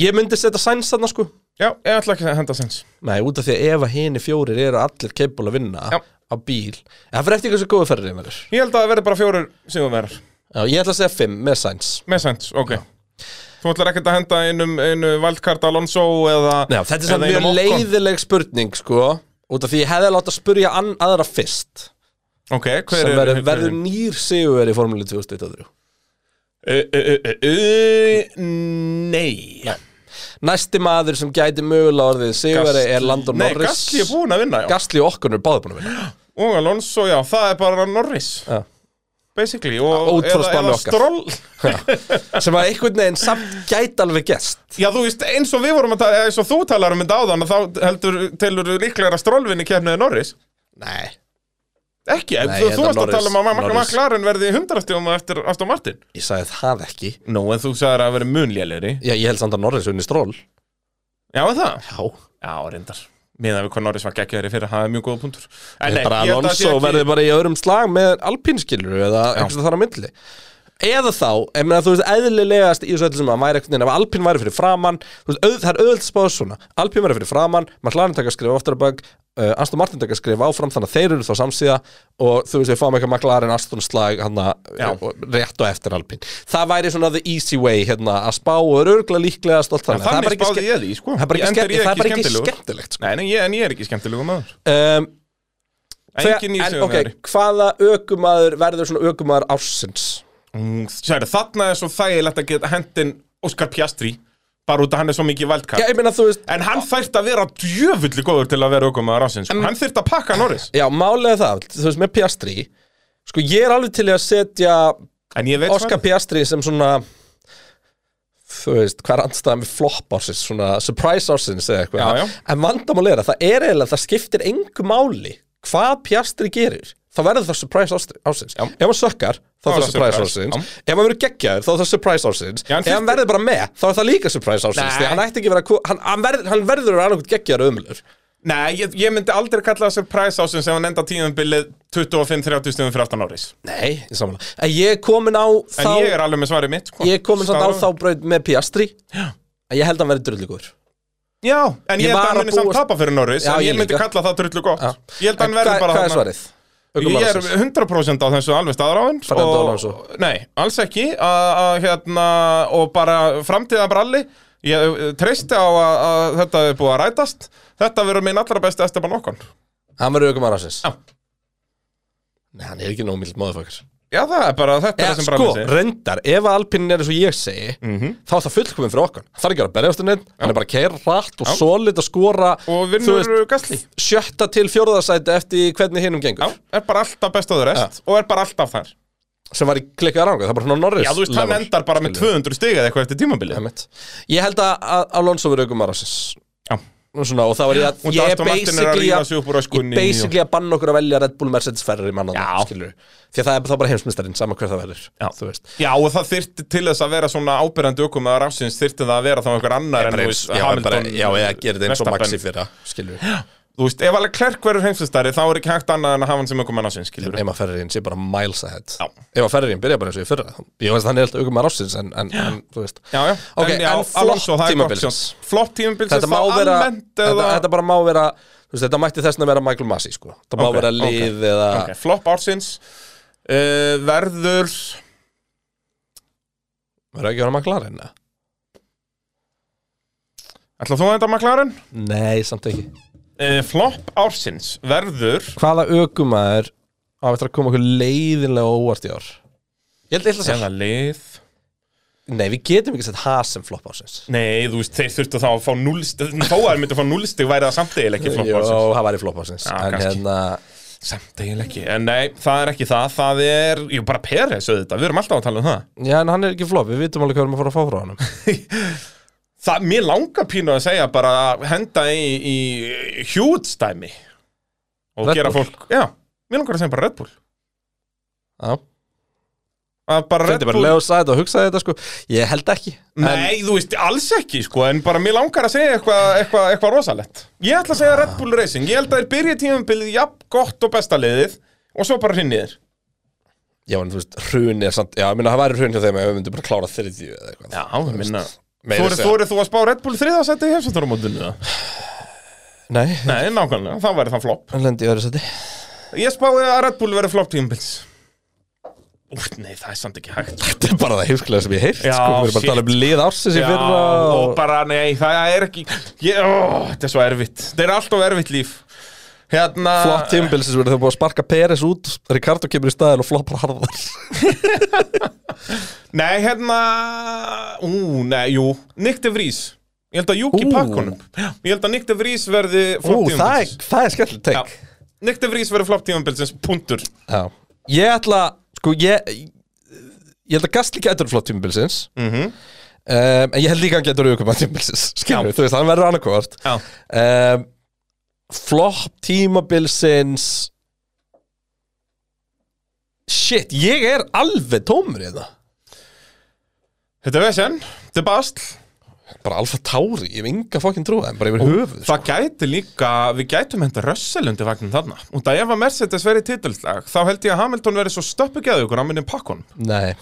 B: Ég myndi setja Sainz þarna sko
C: Já, ég ætla ekki að henda sens
B: Nei, út af því að ef að hini fjórir eru allir keipul að vinna
C: Já.
B: á bíl en Það fyrir eftir hversu góðu ferðin verður
C: Ég held að það verði bara fjórir sigurverðar
B: Já, ég ætla að segja fimm með Sainz
C: Með sens, ok Þú ætlar ekkert að henda einum, einu Valdkart Alonso eða
B: Já, þetta er samt
C: eða
B: mjög
C: einum Ocon?
B: leiðileg spurning sko Út af því ég hefði látt að spurja ann aðra fyrst
C: Ok, hver
B: sem
C: er
B: verður, verður nýr sigurveri í Formule 2023
C: Nei
B: Næsti maður sem gæti mögulega orðið sigurveri er Landon
C: Nei,
B: Norris
C: Gasly er búin að vinna, já
B: Gasly og okkur er báði búin að vinna
C: Og Alonso, já, það er bara Norris
B: Já.
C: Basically og,
B: út frá spáni okkar.
C: Stroll
B: sem að einhvern veginn samt gæti alveg gest
C: Já, þú veist, eins og við vorum að tala eins og þú talar um þetta áðan að þá heldur, telur líklega að Stroll vinni kefniði Norris
B: Nei
C: Ekki,
B: Nei, ég held
C: þú, þú
B: að
C: varst að
B: Norris-
C: tala um að Mark
B: Norris-
C: McLaren verði 100 stíðum eftir Aston Martin
B: Ég sagði það ekki
C: Nú, en þú sagðir að verði munlélegri
B: Já, ég held samt að Norris unni stról
C: Já, er það?
B: Já
C: Já, reyndar Miðan við hvað Norris var geggjæri fyrir, það er mjög góða punktur En
B: En bara
C: ég held að það sé
B: Alonso
C: ekki-
B: verði bara í öðrum slag með alpínskilur eða einhversu þar á myndli Eða þá, ef meina, þú veist, eðlilegast í þessu öllu sem að væri einhvern veginn, ef Alpín væri fyrir framann þú veist, auð, það er auðvöld spáð svona Alpín væri fyrir framann, McLaren taka skrifa aftur að bak uh, Aston Martin taka skrifa áfram þannig að þeir eru þá samsíða og þú veist, við fáum eitthvað McLaren Aston slag hana,
C: Já.
B: rétt og eftir Alpín Það væri svona the easy way hérna, að spá og er örgla líklega stolt
C: En
B: þannig Það er bara
C: Þannig
B: ekki
C: spáði
B: ske-
C: ég því, sko
B: það er bara
C: Ég
B: ekki
C: enda er
B: ske-
C: ég
B: það er bara ekki
C: skemmtilegur.
B: skemmtilegt sko.
C: Nei, nei, ég, en ég er ekki skemmtilegu maður
B: um,
C: Engin í
B: En,
C: sögum
B: ok, hvaða ökumaður verður svona ökumaður ársins?
C: Særi, þarna er svo þægilegt að geta hendin Óskar Pjastri Bara út að hann er svo mikið
B: Já,
C: valdkar
B: ég meina þú veist
C: En hann þært að vera djöfulli góður til að vera okkur maður ásins sko. Hann þyrt að pakka Norris
B: Já, málega það, þú veist, með Piastri Sko, ég er alveg til í að setja
C: En ég veit
B: Oscar Piastri sem svona Þú veist, hvað er andstæða með flop ársins Svona surprise ársins eða eitthvað
C: Já, já.
B: En vandamál er að það er eiginlega Það skiptir engu máli Hvað Piastri gerir Þá verður það surprise árs- ársins
C: Já.
B: Ef hann sökkar, þá er það surprise
C: surprise,
B: ársins Ef hann verður geggjaður, þá er það surprise ársins
C: Já, en
B: Ef hann
C: fyrst-
B: verður bara með, þá er það líka surprise ársins
C: Nei.
B: Því að hann ætti ekki að vera kú- Hann, hann, verð, hann verður að vera annað geggjaður umlur
C: Nei, ég, ég myndi aldrei kalla það surprise ásins Ef hann enda tíðanbilið 25-30 stundum fyrir aftan Norris
B: Nei, ég samanlega En ég er komin á
C: En
B: þá
C: ég er alveg með svarið mitt sko.
B: Ég er komin samt á þá
C: Staðan.
B: braut með Piastri Já En ég held að hann verði drullugur
C: Já, en ég,
B: Ég
C: held að
B: var
C: hann
B: að
C: muni samt
B: búast-
C: tapa fyrir Norris
B: Já,
C: En ég,
B: ég
C: myndi
B: líka.
C: kalla það drullu gott Ég held að hann
B: En
C: verði
B: hvað-
C: bara
B: Hvað er
C: þarna-
B: svarið?
C: Ég er
B: Ökumaður ársins.
C: 100% á þessu alveg staðráðin
B: Fernando Alonso.
C: Nei, alls ekki að, að, hérna, Og bara framtíða bralli Ég eh, treysti á að, að þetta er búið að rætast Þetta verður minn allra besti Esteban Okkon
B: Hann verður ökumar ásins
C: Já.
B: Nei, hann er ekki nóg mild móðufakar
C: Já, það er bara Mhm. þetta er
B: Eða
C: sem
B: sko,
C: brallið segir
B: reyndar Ef að Alpinin er eins og ég segi Þá er það fullkomin fyrir okkur Það er ekki að vera að berjast um neitt Hann er bara að keira rætt og solid að skora
C: Og
B: þú
C: vinnur
B: veist,
C: Gasly
B: Sjötta til fjórðarsæti eftir hvernig hinnum gengur
C: Já, er bara alltaf best á þau rest Og er bara alltaf þar
B: Sem var í klikkaða ranga Það er bara svona Norris
C: Já, þú veist, hann
B: level.
C: endar bara með
B: Skilur.
C: 200 stig eða eitthvað eftir tímabilið
B: Einmitt. Ég held að að Alonso verður ökumar ásins
C: Já.
B: Svona, og þá er ég
C: Og
B: að ég er
C: Aston Martin er að
B: basically
C: ríða
B: að
C: sig upp úr
B: ég
C: öskunni
B: basically að banna okkur að velja Red Bull Mercedes Ferrari manna
C: Já.
B: skilur því að það er þá bara heimsmyndstarinn sama hver það verður
C: Já.
B: þú veist
C: Já, og það þyrfti til þess að vera svona ábyrjandi okkur með rafsins þyrfti það að vera þá einhver
B: bara
C: annar en þú
B: eins,
C: veist,
B: já,
C: Hamilton,
B: bara, já, eða gerir þetta eins og
C: Verstappen.
B: Maxi fyrra skilur
C: Þú veist, ef alveg Klerk verður heimsvistari þá er ekki hægt annað en að hafa hann sem okkur með rafsins, skilur
B: ef að Ferrariinn sé bara miles ahead
C: Já.
B: ef að Ferrariinn byrja bara eins og í fyrra ég veist að hann er alltaf aukum að rássins en, en, en þú veist
C: Já, já,
B: Ok,
C: já,
B: en flott
C: Alonso, það er gott
B: tímabilsins.
C: sjón. Flott tímabilsins
B: þetta má
C: þá
B: vera
C: almennt
B: þetta,
C: eða-
B: þetta bara má vera þú veist þetta mætti þess að vera Michael Masi sko það má
C: Ok,
B: vera
C: ok,
B: lið eða
C: ok, Flop ársins uh, verður
B: verður ekki að vera McLaren eða?
C: Ætla þú að þetta McLaren?
B: nei samt ekki
C: Uh, flop ársins verður
B: hvaða ökumæður á eftir að koma okkur leiðinlega óvart í ár ég held ég held að segja
C: eða lið
B: nei við getum ekki sett Haas sem flopp ásins
C: Nei, þú veist, þeir þurftu þá að fá núlstig Þó að þeir myndu að fá núlstig væri það samt eða ekki flop
B: Jó,
C: ársins
B: það væri flopp ásins
C: Já,
B: en
C: kannski.
B: hérna
C: Samt eiginlega ekki, en nei, það er ekki það, það er, jú, bara Peres auðvitað, við erum alltaf að tala um það.
B: já en hann er ekki flopp við vitum alveg hvað við erum að fara að fá frá hann
C: Það, mér langar pínu að segja bara að henda í, í hjúdstæmi og
B: Red
C: gera
B: Bull.
C: fólk, já, mér langar að segja bara Red Bull.
B: já
C: Að bara Red
B: þetta er bara
C: Bull,
B: leið og sæt og hugsaði þetta sko ég held ekki
C: nei, þú veist, alls ekki, sko, en bara mér langar að segja eitthvað eitthva, eitthva rosalett. Ég ætla að segja Red Bull Racing, ég held að þeir byrja tímabilið jafn gott og besta liðið og svo bara hrinniðir.
B: já en þú veist hrun er samt já ég minna það væri hrun hjá þeim ef við myndum bara klára 30 eða eitthvað
C: Já, ég minna.
B: Meira að segja.
C: Þú eru þú að spá Red Bull þriðasætti í hefsendurumótinu?
B: nei
C: Nei, nákvæmlega, þá væri það flop.
B: hann lendi í öðru sæti
C: Ég spáði að Red Bull verið flop tímbils Úr, nei, það er samt ekki hægt sko.
B: þetta er bara það heimsklega sem ég heilt
C: Já,
B: sko við erum bara að
C: shit.
B: tala um lið ársins í
C: Já,
B: fyrra
C: og
B: og-
C: bara, nei, það er ekki ég, ó, Þetta er svo erfitt Þetta er alltof erfitt líf Hérna
B: flott tímbil sem verður þau búið að sparka Peres út Ricardo kemur í staðin og floppar harðar
C: Nei, hérna Ú, nei, jú, Nick de Vries Ég held að Juki
B: Ú.
C: pakkunum Ég held að Nick de Vries verði flop
B: Ú, það er,
C: tímbils
B: það er skemmtilegt
C: Já,
B: tek
C: Nick de Vries verið flop tímbilsins, punktur
B: Já. Ég ætla, sko, ég ég held að Gastli getur flott tímabilsins mm um, en ég held líka að hann getur aukumann tímabilsins, skilur við, þú veist, hann verður annarkvort
C: Já,
B: um, flott tímabilsins shit, ég er alveg tómur hérna. í það
C: þetta er vesen, þetta er basl
B: bara alfa tári, ég hef enga fokkin trúa en bara yfir höfuð, sko.
C: Það gæti líka, við gætum henda Russell undir vagnin þarna og það ef að Mercedes verið titelslag þá held ég að Hamilton verið svo stöppugjæðu ykkur á minni pakkon
B: nei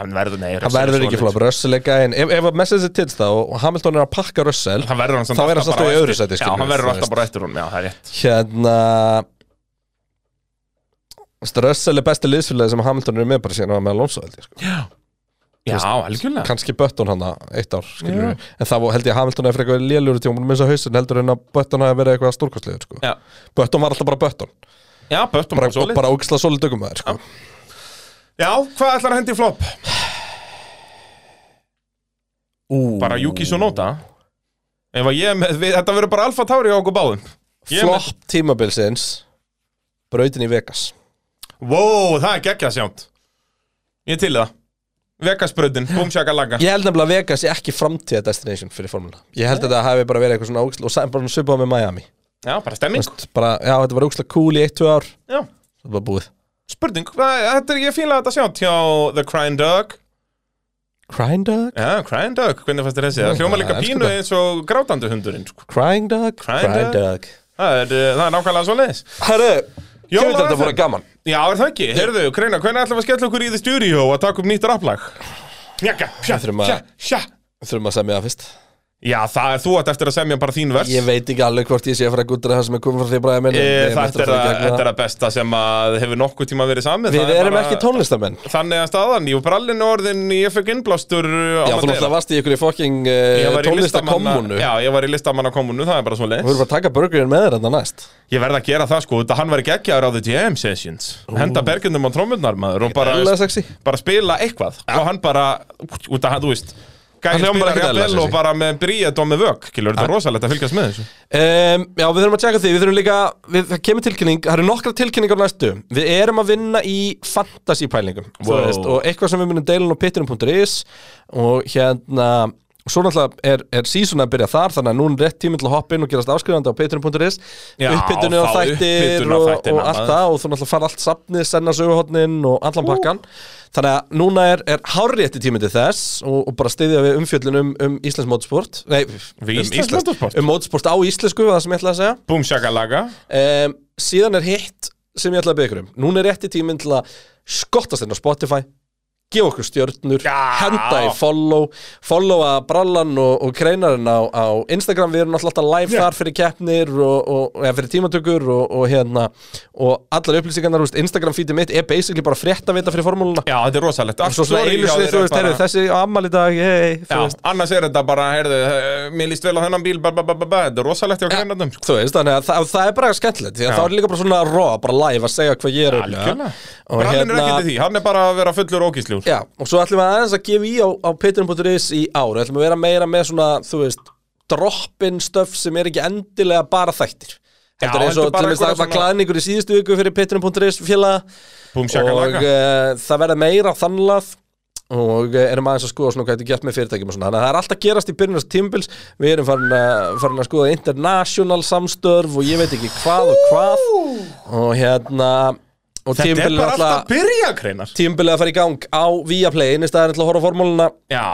C: Hann verður, nei,
B: Það verður ekki flopp, Russell er gæðin Ef, ef að Message er tilst þá og Hamilton er að pakka Russell
C: Hann verður hann samt
B: Þá verður hann
C: alltaf
B: samt í
C: bara á
B: öðru
C: eftir.
B: sæti,
C: Já,
B: skilur
C: hann
B: við,
C: verður
B: þú
C: alltaf
B: veist.
C: bara á eftir hún, já, það er rétt
B: Hérna þú veist, Russell er besti liðsfélagi sem Hamilton er með bara síðan hann var með Alonso held ég sko.
C: Já, algjörlega
B: Kanski Bötton hann eitt ár skilur við En það var- held ég að Hamilton er frekar lélugur tíma Mér svo hausinn heldur en að Bötton hafi verið eitthvað stórkostlegur sko.
C: Já,
B: Bötton var alltaf bara Bötton
C: Já, Böttum
B: bara, og bara ógisla solid aukumæður sko.
C: Já, hvað ætlar að hendi í flop?
B: Ú,
C: Bara Yuki Sonoda Ef að ég, er með- við, þetta verður bara alfa tári á okkur báðum Ég er með-
B: Flop tímabilsins Brautin í Vegas
C: Wow, það er geggjað sjánt Ég er til í það Vegasbröðin, búmsjaka laga
B: Ég held nefnilega að Vegas er ekki framtíða destination fyrir formúluna Ég held að það hafi bara verið eitthvað svona ógisla og sa- bara svipað með Miami
C: Já, bara stemming
B: Vist, bara, Já, þetta var ógisla cool í 1-2 ár
C: Já.
B: Það var búið
C: Spurning, hvað- þetta er ég fíla þetta sjánt hjá The Crying Dog
B: Crying Dog,
C: Já, Crying Dog, hvernig fannst þér þessi? Það hljóma líka
B: elsku
C: pínu
B: það.
C: eins og grátandi hundurinn sko.
B: Crying Dog,
C: Crying Dog.
B: Dog
C: Það er, uh, það er nákvæmlega svo leiðis
B: Herru, ég veit að þetta
C: Jólaaftan.
B: voru gaman
C: Já, er það ekki? Heyrðu, Kreina, hvernig ætlum við að skella okkur í því stúdíó og að taka upp nýtt rapplag? Njaka, sjá,
B: Við þurfum að-
C: sjá, sjá
B: Þurfum að semja það fyrst
C: Já, það er þú átt eftir að semja bara þín vers
B: Ég veit ekki alveg hvort ég sé að fara að gudra það sem er komið frá því bræði minn
C: Eh,
B: en við eigum
C: Þetta
B: eftir að
C: er
B: fara í
C: að-
B: gegnum
C: þetta
B: það.
C: er að besta sem að hefur nokkuð tíma verið samið
B: Við
C: Það er
B: erum
C: bara-
B: ekki tónlistamenn
C: Þannig að staðan, ég var brallinu orðin, ég fekk innblástur uh, á
B: Já, þú
C: Madeira.
B: náttúrulega varst í ykkur í fokking uh,
C: Ég var í listamanna-
B: tónlistakommunu
C: Já,
B: Þú
C: ég var í listamannakommunu, það er bara svo leiðis
B: verður bara að taka burgerinn með þér enda næst
C: Ég verð að gera það sko, þetta hann var ekki ekki á The jam sessions Henda bergjundum á trómmunnar maður og bara,
B: Alveg sexy
C: bara spila eitthvað Og hann bara, út að hann, þú veist Gæði
B: Hann
C: spila
B: spilar ekkert
C: rétt
B: eðlilega
C: vel og
B: sexy.
C: bara með bríet og með vök Kilur, þetta er rosalegt að fylgjast með þessu
B: Um, já, við þurfum að tjekka því, við þurfum líka, við, það kemur tilkynning, það eru nokkra tilkynningar á næstu Við erum að vinna í fantasy-pælingum, þú
C: Wow.
B: veist, og eitthvað sem við munum deilin á pittinum.is Og hérna, svo náttúrulega er, er season að byrja þar, þannig að nú er rétt tíminn til að hoppa inn og gerast áskrifandi á pittinum.is
C: Já,
B: Upphittunni og
C: þá
B: þættir
C: upphitun á
B: og,
C: þættina,
B: og allt
C: maður.
B: það og þú náttúrulega fara allt safnið, senna söguhotnin og allan pakkan Þannig að núna er, er hárrétti tíminn til þess og, og bara styðja við umfjöllin um, um Íslands mótsport Nei,
C: Við
B: um
C: Íslands
B: íslenskt-
C: mótorsport?
B: um mótsport á íslensku, var það sem ég ætlaði að segja
C: Búm shakalaga
B: um, síðan er hitt sem ég ætla að byggja um núna er rétti tíminn til að skottast inn á Spotify gefa okkur stjörnur,
C: Já.
B: henda í follow followa brallan og, og kreinarinn á, á Instagram, við erum náttúrulega alltaf live þar fyrir keppnir og, og, og ja, fyrir tímatökur og, og hérna og allar upplýsingarnar, þú veist, Instagram feedið mitt er basically bara frétta vita fyrir formúluna
C: Já, þetta er rosalegt Allt
B: svo svona
C: story
B: einu
C: hjá
B: sinni,
C: þér
B: þú
C: er
B: veist,
C: bara-
B: heyrðu, þessi ammali dag hey, þú
C: Já,
B: veist.
C: annars er þetta bara, heyrðu, eh, mér líst vel á þennan bíl, ba, ba, ba, ba, ba, þetta er rosalegt hjá grænandum, sko.
B: Þú veist, þannig að það, það er bara skemmtilegt því að
C: Já.
B: þá er líka bara svona raw, bara live að segja hvað ég er upplifa.
C: Algjörlega.
B: og
C: Brallin er ekki til
B: hérna
C: því, hann er bara að vera fullur og ógísljúr.
B: Já, og svo ætlum við aðeins að gefa í á, á patreon.is í ár, ætlum við að vera meira með svona, þú veist, droppin stöf sem er ekki endilega bara þættir Þetta er eins
C: heldur
B: og
C: bara
B: til minnst
C: einhverja
B: það var
C: svona-
B: klæðningur í síðustu viku fyrir patreon.is félaga
C: Búm, sjaka
B: og
C: laga.
B: uh, það verða meira þannlað og eh, erum aðeins að skoða svona hvað þetta er gert með fyrirtækjum og svona þannig að það er alltaf gerast í byrjunars tímbils við erum farin að, farin að skoða international samstörf og ég veit ekki hvað og hvað og hérna og
C: Þetta er
B: tímbilið
C: bara alltaf
B: alltaf
C: byrja, greinar.
B: tímbilið að fara í gang á Viaplay inn í staðan til að horfa á formúluna
C: Já,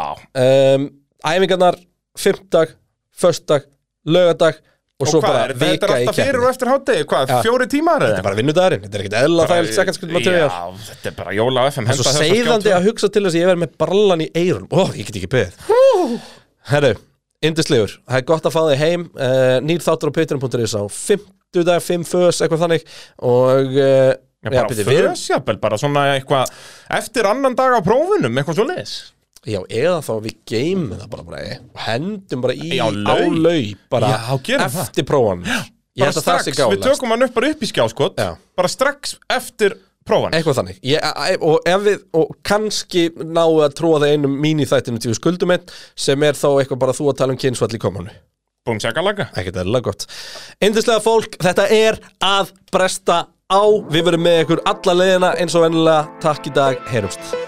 B: um, æfingarnar, fimmtag föstdag, lögadag og,
C: og
B: svo
C: hvað
B: bara
C: er, þetta er
B: vika í
C: alltaf fyrir
B: keppni
C: og eftir hátegi, hvað,
B: Já.
C: fjóri tímar eða?
B: bara vinnudagurinn, þetta er ekkert eðla þægilt sekandskrið materiál
C: Já, þetta er bara jóla á FM.
B: Það er svo seiðandi að hugsa til þess að ég verð með brallan í eirun Ó, ég get ekki beðið Herru, indislegur Það er gott að fá þig heim uh, Nýr þáttur á patreon.is á 50 dag, 5 fös, eitthvað þannig Og uh,
C: Já, bara
B: bíddu, við erum-
C: föðsjabel, bara svona eitthvað, eftir annan dag á prófinum, eitthvað svo leiðis.
B: Já, eða þá við geymum það bara, bara eh, og Hendum bara í
C: Já,
B: á
C: laug.
B: laug Bara
C: Já, gerum það.
B: eftir prófann Ég
C: Bara
B: held að það
C: strax,
B: sé
C: við
B: gála
C: tökum hann upp bara upp í skjáskot,
B: Já.
C: bara strax eftir prófann.
B: Eitthvað þannig ég, a- a- og, ef við, og kannski náu að trúa það einum mín í þættinu til við skuldum einn sem er þá eitthvað bara þú að tala um kynsvall í komanu
C: Búm, sjaka laga.
B: ekkert eðlilega gott Indislega fólk, þetta er að bresta á Við verum með ykkur alla leiðina eins og vennilega Takk í dag, heyrumst